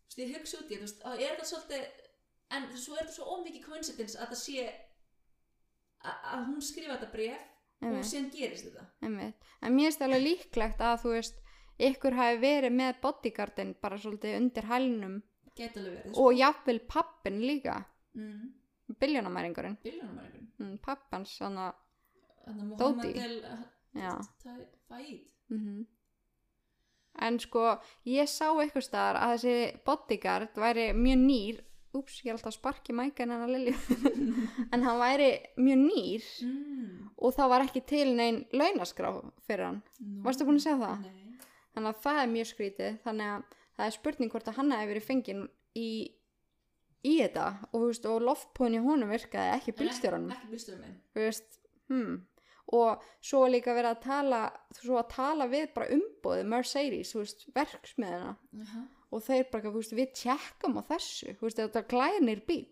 þú veist ég hugsa út í þú veist, þá er það svolítið en svo er það svo ómikið coincidence að það sé a- að hún skrifa þetta bref og einmitt síðan gerist þetta Einmitt. En mér finnst alveg líklegt að þú veist ykkur hafi verið með bodyguardin bara svolítið undir hælnum geta alveg verið sko. og jafnvel pappin líka mm, biljónamæringurinn, bílunum er einhvern mm, pappans þannig að, þannig að Dóti. Mohamed el já Fæd mm en sko ég sá eitthvað staðar að þessi bodyguard væri mjög nýr úps, ég er alltaf að sparki mækan hennar Lilju [laughs] en hann væri mjög nýr mm, og þá var ekki til neinn launaskrá fyrir hann nú. Varstu búin að segja það? Nei. þannig að það er mjög skrítið þannig að það er spurning hvort að hann hefði verið fenginn í, í þetta og, þú veist, og loftbúin í honum virkaði ekki En bílstjóranum ekki, ekki bílstjórum minn Þú veist, hmm. og svo er líka verið að tala svo að tala við bara umbóði Mercedes, þú veist, verksmiðina uh og þeir bara, þú veist, við tjekkum á þessu, þú veist, þetta er glænir bíl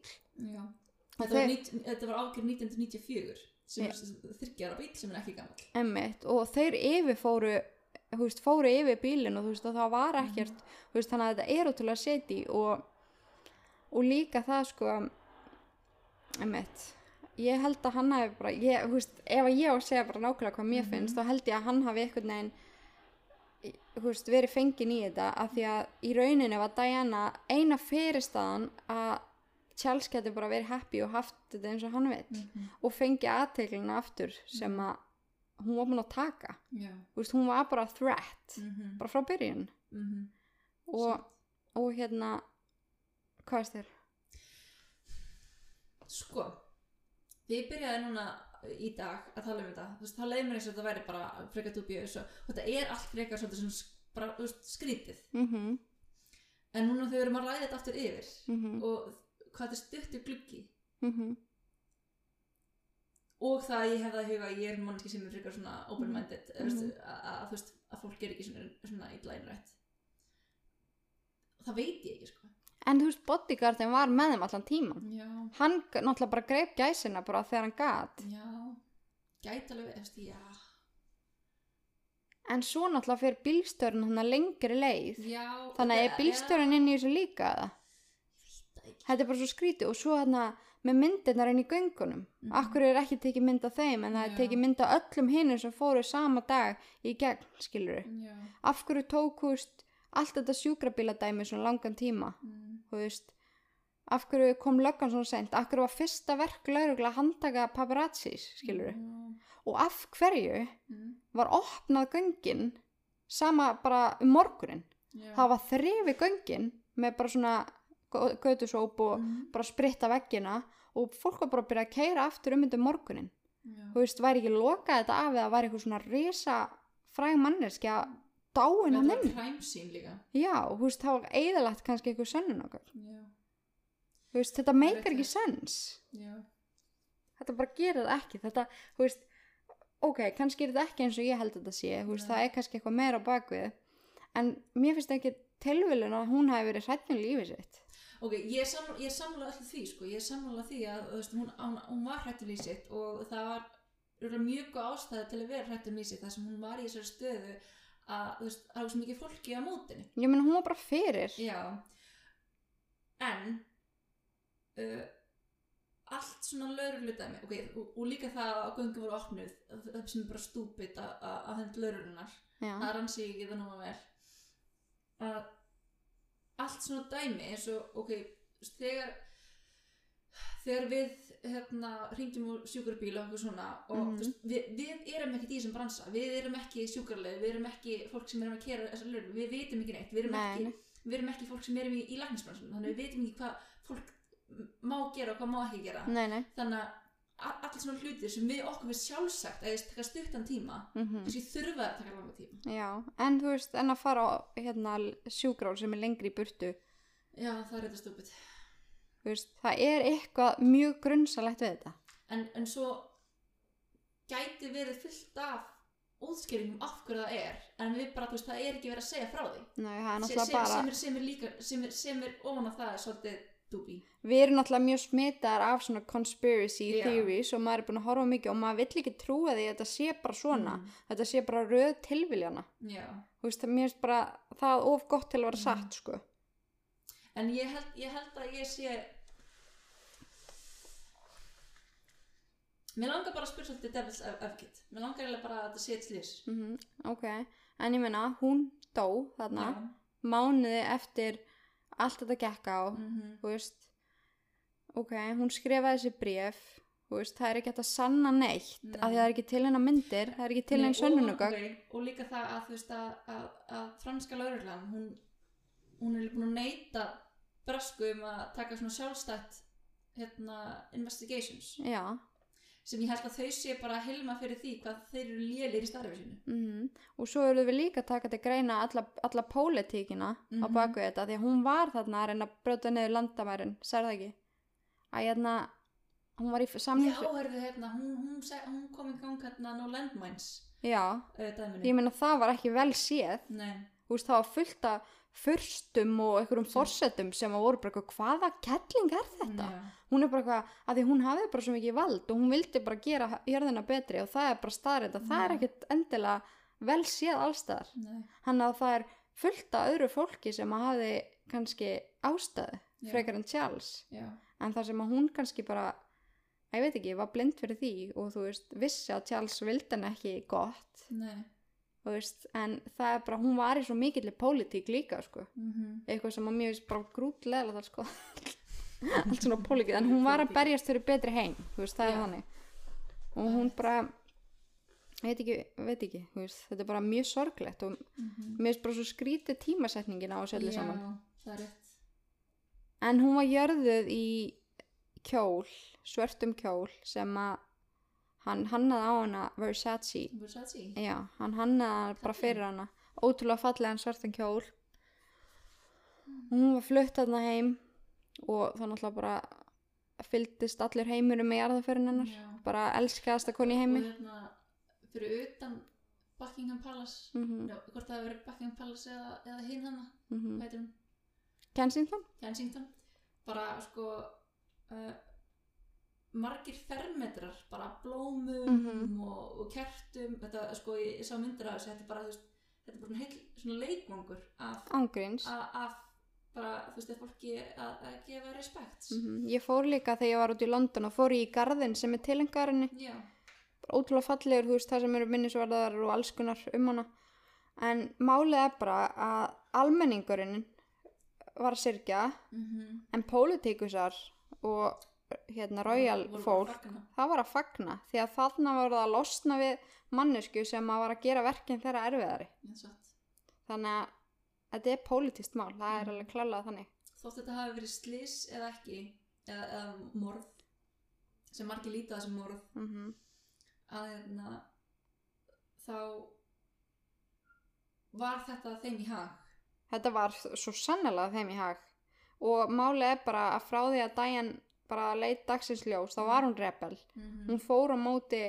Já. Og Þetta, var þeir- nít, þetta var ágjör 1994 sem Já. er þryggjara bíl sem er ekki gammal Emmitt, og þeir yfirfóru þú veist, fóru yfir bílinn og þú veist, og það var ekkert, þú veist, þannig að þetta er ótrúlega seti og og líka það, sko emmitt, ég held að hann hafi bara, ég, þú veist, ef að ég á að segja bara nákvæmlega hvað mér finnst, þá held ég að hann hafi eitthvað neginn þú veist, verið fengin í þetta af því að í rauninu var Diana eina fyrirstaðan að Charles geti bara verið happy og haft þetta eins og hann vil og fengi aðteglina aftur sem að hún var búin að taka Já Þú veist, hún var bara threat mm -hmm. bara frá byrjun Mhm. og, og hérna hvað er þér? Sko Við byrjaði núna í dag að tala um þetta Þú veist, þá leiði mér eins og þetta væri bara frekar dubjöðis og, og þetta er allt frekar svolítið sem sk- bara, þú veist, skrítið Mm -hmm. en núna þau erum að ræða þetta aftur yfir Mhm. og hvað þetta er stuttur gluggi Mhm. og það að ég hef það í huga að ég er mannski sem er frekar svona Mhm. open-minded mm -hmm. að, að, þú veist, að fólk er ekki svona, svona illa innrætt það veit ég ekki sko En þú veist, bodyguardin var með þeim allan tíman. já, Hann g- náttúrulega bara greip gæsina bara þegar hann gat. já gæti alveg, eftir, já En svo náttúrulega fyrir bílstörun hann lengri leið. já, Þannig að er þetta- bílstörun inn í þessu líka eða? já, ég veit það ekki. Þetta er bara svo skrítið og svo hann með myndirnar inn í göngunum. Mhm. Akkur er ekki tekið mynd af þeim en það er Já. tekið mynd af öllum hinnum sem fóru sama dag í gegn, skilur já, Af hverju tókust allt þetta sjúkrabíladæmi svona langan tíma? mm, þú veist af hverju kom löggan svona sent af hverju var fyrsta verk laurugla að handtaka paparazzis, skilur já, og af hverju mm, var opnað göngin sama bara um morgunin já. það var þrifi göngin með bara svona gö- götusóp og Mhm, bara spritta veggina og fólk var bara að byrja að keira aftur um undir morgunin já. þú veist, væri ekki lokað þetta af eða væri eitthvað svona risa fræg manneskja dáin að þetta var minn crime scene líka já, þú veist, það var eðalagt kannski eitthvað sönnun okkar já, Þú veist, þetta rétt meikar ekki hjá sens já, þetta bara gerir það ekki þetta, þú veist, ok, kannski er þetta ekki eins og ég held að þetta sé, þú veist, Nei. það er kannski eitthvað meira á bakvið en mér finnst ekki tilvölin að hún hafi verið hrættin lífið sitt Ok, ég er, sammála, ég er sammála allir því, sko, ég er sammála því að þú veist, hún, hún, hún var hrættur í sitt og það var örugglega mjög góð ástæði til að vera hrættur í sitt þar sem hún var í þessari stöðu að þú veist, það var svo mikið fólki á mótinni. ég meina hún var bara fyrir Já, en uh, allt svona lauruludæmi, ok, og, og líka það að göngu voru opnuð, það sem er bara stúpid að- að að hend laurulunar Já. það rann sig ekki það núma vel að allt svona dæmi eins og ok, þegar þegar við hérna hringjum úr sjúkrabíl og okkur svona og Mhm. mm veist, við, við erum ekkert í þessum bransa við erum ekki sjúkrarlega, við erum ekki fólk sem erum að kera þessar lögur, við vitum ekki neitt við erum, Nei, nei. ekki, við erum ekki fólk sem erum í, í læknisbransan þannig við vitum ekki hvað fólk má gera og hvað má ekki gera nei, nei, þannig að a- allir svona hlutir sem við okkur við sjálfsagt að þetta taka stuttan tíma mhm kannski þurfa að taka langa tíma Já, en þú veist, en að fara á hérna, sjúkrál sem er lengri í burtu Já, það er þetta stúpid. þú veist, það er eitthvað mjög grunnsalegt við þetta En, en svo gæti verið fullt af útskýringum af hverju það er, en við bara, þú veist, það er ekki verið að segja frá því. Nei, það er Se- náttúrulega sem, bara sem, er, sem er líka, sem er, sem er ofan á það, er svolítið dúbí. við erum náttúrulega mjög smitaðar af svona conspiracy Já. theories og maður er búin að horfa á mikið og maður vill ekki trúa því að þetta sé bara svona Mm. þetta sé bara röð tilviljana Já. þú veist, mér finnst bara það of gott til að vera Mm. satt sko En ég held, ég held að ég sé... Mér langar bara að spyrja svolítið devils advocate. Mér langar eiginlega bara að þetta sé eitt slýs. mm ok, en ég meina hún dó þarna, mánuði eftir allt þetta gekk á Mhm. þú veist ok, hún skrifaði þessi bréf þú veist, það er ekki hægt að sanna neitt Nei. af því að það er ekki til hennar myndir það er ekki til Nei, hennar sönnunugögn og, ok, og líka það að þú veist að, að, að franska lauruglan hún, hún er búin að neyta brasku um að taka svona sjálfstætt hérna, investigations já, sem ég held að þau sé bara að hilma fyrir því hvað þeir eru lélir í starfið sinu Mhm. og svo erum við líka að taka til greina alla, alla pólitíkina á Mhm. baku þetta því að hún var þarna að reyna að brjóta niður landamærin, sér það ekki að hérna hún var í Já, samning herðu, hérna, hún, hún, seg, hún kom í gang hérna No Landmines Já, uh, dæminu ég meina það var ekki vel séð Nei, þú veist það var fullt af fyrstum og einhverjum forsetum sem að voru bara eitthvað hvaða kettling er þetta já, hún er bara eitthvað, að því hún hafði bara svo mikið vald og hún vildi bara gera jörðina betri og það er bara staðrætt að það er Mhm. ekkert endilega vel séð allstaðar nei, hann að það er fullt af öðru fólki sem að hafi kannski ástæðu Já. frekar en Charles já, en það sem að hún kannski bara að ég veit ekki, var blind fyrir því og þú veist, vissi að Charles vildi hann ekki gott nei þú veist, en það er bara, hún var í svo mikilli pólitík líka, sko mm eitthvað sem að mér finnst bara grútlega það sko [laughs] allt svona pólitík, en hún var að berjast fyrir betri heim, þú veist, það Já. er þannig og hún bara ég veit ekki, veit ekki, þú veist þetta er bara mjög sorglegt og Mér finnst bara svo skrítið tímasetningin á þessu öllu saman. Mhm. Já, það er rétt En hún var jörðuð í kjól, svörtum kjól, sem að hann hannaði á hana Versace. Versace Já, hann hannaði hana bara fyrir hana. Ótrúlega fallegan svartan kjól. hún var flutt þarna heim og þá náttúrulega bara fylgdist allur heimurum með jarðaförin hennar Já. bara elskaðasta koni í heimi og hérna fyrir utan Buckingham Palace Mhm. já, hvort það hefur verið Buckingham Palace eða, eða hinn hana hvað mm -hmm. heitir hún, Kensington? Kensington bara sko uh, margir fermetrar bara af blómum Mhm. og, og kertum þetta sko ég, ég sá myndir af þessu þetta er bara þú veist þetta er bara svona heil svona leikvangur af, Ángríns af, af bara þú veist að fólki að, að gefa respekt mm Ég fór líka þegar ég var út í London og fór ég í garðin sem er tilengarinni já ótrúlega fallegur, þú veist, það sem eru minnisvarðar og alls konar um hana en málið er bara að almenningurinn var að syrkja mm -hmm. en pólitíkusar og hérna royal fólk það var að fagna því að þarna var það að losna við mannesku sem að var að gera verkinn þeirra erfiðari þannig að þetta er pólitíst mál, það er alveg klarlega þannig þótt þetta hafi verið slis eða ekki eða, eða morð sem margir líta þessum morð mm -hmm. að hérna þá var þetta þeim í hag þetta var svo sannlega þeim í hag og málið er bara að frá því að daginn bara leit dagsins ljós, þá var hún rebel mm hún fór á móti,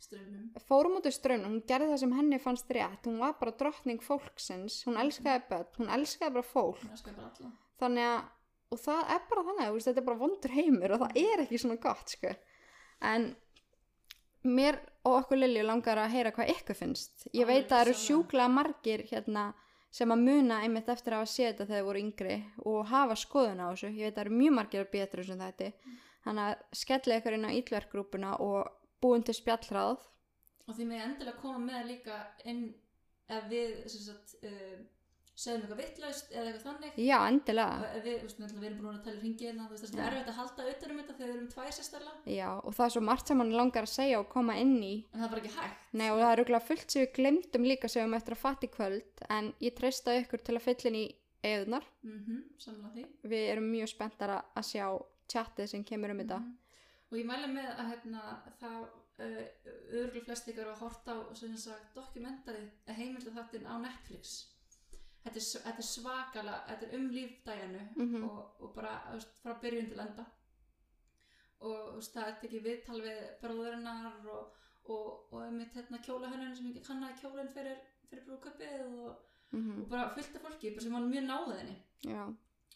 strömmum fór á móti strömmum hún gerði það sem henni fannst rétt hún var bara drottning fólksins, hún elskaði börn hún elskaði bara fólk það skapar alla þannig að og það er bara þannig, þú veist, þetta er bara vondur heimur og það er ekki svona gott, sko en mér og okkur Lilju langar að heyra hvað ykkur finnst ég veit að það eru Alveg sama. sjúklega margir hérna sem að muna einmitt eftir að hafa séð þetta þegar þau voru yngri og hafa skoðun á þessu ég veit að það eru mjög margir að betra þessum þætti um þannig að skellið ykkur inn á ítlverkgrúpuna og búin til spjallráð og því með endilega koma með líka inn ef við sem sagt uh, segjum eitthvað vittlaust eða eitthvað þannig já, endilega Ef við, þú veist, náttúrulega við erum búin að tala hringi hérna, þú veist, það Já. er erfitt að halda utan um þetta þegar við erum tvær sérstæla, já, og það er svo margt sem hann langar að segja og koma inn í en það er bara ekki hægt. Nei og það er auðvitað fullt sem við glemdum líka sem við erum eftir að fatta í kvöld en ég treysta ykkur til að fyllin í eðunar. Mm samlega því. Við erum mjög spenntar að að sjá chatið sem kemur um þetta. Mhm. Og ég mæla með að hérna, það uh, örgulega flest ykkur að horta á sem sagt, dokumentari að heimilda þáttinn á Netflix. Þetta er, s- þetta er svakala, þetta er um lífdæjanu Mhm. og, og bara þú veist, frá byrjun til enda. Og þú veist, það er tekið viðtal við bróðurinnar og, og, og með hérna, kjólahönnun sem ekki kannaði kjólinn fyrir, fyrir brúköpið og, Mm og bara fullt af fólki bara sem var mjög náðið henni Já,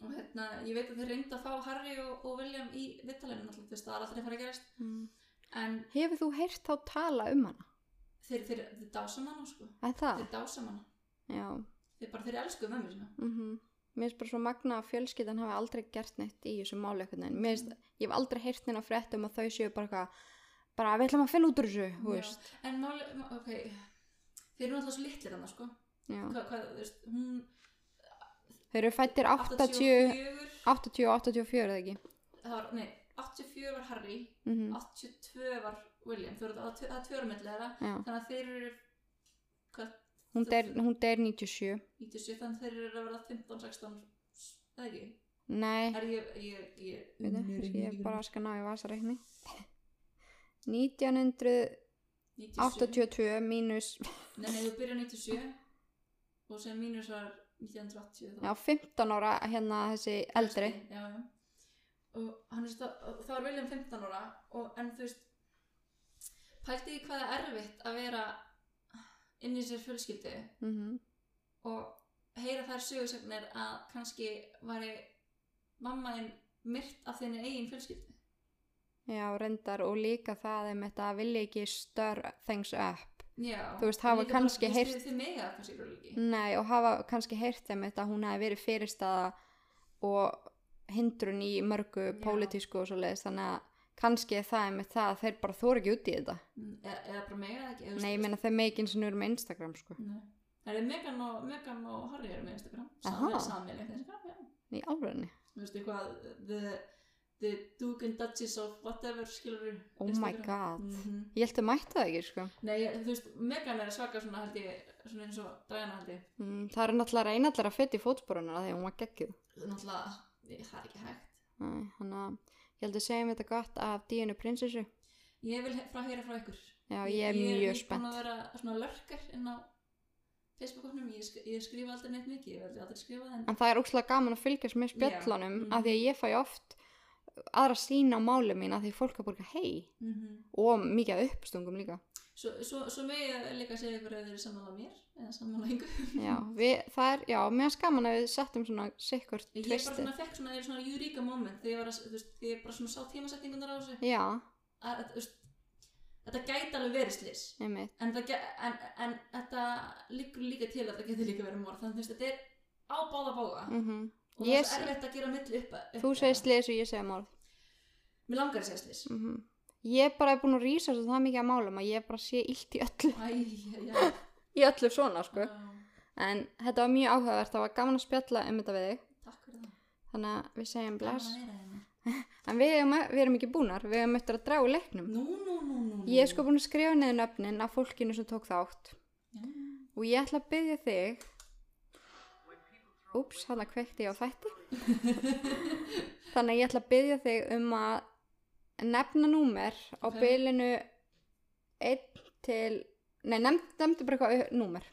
og hérna, ég veit að þeir reyndu að fá Harry og, og William í vittalinu náttúrulega, þú veist, það er aldrei að fara að gerast Mm. en Hefur þú heyrt þá tala um hana? þeir, þeir, þeir dásam hana, sko Er það? þeir dásam hana, Já. þeir bara, þeir elsku mömmu sína Mm Mér finnst bara svo magna að fjölskyldan hafi aldrei gert neitt í þessu máli einhvern veginn. Mér finnst, ég hef aldrei heyrt neina frétt um að þau séu bara eitthvað, bara við ætlum að finna út úr þessu, þú Já. veist. en máli, má- ok þeir eru náttúrulega svo litlir hana, sko Já. hvað, hvað, þú veist, hún Þau eru fættir 80, 84 80 og 84 eða ekki? það var, nei, 84 var Harry Mm 82 var William, þú eru það það er tvörum milli þeirra Já. þannig að þeir eru hvað, Hún deyr, hún deyr 97. 97, þannig að þeir eru að vera 15, 16 eða ekki, Nei. er ég, ég, ég Veitu, kannski ég bara skal ná í vasareikni 1982 97. mínus Nei, nei, þú byrjar 97 og sem mínus var 1980 þá. já, 15 ára hérna þessi eldri Já, já. Og hann veist, og þá er William 15 ára og en þú veist, pælti því hvað er erfitt að vera inn í sér fjölskyldi mm og heyra þær sögursagnir að kannski væri mamma þinn myrt af þinni eigin fjölskyldi. já, reyndar og líka það um þetta að vilja ekki stir things up Já. Þú veist, hafa Líka bara, kannski þú veist, heyrt- Þið þið mega það kannski rúlega ekki. nei, og hafa kannski heyrt þeim þetta að hún hafi verið fyrirstaða og hindrun í mörgu Já. pólitísku og svo leiðis þannig að kannski er það með það að þeir bara þóra ekki út í þetta Eða, eða bara mega það ekki. eða þú veist, Mm. nei, ég meina þeir meginn sem eru með Instagram sko. Nei. Það er Megan og, Megan og Harry eru með Instagram Aha. Sammeilegt Instagram, já í alvegni, Þú veist eitthvað the, the Duke and Duchess of whatever skilur oh my god ég held að mæta það ekki sko. Nei, ég- þú veist, Megan er svaka svona held ég Svona eins og Diana held ég Mm, það er náttúrulega reynallar að fætt í fótsporunar þegar hún var geggið. Náttúrulega, ég- það er ekki hægt Nei, Þannig að ég held að segja mér þetta gott af Díunu prinsessu. Ég vil he- frá heyra frá ykkur Já, ég er mjög Ég er búin spennt. að vera svona lörkar inn á Facebook-opnum, ég, sk ég skrifa aldrei neitt mikið, ég verði aldrei skrifa það en en það er óslega gaman að fylgjast með spjöllunum mhm. af því að ég fæ oft aðra sína á máli mín af því að fólk er búin að hei mm og mikið af uppstungum líka svo, svo, svo með ég líka segja ykkur ef þeir eru sammála mér eða sammála yngur já, Mhm. við, það er, já, mér er skaman að við settum svona sikkert ég bara tvisti svona fekk svona, þeir eru svona eureka moment þegar ég var að, þú veist, þegar ég bara svona sá tímasetningunar á þessu já, að, að, þú veist, þetta gæti alveg verið slis einmitt, en, það ge- en, en þetta liggur líka til að það getur líka verið morð þannig að þetta er á báða bóga mhm og það Ég sé- er erfitt að gera milli upp, upp þú segir slis og ég segir mál mér langar að segja slis mm ég bara er búin að rýsa svo það mikið að málum að ég bara sé illt í öllu æ, já, já, í öllu svona, sko já, en þetta var mjög áhugavert, það var gaman að spjalla um þetta við þig takk fyrir það þannig að við segjum bless Gaman að vera hérna. en við, eigum að- við erum ekki búnar, við erum eftir að draga úr leiknum nú, nú, nú, nú, nú. Ég er sko búin að skrifa niður nöfnin af fólkinu sem tók þátt Já. og ég ætla að byggja þig Úps, hann að kveikti ég á [laughs] þætti Þannig að ég ætla að byggja þig um að nefna númer á Ok. bylinu 1 til Nei, nefnd, nefndu bara eitthvað au- númer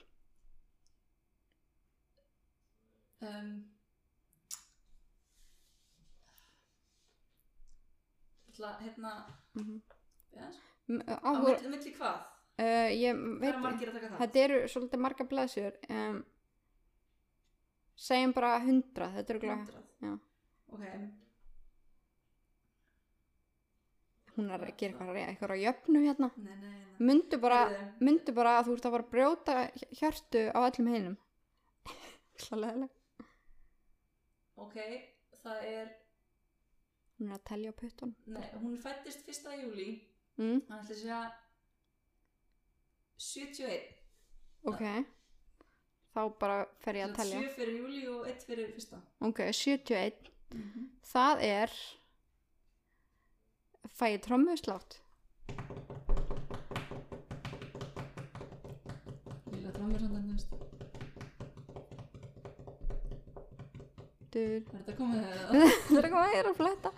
um, ætla, hérna mm já, -hmm. á Áhugur, milli, milli hvað uh, ég það veit eru margir að taka það Þetta eru svolítið marga blæðsjör um, Segjum bara 100 Þetta eru glæð 100. já. ok, Hún er að gera eitthvað, eitthvað á jöfnu hérna nei, nei, nei Mundu bara, Heyrðu. mundu bara að þú ert að fara að brjóta hj- hjörtu á öllum [laughs] hinum. Slálegaðileg. ok, það er Hún er að telja á puttun. Nei, hún fættist 1. júli Mm, hann ætla að segja 71 ok. Þá bara fer ég að Sem sagt, telja. 7 fyrir júli og 1 fyrir 1. Ok, 71. Mhm. Það er... Fæ ég trommuslátt? Lilla drömmur hann þannig veist Dur. Er þetta komið þegar það? Það er eitthvað meira að fletta.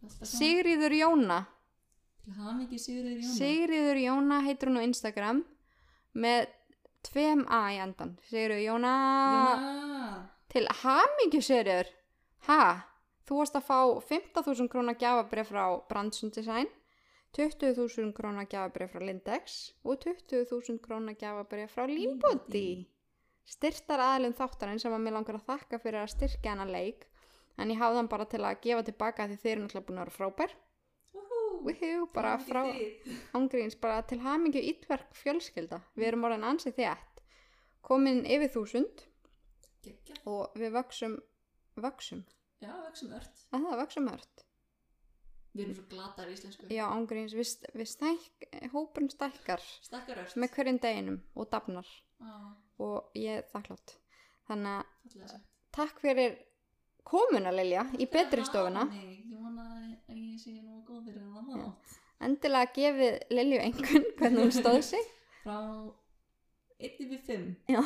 Alltaf komið. Sigríður Jóna. Til hamingi Sigurður Jóna Sigriður Jóna heitir hún á Instagram með tveim A í endan. Sigriður Jóna... Jóna Til hamingju serjur. Ha? Þú varst að fá 15.000 krónar gjafabrið frá Brandsson Design, 20.000 krónar gjafabrið frá Lindex og 20.000 krónar gjafabrið frá Limbody. Styrtar aðlum þáttarinn sem að mér langar að þakka fyrir að styrkja hana leik en ég hafði hann bara til að gefa tilbaka því þeir eru náttúrulega búin að vera frábær. Úhú Woohoo, bara Hamingi frá þið. ángríns bara til hamingju ítverk fjölskylda. Við erum orðin ansið þétt. Komin yfir þúsund Geggjað. og við vöksum, vöksum, Já, vöksum ört að það vöksum hört. Við erum svo glatar í íslensku Já, ángríns, við, st- við stæk, hópurinn stækkar Stakkar ört með hverjum deginum og dafnar Á, og ég er þakklátt. Þannig að fallega sagt. takk fyrir komuna Lilja í betri stofuna. Nei, ég vona að ég sé nú góð fyrir það Já. hátt Endilega gefið Lilju engun [laughs] hvernig hún stóð sig. Frá 1 yfir 5 Já,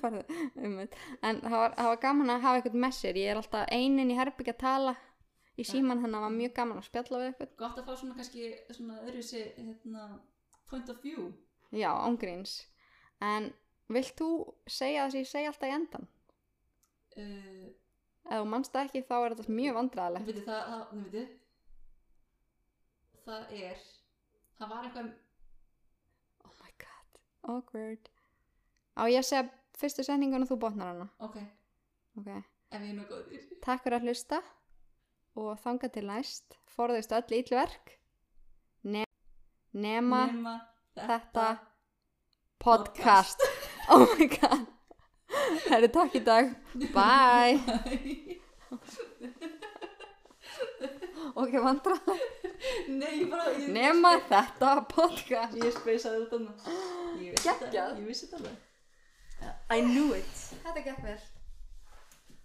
farðu um þetta. En það var, það var gaman að hafa eitthvað með sér. Ég er alltaf einin í herbyggja að tala í síman þannig að það var mjög gaman að spjalla við eitthvað. [laughs] gott að fá svona kannski svona öðruvísi hérna, point of view Já, ángríns. En vilt þú segja það sem ég segja alltaf í endan? uh, Ef þú mannst það ekki þá er þetta mjög vandræðilegt. veitir, það, það, nei, veitir, það er það var eitthvað um, Oh my god, awkward Á ég að segja fyrstu setningun og þú botnar hana ok, Ok, ef ég er nú góður takk fyrir að hlusta og þanga til næst forðist öll ítlverk ne nema nema þetta podcast [laughs] Oh my god Það eru takk í dag [laughs] Bye Ok, vandra nei, ég bara ég, Nema þetta podcast ég speysaði þetta nú. ég vissi þetta Geggjað. ég vissi þetta alveg Þetta gekk vel